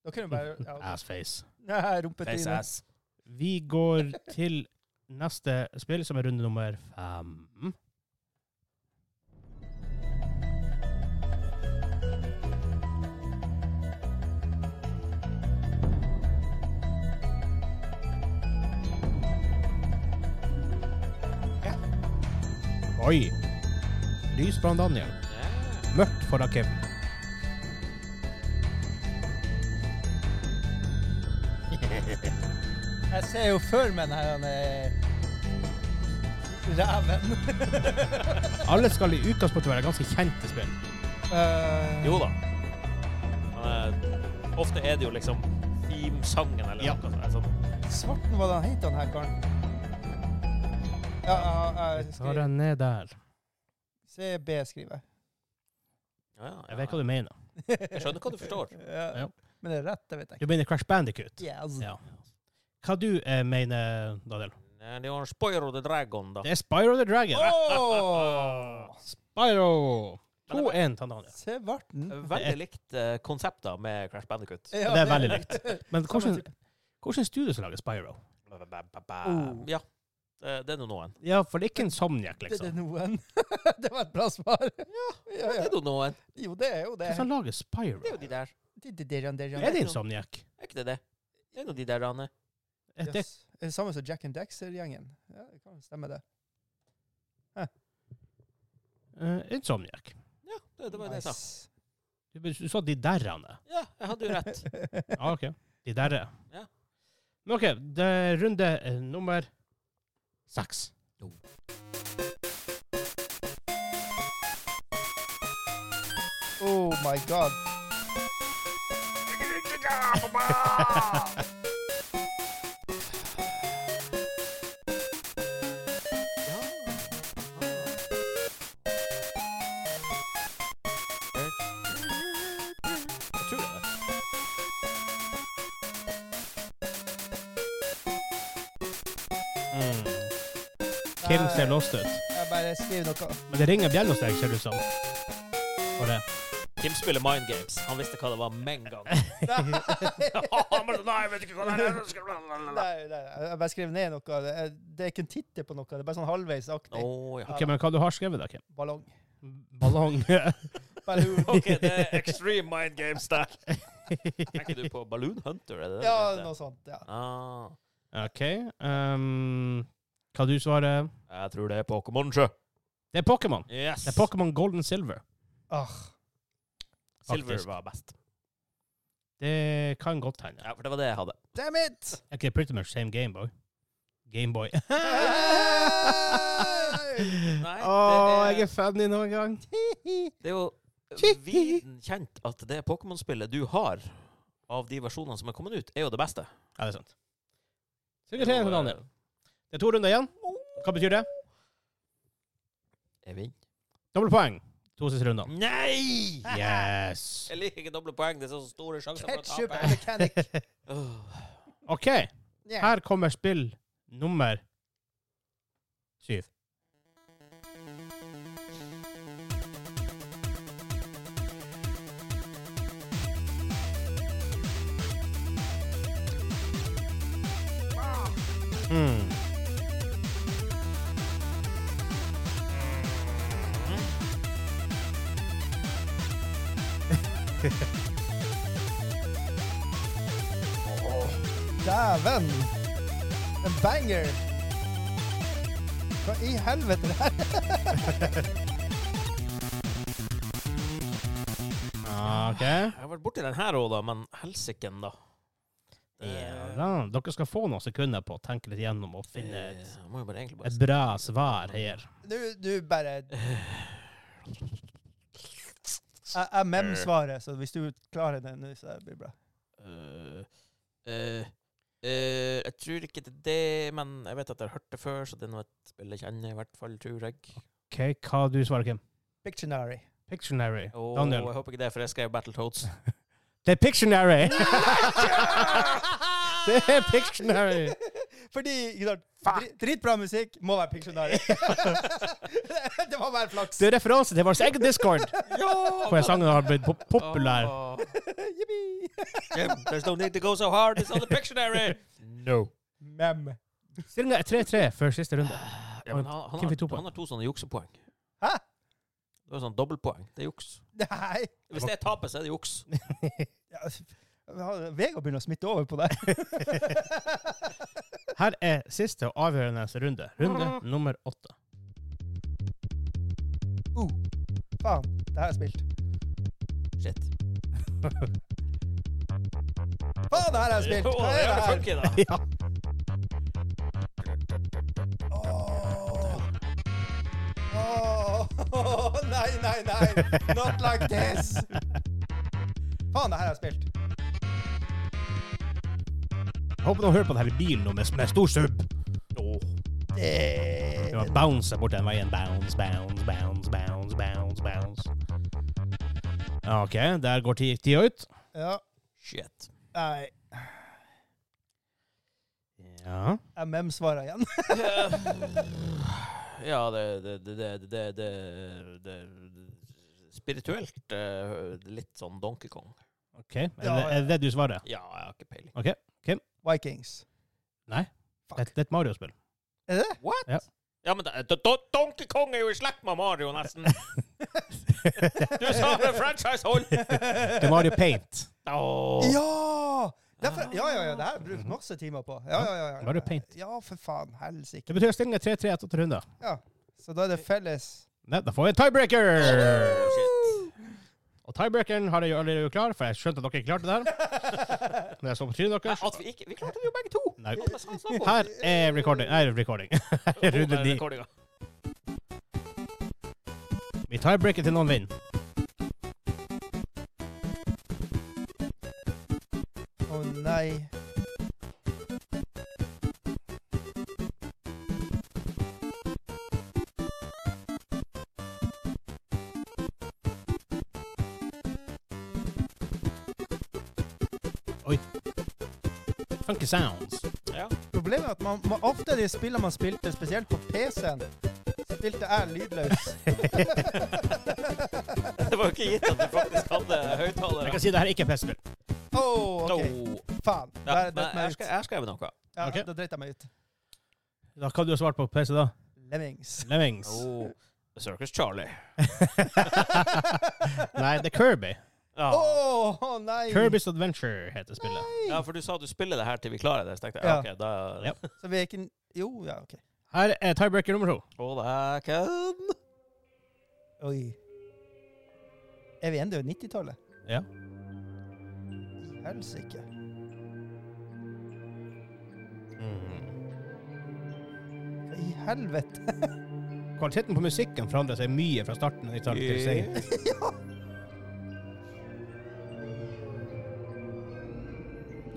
Speaker 2: Da kunne du bare ja.
Speaker 1: Assface.
Speaker 2: Nei,
Speaker 3: Face
Speaker 2: Rumpetryne.
Speaker 3: ass.
Speaker 1: Vi går til neste spill, som er runde nummer fem. Oi! Lys fra Daniel.
Speaker 3: Ja.
Speaker 1: Mørkt for Rakim.
Speaker 2: Jeg ser jo for meg den her han er eh, Reven.
Speaker 1: Alle skal i utgangspunktet være ganske kjente spill.
Speaker 2: Eh,
Speaker 3: Jo da. Men eh, ofte er det jo liksom theme-sangen eller
Speaker 1: Ja.
Speaker 3: noe sånt. Altså,
Speaker 2: Svarten, hva den heter han her karen? Ja, ja, jeg
Speaker 1: Ta
Speaker 2: skriver.
Speaker 1: den ned der.
Speaker 2: CB skriver jeg.
Speaker 3: ja, ja.
Speaker 1: Jeg vet hva du mener.
Speaker 3: Jeg skjønner hva du forstår.
Speaker 2: Ja.
Speaker 1: Ja.
Speaker 2: Men det er rett, det vet jeg
Speaker 1: Du mener Crash Bandicoot?
Speaker 2: ikke. Yes.
Speaker 1: Ja. Hva du eh, mener, Daniel?
Speaker 3: Nei, Det er jo en Spyro the Dragon, da.
Speaker 1: Det er Spyro the Dragon.
Speaker 2: Åh!
Speaker 1: Spyro!
Speaker 3: Men
Speaker 1: 2-1
Speaker 3: det
Speaker 1: til Daniel.
Speaker 2: Svarten.
Speaker 3: Veldig likt eh, konseptet med Crash Bandicut.
Speaker 2: Ja,
Speaker 1: det er veldig likt. Men hvordan,
Speaker 2: Samme type.
Speaker 1: hvordan studio som lager Spyro?
Speaker 2: Oh.
Speaker 3: Ja. Eh, Det, det er nå noen.
Speaker 1: Ja, for det er ikke Insomniac,
Speaker 2: Det er
Speaker 1: liksom.
Speaker 2: noen. det var et bra svar. Ja, ja,
Speaker 3: Det
Speaker 2: ja.
Speaker 3: er nå noen.
Speaker 2: Jo, det er jo det.
Speaker 1: Hvem som lager Spyro?
Speaker 3: Det er jo de der.
Speaker 2: Det- det- det- det- det-
Speaker 1: Er det Insomniac?
Speaker 3: Er ikke det det? Det er nå de der, Anne.
Speaker 1: Er det-
Speaker 2: Yes. Er det Eh, samme som Jack and Dexter-gjengen? Ja, det kan stemme, det.
Speaker 1: eh, Insomniac.
Speaker 3: Ja, det, det var jo det jeg sa.
Speaker 2: Nice.
Speaker 1: Du, du sa de derrene.
Speaker 3: Ja, jeg hadde jo rett.
Speaker 1: Ja, OK. De derre.
Speaker 3: Ja.
Speaker 1: Men OK, det er runde eh, nummer seks.
Speaker 2: Oh my god.
Speaker 3: Jeg tror det.
Speaker 1: Mm. Kim
Speaker 2: Nei,
Speaker 1: ser lost ut.
Speaker 2: Jeg bare skriver noe.
Speaker 1: Men det ringer bjell hos deg, ser det ut som. For det.
Speaker 3: Kim spiller Mind Games. Han visste hva det var med en gang. Han bare, Nei, jeg vet ikke hva det er. Jeg skal bla, bla, bla, bla.
Speaker 2: Nei, nei, nei, jeg bare skriver ned noe. Det er, det er ikke en tittel på noe, det er bare sånn halvveisaktig.
Speaker 3: Å, ja.
Speaker 1: Ok, men hva du har skrevet da, Kim?
Speaker 2: Ballong.
Speaker 1: Ballong.
Speaker 2: Balloon.
Speaker 3: OK, det er Extreme Mind Games der. Tenker du på Balloon Hunter? Er det det
Speaker 2: Ja,
Speaker 3: det?
Speaker 2: noe sånt. Ja.
Speaker 3: Ah,
Speaker 1: ok. Um, hva du svarer?
Speaker 3: jeg tror det er Pokémon, sjø.
Speaker 1: Det er Pokémon.
Speaker 3: Yes.
Speaker 1: Det er Pokémon Golden Silver.
Speaker 2: Ah,
Speaker 3: Silver
Speaker 1: faktisk.
Speaker 3: var best.
Speaker 1: Det kan godt hende.
Speaker 3: Ja, for det var det jeg hadde.
Speaker 2: damn it!
Speaker 1: Ok, pretty much same Gameboy. Gameboy.
Speaker 3: Nei,
Speaker 1: Åh,
Speaker 3: det,
Speaker 1: jeg er fan i noen gang.
Speaker 3: er, det er jo viden kjent at det Pokémon-spillet du har av de versjonene som er kommet ut, er jo det beste.
Speaker 1: Ja, det er sant. Sikkert en for Daniel. Det er to runder igjen. Hva betyr det?
Speaker 3: Jeg vinner.
Speaker 1: Dobbelt poeng. To siste runder.
Speaker 3: Nei!
Speaker 1: Yes.
Speaker 3: Jeg liker ikke doble poeng. Det er så store sjanser for å
Speaker 2: Ketchup
Speaker 3: tape.
Speaker 2: and mechanic.
Speaker 3: Åh,
Speaker 1: Ok,
Speaker 2: Yeah.
Speaker 1: her kommer spill nummer syv. Mm.
Speaker 2: Dæven! En banger! Hva i helvete er det her?
Speaker 1: Ok.
Speaker 3: Jeg har vært borti den her òg, da, men helsiken, da.
Speaker 1: Ja, da. Dere skal få noen sekunder på å tenke litt gjennom og finne et,
Speaker 3: Jeg må jo bare egentlig bare
Speaker 1: et bra svar her.
Speaker 2: Du, du bare Jeg, jeg mem-svaret, så hvis du klarer det nå, så blir det bra.
Speaker 3: Øh, øh, øh, Jeg tror ikke det er det, men jeg vet at jeg har hørt det før, så det er noe et spill jeg kjenner, i hvert fall, tror jeg.
Speaker 1: Ok, hva du svarer, Kim?
Speaker 2: Pictionary.
Speaker 1: Pictionary.
Speaker 3: Åh,
Speaker 1: Daniel.
Speaker 3: Jeg håper ikke det, for jeg skrev Battletoads.
Speaker 1: Det er Pictionary! det er Pictionary!
Speaker 2: Fordi ikke sant, dri- Dritbra musikk må være Pictionary. det må være flaks.
Speaker 1: Det er referanse til vår egen Discord, hvor sangen har blitt pop populær.
Speaker 3: Åh.
Speaker 2: Yippee.
Speaker 3: Jim, there's no need to go so hard. It's on the Pictionary. No.
Speaker 2: Mem.
Speaker 1: Stillinga er 3-3 før siste runde.
Speaker 3: Ja, men han, han,
Speaker 1: Hvem fikk to
Speaker 3: har,
Speaker 1: poeng?
Speaker 3: han har to sånne juksepoeng.
Speaker 2: Hæ?
Speaker 3: Det er sånn dobbeltpoeng. Det er juks.
Speaker 2: Nei.
Speaker 3: Hvis det er tapet, så er det juks.
Speaker 2: Ja, f- ja, Vegard begynner å smitte over på deg.
Speaker 1: Her er siste og avgjørende runde. Runde nummer åtte.
Speaker 2: Faen, det her er spilt.
Speaker 3: Shit.
Speaker 2: Faen, det her er spilt!
Speaker 3: Åh,
Speaker 2: Hva
Speaker 3: det
Speaker 2: er det
Speaker 3: er
Speaker 2: her?
Speaker 3: funky, da.
Speaker 2: Åh. Åh, Nei, nei, nei! Not like this! Faen, det her er spilt.
Speaker 1: Jeg håper noen hører på denne bilen nå med, med stor sub. Det var bounce bort den veien. Bounce, bounce, bounce, bounce, bounce, bounce. Ja, OK, der går ti- tida ut.
Speaker 2: Ja,
Speaker 3: Shit.
Speaker 2: nei.
Speaker 1: Ja.
Speaker 2: Jeg mem-svarer igjen.
Speaker 3: Ja, det det, det, det, det, det, det Spirituelt eh, litt sånn Donkey Kong.
Speaker 1: OK, er det,
Speaker 2: Ja, ja.
Speaker 1: er det du svarer?
Speaker 3: Ja, jeg har ikke peiling.
Speaker 2: Vikings.
Speaker 1: Det, det er et Mario-spill.
Speaker 2: Er det det?
Speaker 3: What?
Speaker 1: Ja.
Speaker 3: Ja, men da, da, da, Donkey Kong er jo i slekt med Mario, nesten. du sa det franchise-hold!
Speaker 1: Det er Mario Paint.
Speaker 3: Åh.
Speaker 2: Ja! Derfor, ja, ja, ja, det her har jeg brukt masse timer på. Ja, ja, ja. ja.
Speaker 1: Var det paint?
Speaker 2: Ja, for faen. Helsike.
Speaker 1: Det betyr at stillinga er 3-3 etter åtte runder.
Speaker 2: Så da er det felles
Speaker 1: Nei, da får vi en tiebreaker!
Speaker 3: Åh, shit.
Speaker 1: Og tiebreakeren har jeg jo allerede gjort klar, for jeg skjønte at dere ikke klarte det her.
Speaker 2: Å,
Speaker 1: Når jeg så på trynet
Speaker 3: Nei,
Speaker 1: deres.
Speaker 3: At vi, ikke, vi klarte det jo begge to!
Speaker 1: Nei.
Speaker 3: Hva faen sa han snakke om?
Speaker 1: Her er recording. Nei, recording.
Speaker 3: Åh, der
Speaker 1: Runde
Speaker 3: er
Speaker 1: ni.
Speaker 3: recordinga.
Speaker 1: Vi tiebreaker til noen vinner.
Speaker 2: nei.
Speaker 1: Funky sounds.
Speaker 3: Ja.
Speaker 2: Problemet er at man, man, ofte de spillene man spilte, spesielt på PC-en, spilte jeg lydløs.
Speaker 3: Det var jo ikke gitt at du faktisk hadde
Speaker 1: Jeg
Speaker 3: høyttalere.
Speaker 1: kan si det her er ikke PC-spill.
Speaker 2: Å, OK.
Speaker 3: Åh.
Speaker 2: Faen.
Speaker 3: Ja,
Speaker 2: Der
Speaker 3: men
Speaker 2: dreit
Speaker 3: jeg
Speaker 2: meg ut.
Speaker 3: skal- jeg skrev noe.
Speaker 2: Ja,
Speaker 1: Ok.
Speaker 2: Da dreit jeg meg ut.
Speaker 1: Da kan du ha svart på PC, da.
Speaker 2: Lemmings.
Speaker 1: Lemmings.
Speaker 3: Oh. The Circus Charlie.
Speaker 1: Nei, det er Kirby.
Speaker 2: Å,
Speaker 3: Ja.
Speaker 2: å, nei!
Speaker 1: Kirby's Adventure heter spillet.
Speaker 3: ja, for du sa du spiller det her til vi klarer det. Så tenkte jeg,
Speaker 2: Ja.
Speaker 3: ok, da...
Speaker 1: Ja.
Speaker 2: Så vi er ikke Jo, ja, OK.
Speaker 1: Her er tiebreaker nummer to.
Speaker 3: All I can...
Speaker 2: Oi. Er vi ennå i 90-tallet?
Speaker 1: Ja.
Speaker 2: I Helsike.
Speaker 1: Mm.
Speaker 2: I helvete.
Speaker 1: Kvaliteten på musikken forandrer seg mye fra starten av 90-tallet til sengen.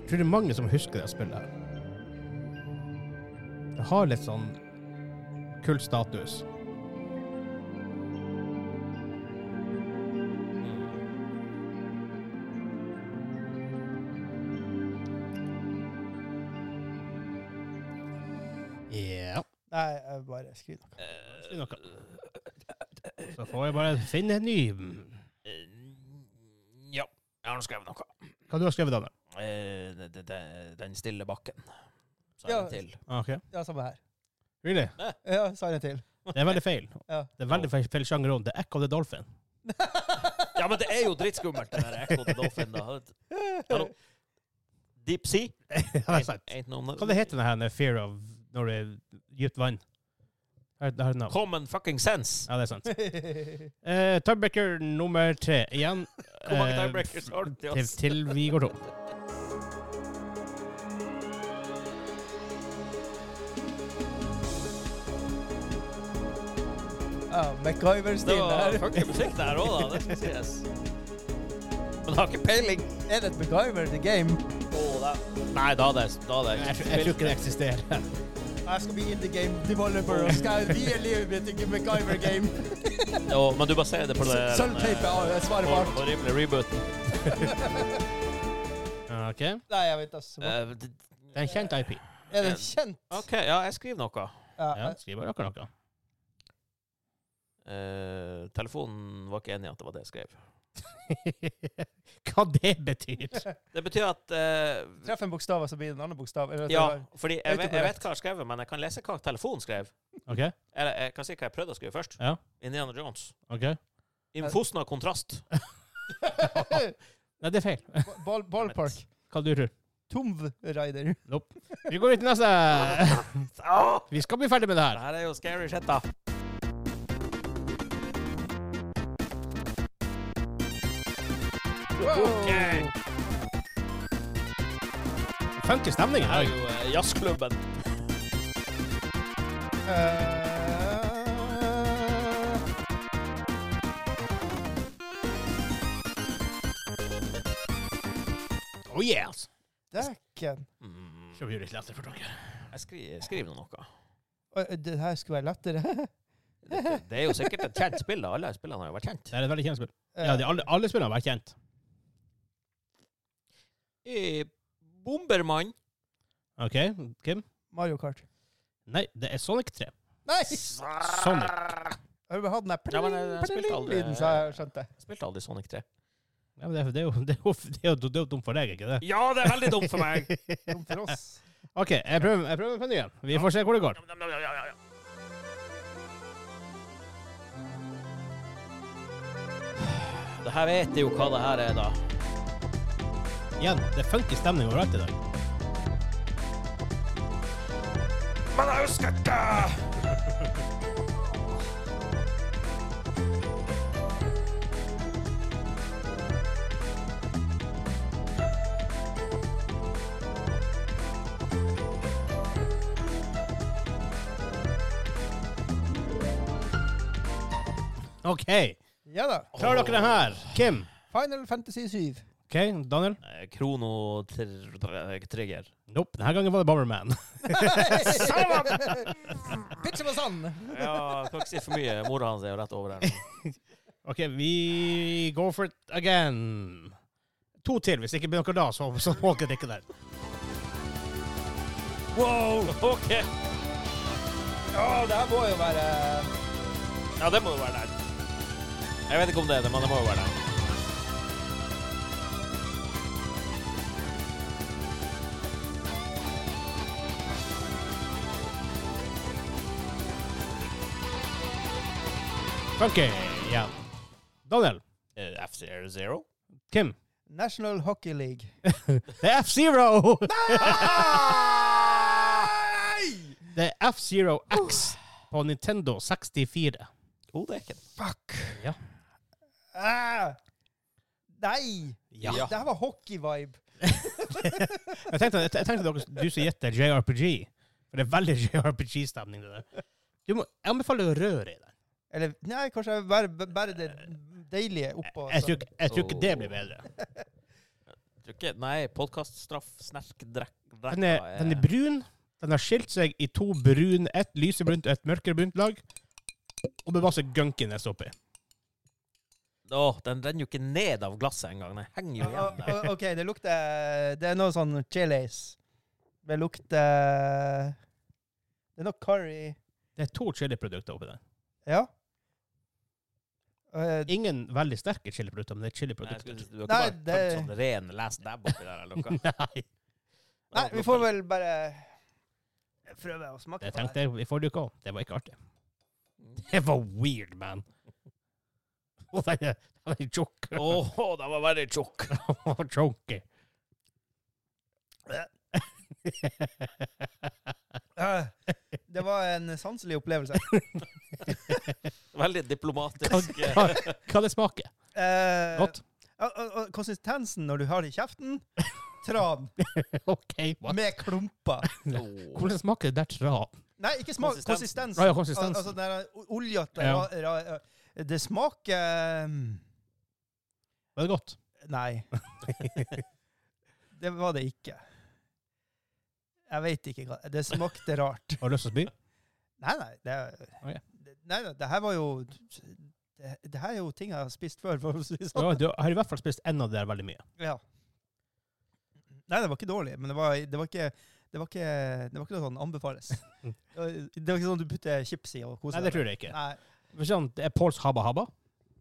Speaker 1: Jeg tror det er mange som husker det spillet her. Det har litt sånn kul status. Ja.
Speaker 2: Nei, jeg bare skriver noe.
Speaker 3: Eh,
Speaker 1: Si noe. Så får jeg bare finne en ny.
Speaker 3: eh, Ja, jeg har nå skrevet noe.
Speaker 1: Hva du har skrevet, Daniel?
Speaker 3: Eh, det- det- det- Den stille bakken. Så
Speaker 2: Ja.
Speaker 3: en til.
Speaker 1: Ah, Ok.
Speaker 2: Ja, samme her.
Speaker 1: Really?
Speaker 2: Ja, sa jeg en til.
Speaker 1: Det er veldig feil.
Speaker 2: Ja.
Speaker 1: Det er veldig feil, feil sjanger òg. Det er Echo the Dolphin.
Speaker 3: Ja, men det er jo dritskummelt, det der Echo the Dolphin. da. Hallo? Deep Sea?
Speaker 1: Ja, det er sant.
Speaker 3: Ain't no...
Speaker 1: Hva det heter det her med fear of når det er dypt vann? Har har et navn?
Speaker 3: Common fucking sense.
Speaker 1: Ja, det er sant. Eh, tiebreaker nummer tre igjen.
Speaker 3: Hvor mange
Speaker 1: Eh,
Speaker 3: tiebreakers har du til
Speaker 1: til,
Speaker 3: oss?
Speaker 1: til vi går tom.
Speaker 2: ja,
Speaker 3: Det
Speaker 2: MacGyver-stil
Speaker 3: var
Speaker 2: der.
Speaker 3: funky musikk der òg, da. Det skal sies. Men har ikke peiling.
Speaker 2: Er det et MacGyver the game?
Speaker 3: på det. Nei, da hadde jeg da hadde
Speaker 1: Jeg, tror- jeg tror ikke det eksisterer.
Speaker 2: Jeg skal bli in the game developer og skal bli en livet mitt i MacGyver-game.
Speaker 3: Og, men du baserer det på det den,
Speaker 2: Sølvteipe
Speaker 3: eh,
Speaker 2: er svaret
Speaker 3: hor-
Speaker 2: vårt.
Speaker 3: horrible rebooten.
Speaker 1: OK.
Speaker 2: Nei, jeg vet ikke.
Speaker 3: Eh, d-
Speaker 1: Det er en kjent IP.
Speaker 2: Er den kjent?
Speaker 3: OK, ja, jeg skriver noe.
Speaker 1: Ja,
Speaker 2: Ja.
Speaker 1: skriver dere noe?
Speaker 3: Eh, telefonen var ikke enig i at det var det jeg skrev.
Speaker 1: Hva det betyr?
Speaker 3: Det betyr at eh,
Speaker 2: Treff en bokstav, og så blir det en annen bokstav. Eller,
Speaker 3: Ja, fordi jeg,
Speaker 2: Autokorrekt.
Speaker 3: vet- jeg vet hva jeg har skrevet, men jeg kan lese hva telefonen skrev.
Speaker 1: OK?
Speaker 3: Eller jeg kan si hva jeg prøvde å skrive først.
Speaker 1: Ja.
Speaker 3: Indiana Jones.
Speaker 1: ok.
Speaker 3: Infosna kontrast.
Speaker 1: Nei, det er feil.
Speaker 2: Ball, ballpark.
Speaker 1: Hva du tror
Speaker 2: Tomb Raider.
Speaker 1: Nope. Vi går videre til neste.
Speaker 3: Åh!
Speaker 1: Vi skal bli ferdig med det
Speaker 3: Det
Speaker 1: her.
Speaker 3: her er jo scary shit, da. Ok. Det
Speaker 1: 50 stemninger
Speaker 3: her er
Speaker 1: her.
Speaker 3: jo eh, jazzklubben.
Speaker 2: Eh,
Speaker 1: Oh yes!
Speaker 2: Dæken.
Speaker 3: Mm.
Speaker 1: Skal vi gjøre litt lettere for dere?
Speaker 3: Jeg skriver, skriver nå noe.
Speaker 2: Oi, Det her skulle være lettere.
Speaker 3: Det, det er jo sikkert et kjent spill. da. Alle spillene har jo vært kjent.
Speaker 1: Det er et veldig kjent spill.
Speaker 2: Eh,
Speaker 1: Ja, de, alle, alle spillene har vært kjent.
Speaker 3: Eh, Bombermann.
Speaker 1: OK, Kim?
Speaker 2: Mario Kart.
Speaker 1: Nei, det er Sonic 3.
Speaker 2: Nei!
Speaker 3: Sånn.
Speaker 1: Sonic.
Speaker 2: Har du bare hatt den der
Speaker 3: Ja,
Speaker 1: eh,
Speaker 3: men jeg- jeg spilte aldri-
Speaker 2: pling-pling-lyden, så jeg skjønte.
Speaker 3: Jeg spilte aldri Sonic 3.
Speaker 1: Ja, men det, er- det, er jo, det, er jo, det, er jo, det er jo dumt for deg, ikke det?
Speaker 3: Ja, det er veldig dumt for meg!
Speaker 2: Dumt for oss.
Speaker 1: OK, jeg prøver, jeg prøver på ny igjen. Vi får se hvor det går.
Speaker 3: Det her vet jeg jo hva det her er, da.
Speaker 1: Igjen, det er funky stemning overalt i dag.
Speaker 3: Men jeg husker ikke!
Speaker 1: OK,
Speaker 2: Ja da.
Speaker 1: klarer dere det her? Kim?
Speaker 2: Final Fantasy 7.
Speaker 1: OK, Daniel?
Speaker 3: Eh, Krono-trigger.
Speaker 1: Nope, denne gangen var det Bomberman.
Speaker 2: Bitch og sann!
Speaker 3: Ja, kan ikke si for mye. Mora hans er jo rett over her.
Speaker 1: OK, vi go for it again. To til, hvis det ikke blir noe da, så, så må dere ikke der.
Speaker 3: Wow! OK.
Speaker 2: Ja, det her må jo være
Speaker 3: Ja, det må jo være der. Jeg vet ikke om det er det, men det må jo være der.
Speaker 1: Funky igjen. Daniel?
Speaker 3: Eh, F-Zero?
Speaker 1: Kim?
Speaker 2: National Hockey League.
Speaker 1: Det er F-Zero!
Speaker 2: Nei!
Speaker 1: Det er F-Zero X på Nintendo 64.
Speaker 3: Oh, det er ikke den.
Speaker 2: Fuck.
Speaker 1: Ja.
Speaker 2: Ah. Nei!
Speaker 1: Ja.
Speaker 2: Det her var hockey-vibe.
Speaker 1: Jeg tenkte, jeg tenkte dere, du som gjetter JRPG. For det er veldig JRPG-stemning, det der. Du må, jeg anbefaler å røre i den.
Speaker 2: Eller nei, kanskje bare, bare det deilige oppå.
Speaker 1: Jeg tror, ikke- jeg tror ikke det
Speaker 3: Åh.
Speaker 1: blir bedre.
Speaker 3: Tror ikke- Nei, podkaststraff, snerk, drekk
Speaker 1: Den er, den er brun. Den har skilt seg i to brun, ett lysebrunt og ett mørkebrunt lag. Og med masse gunkiness oppi.
Speaker 3: Åh, den renner jo ikke ned av glasset engang. Den henger jo igjen der.
Speaker 2: Å, å, OK, det lukter Det er noe sånn chilis. Det lukter Det er noe curry.
Speaker 1: Det er to chiliprodukter oppi der.
Speaker 2: Ja. Eh,
Speaker 1: Ingen veldig sterke chiliprodukter, men det er
Speaker 3: Nei, du,
Speaker 1: chiliprodukter.
Speaker 3: du har ikke
Speaker 2: Nei,
Speaker 3: bare tømt
Speaker 2: det-
Speaker 3: sånn ren last dab oppi der, eller noe?
Speaker 1: Nei,
Speaker 2: nei, vi får vel bare prøve å smake
Speaker 1: det
Speaker 2: på
Speaker 1: tenkte jeg i forrige uke òg. Det var ikke artig.
Speaker 3: Mm.
Speaker 1: Det var weird, man. Og den er den er tjukk.
Speaker 3: Åh, den var veldig tjukk.
Speaker 1: Og chunky.
Speaker 2: Eh, Det var en sanselig opplevelse.
Speaker 3: Veldig diplomatisk.
Speaker 1: Hva, hva det smaker?
Speaker 2: Eh,
Speaker 1: Godt?
Speaker 2: og- og- og Konsistensen når du har det i kjeften Tran
Speaker 1: OK, what?
Speaker 2: med klumper.
Speaker 3: Åh.
Speaker 1: Hvordan smaker det der tran?
Speaker 2: Nei, ikke smak.
Speaker 3: Konsistens.
Speaker 2: Konsistens.
Speaker 1: Ja, ja,
Speaker 2: Al
Speaker 1: konsistensen.
Speaker 2: altså, det er o- oljete
Speaker 1: Ja.
Speaker 2: ra- ra- ra- Det smaker mm,
Speaker 1: Var det godt?
Speaker 2: Nei. det var det ikke. Jeg vet ikke hva Det smakte rart.
Speaker 1: Har du lyst til å spy?
Speaker 2: Nei, nei. Det,
Speaker 1: Å, ja.
Speaker 2: det, nei, nei, det her var jo det, det her er jo ting jeg har spist før, for å si det sånn.
Speaker 1: Ja, du har i hvert fall spist en av de der veldig mye.
Speaker 2: Ja. Nei, det var ikke dårlig, men det var, det var ikke det var, ikke, det var ikke noe sånn anbefales.
Speaker 1: Mm.
Speaker 2: Det var det var ikke sånn du putter chips i og koser
Speaker 1: Nei, det tror jeg ikke.
Speaker 2: Nei,
Speaker 1: For sånn, det er Pauls Habba Habba.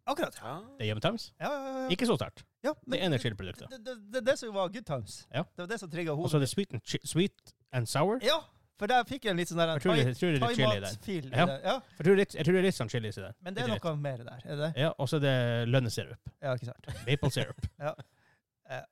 Speaker 2: akkurat.
Speaker 3: Ja.
Speaker 1: Det er Jevn Times.
Speaker 2: Ja, ja, ja, ja.
Speaker 1: Ikke så sterkt.
Speaker 2: ja,
Speaker 1: Det
Speaker 2: men
Speaker 1: ene chiliproduktet.
Speaker 2: det, det, det, det som var good times.
Speaker 1: Ja.
Speaker 2: Det var det som trigga
Speaker 1: Og
Speaker 2: hodet.
Speaker 1: så er det sweet and, chi sweet and sour.
Speaker 2: Ja, for der fikk jeg en litt sånn der
Speaker 1: Jeg tror det, jeg tror det er litt chili der.
Speaker 2: thaimat-feel. i
Speaker 1: Ja.
Speaker 2: det. Ja,
Speaker 1: Jeg tror det er litt, jeg tror det er litt sånn chili i det.
Speaker 2: men det er
Speaker 1: Litt
Speaker 2: noe mer der, er det det?
Speaker 1: rødt. Ja, og så er det lønnesirup.
Speaker 2: Ja, ikke sant.
Speaker 1: Maple syrup.
Speaker 2: Ja. Eh.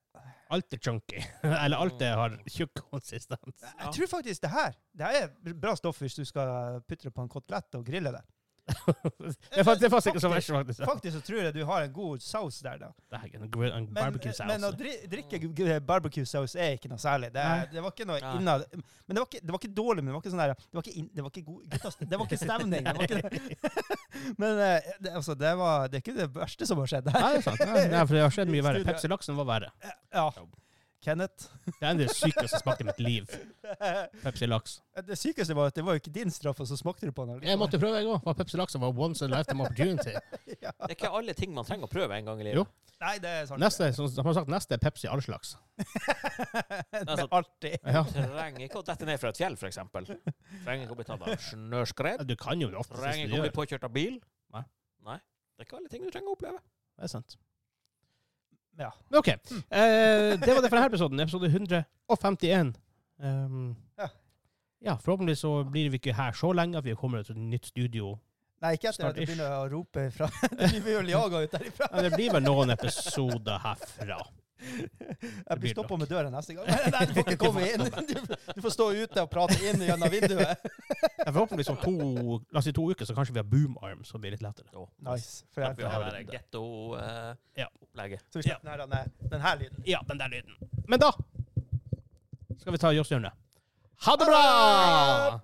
Speaker 1: Alt er chunky. Eller alt det har tjukk konsistens.
Speaker 2: Eh, Jeg jeg tror faktisk det her Det her er bra stoff hvis du skal putte det på en kotelett og grille det.
Speaker 1: Det er fakt- det er faktisk ikke så verst, faktisk.
Speaker 2: Faktisk så tror jeg du har en god saus der, da.
Speaker 1: Det er en grill- en
Speaker 2: Men,
Speaker 1: barbecue
Speaker 2: men å
Speaker 1: sauce.
Speaker 2: dri drikke g- g- barbecue-saus er ikke noe særlig. Det, er-
Speaker 1: Nei.
Speaker 2: det var ikke noe
Speaker 3: Nei.
Speaker 2: innad Men det var ikke, det var ikke dårlig, men det var ikke sånn der Det var ikke, inn- det var ikke god gutta, Det var ikke stemning. Det var ikke, men eh, det, altså, det, var, det er ikke det verste som har skjedd her.
Speaker 1: Nei, det er sant. Nei, nei, for det har skjedd mye verre.
Speaker 2: Studio-
Speaker 1: Pepsi-laksen var verre.
Speaker 2: Ja. Kenneth.
Speaker 1: Det er en av de sykeste jeg smakte i mitt liv. Pepsi-laks.
Speaker 2: Eh, Det sykeste var at det var jo ikke din straff, og så smakte du på den.
Speaker 1: Jeg måtte prøve, jeg òg. Pepsi-laksen var once in a lifetime opportunity.
Speaker 2: Ja.
Speaker 3: Det er ikke alle ting man trenger å prøve en gang i
Speaker 1: Jo.
Speaker 3: livet.
Speaker 2: Nei, det er sant.
Speaker 1: Neste, som som har sagt, neste er Pepsi all slags.
Speaker 2: det
Speaker 3: altså-
Speaker 2: er artig.
Speaker 1: Ja.
Speaker 3: Trenger ikke å dette ned fra et fjell, f.eks. Trenger ikke å bli tatt av snøskred.
Speaker 1: Du kan jo det oftest
Speaker 3: Trenger
Speaker 1: hvis du
Speaker 3: ikke å
Speaker 1: gjør.
Speaker 3: bli påkjørt av bil.
Speaker 1: Nei.
Speaker 3: Nei. Det er ikke alle ting du trenger å oppleve.
Speaker 1: Det er sant.
Speaker 2: Ja.
Speaker 1: Men OK. Eh, det var det for denne episoden. Episode 151. Um,
Speaker 2: Ja.
Speaker 1: ja, forhåpentlig så blir vi ikke her så lenge at vi kommer til et nytt studio.
Speaker 2: Nei, ikke etter at du
Speaker 1: Snart-ish.
Speaker 2: begynner å rope ifra. Du blir vel jaga ut derifra.
Speaker 1: Men det blir vel noen episoder herfra.
Speaker 2: Jeg blir
Speaker 1: blir
Speaker 2: stoppa med døra neste gang. Nei, du får ikke komme inn. Du, du får stå ute og prate inn gjennom vinduet.
Speaker 1: Ja, Forhåpentligvis om to, la oss si to uker, så kanskje vi har boom arm, så blir det litt lettere.
Speaker 3: Jo.
Speaker 2: Nice. For
Speaker 3: At
Speaker 2: jeg,
Speaker 3: vi har det eh,
Speaker 1: det.
Speaker 3: der getto-opplegget.
Speaker 1: Ja.
Speaker 2: så vi slipper den her- den her lyden.
Speaker 1: Ja, den der lyden. Men da skal vi ta Joss-hjørnet. Ha det bra!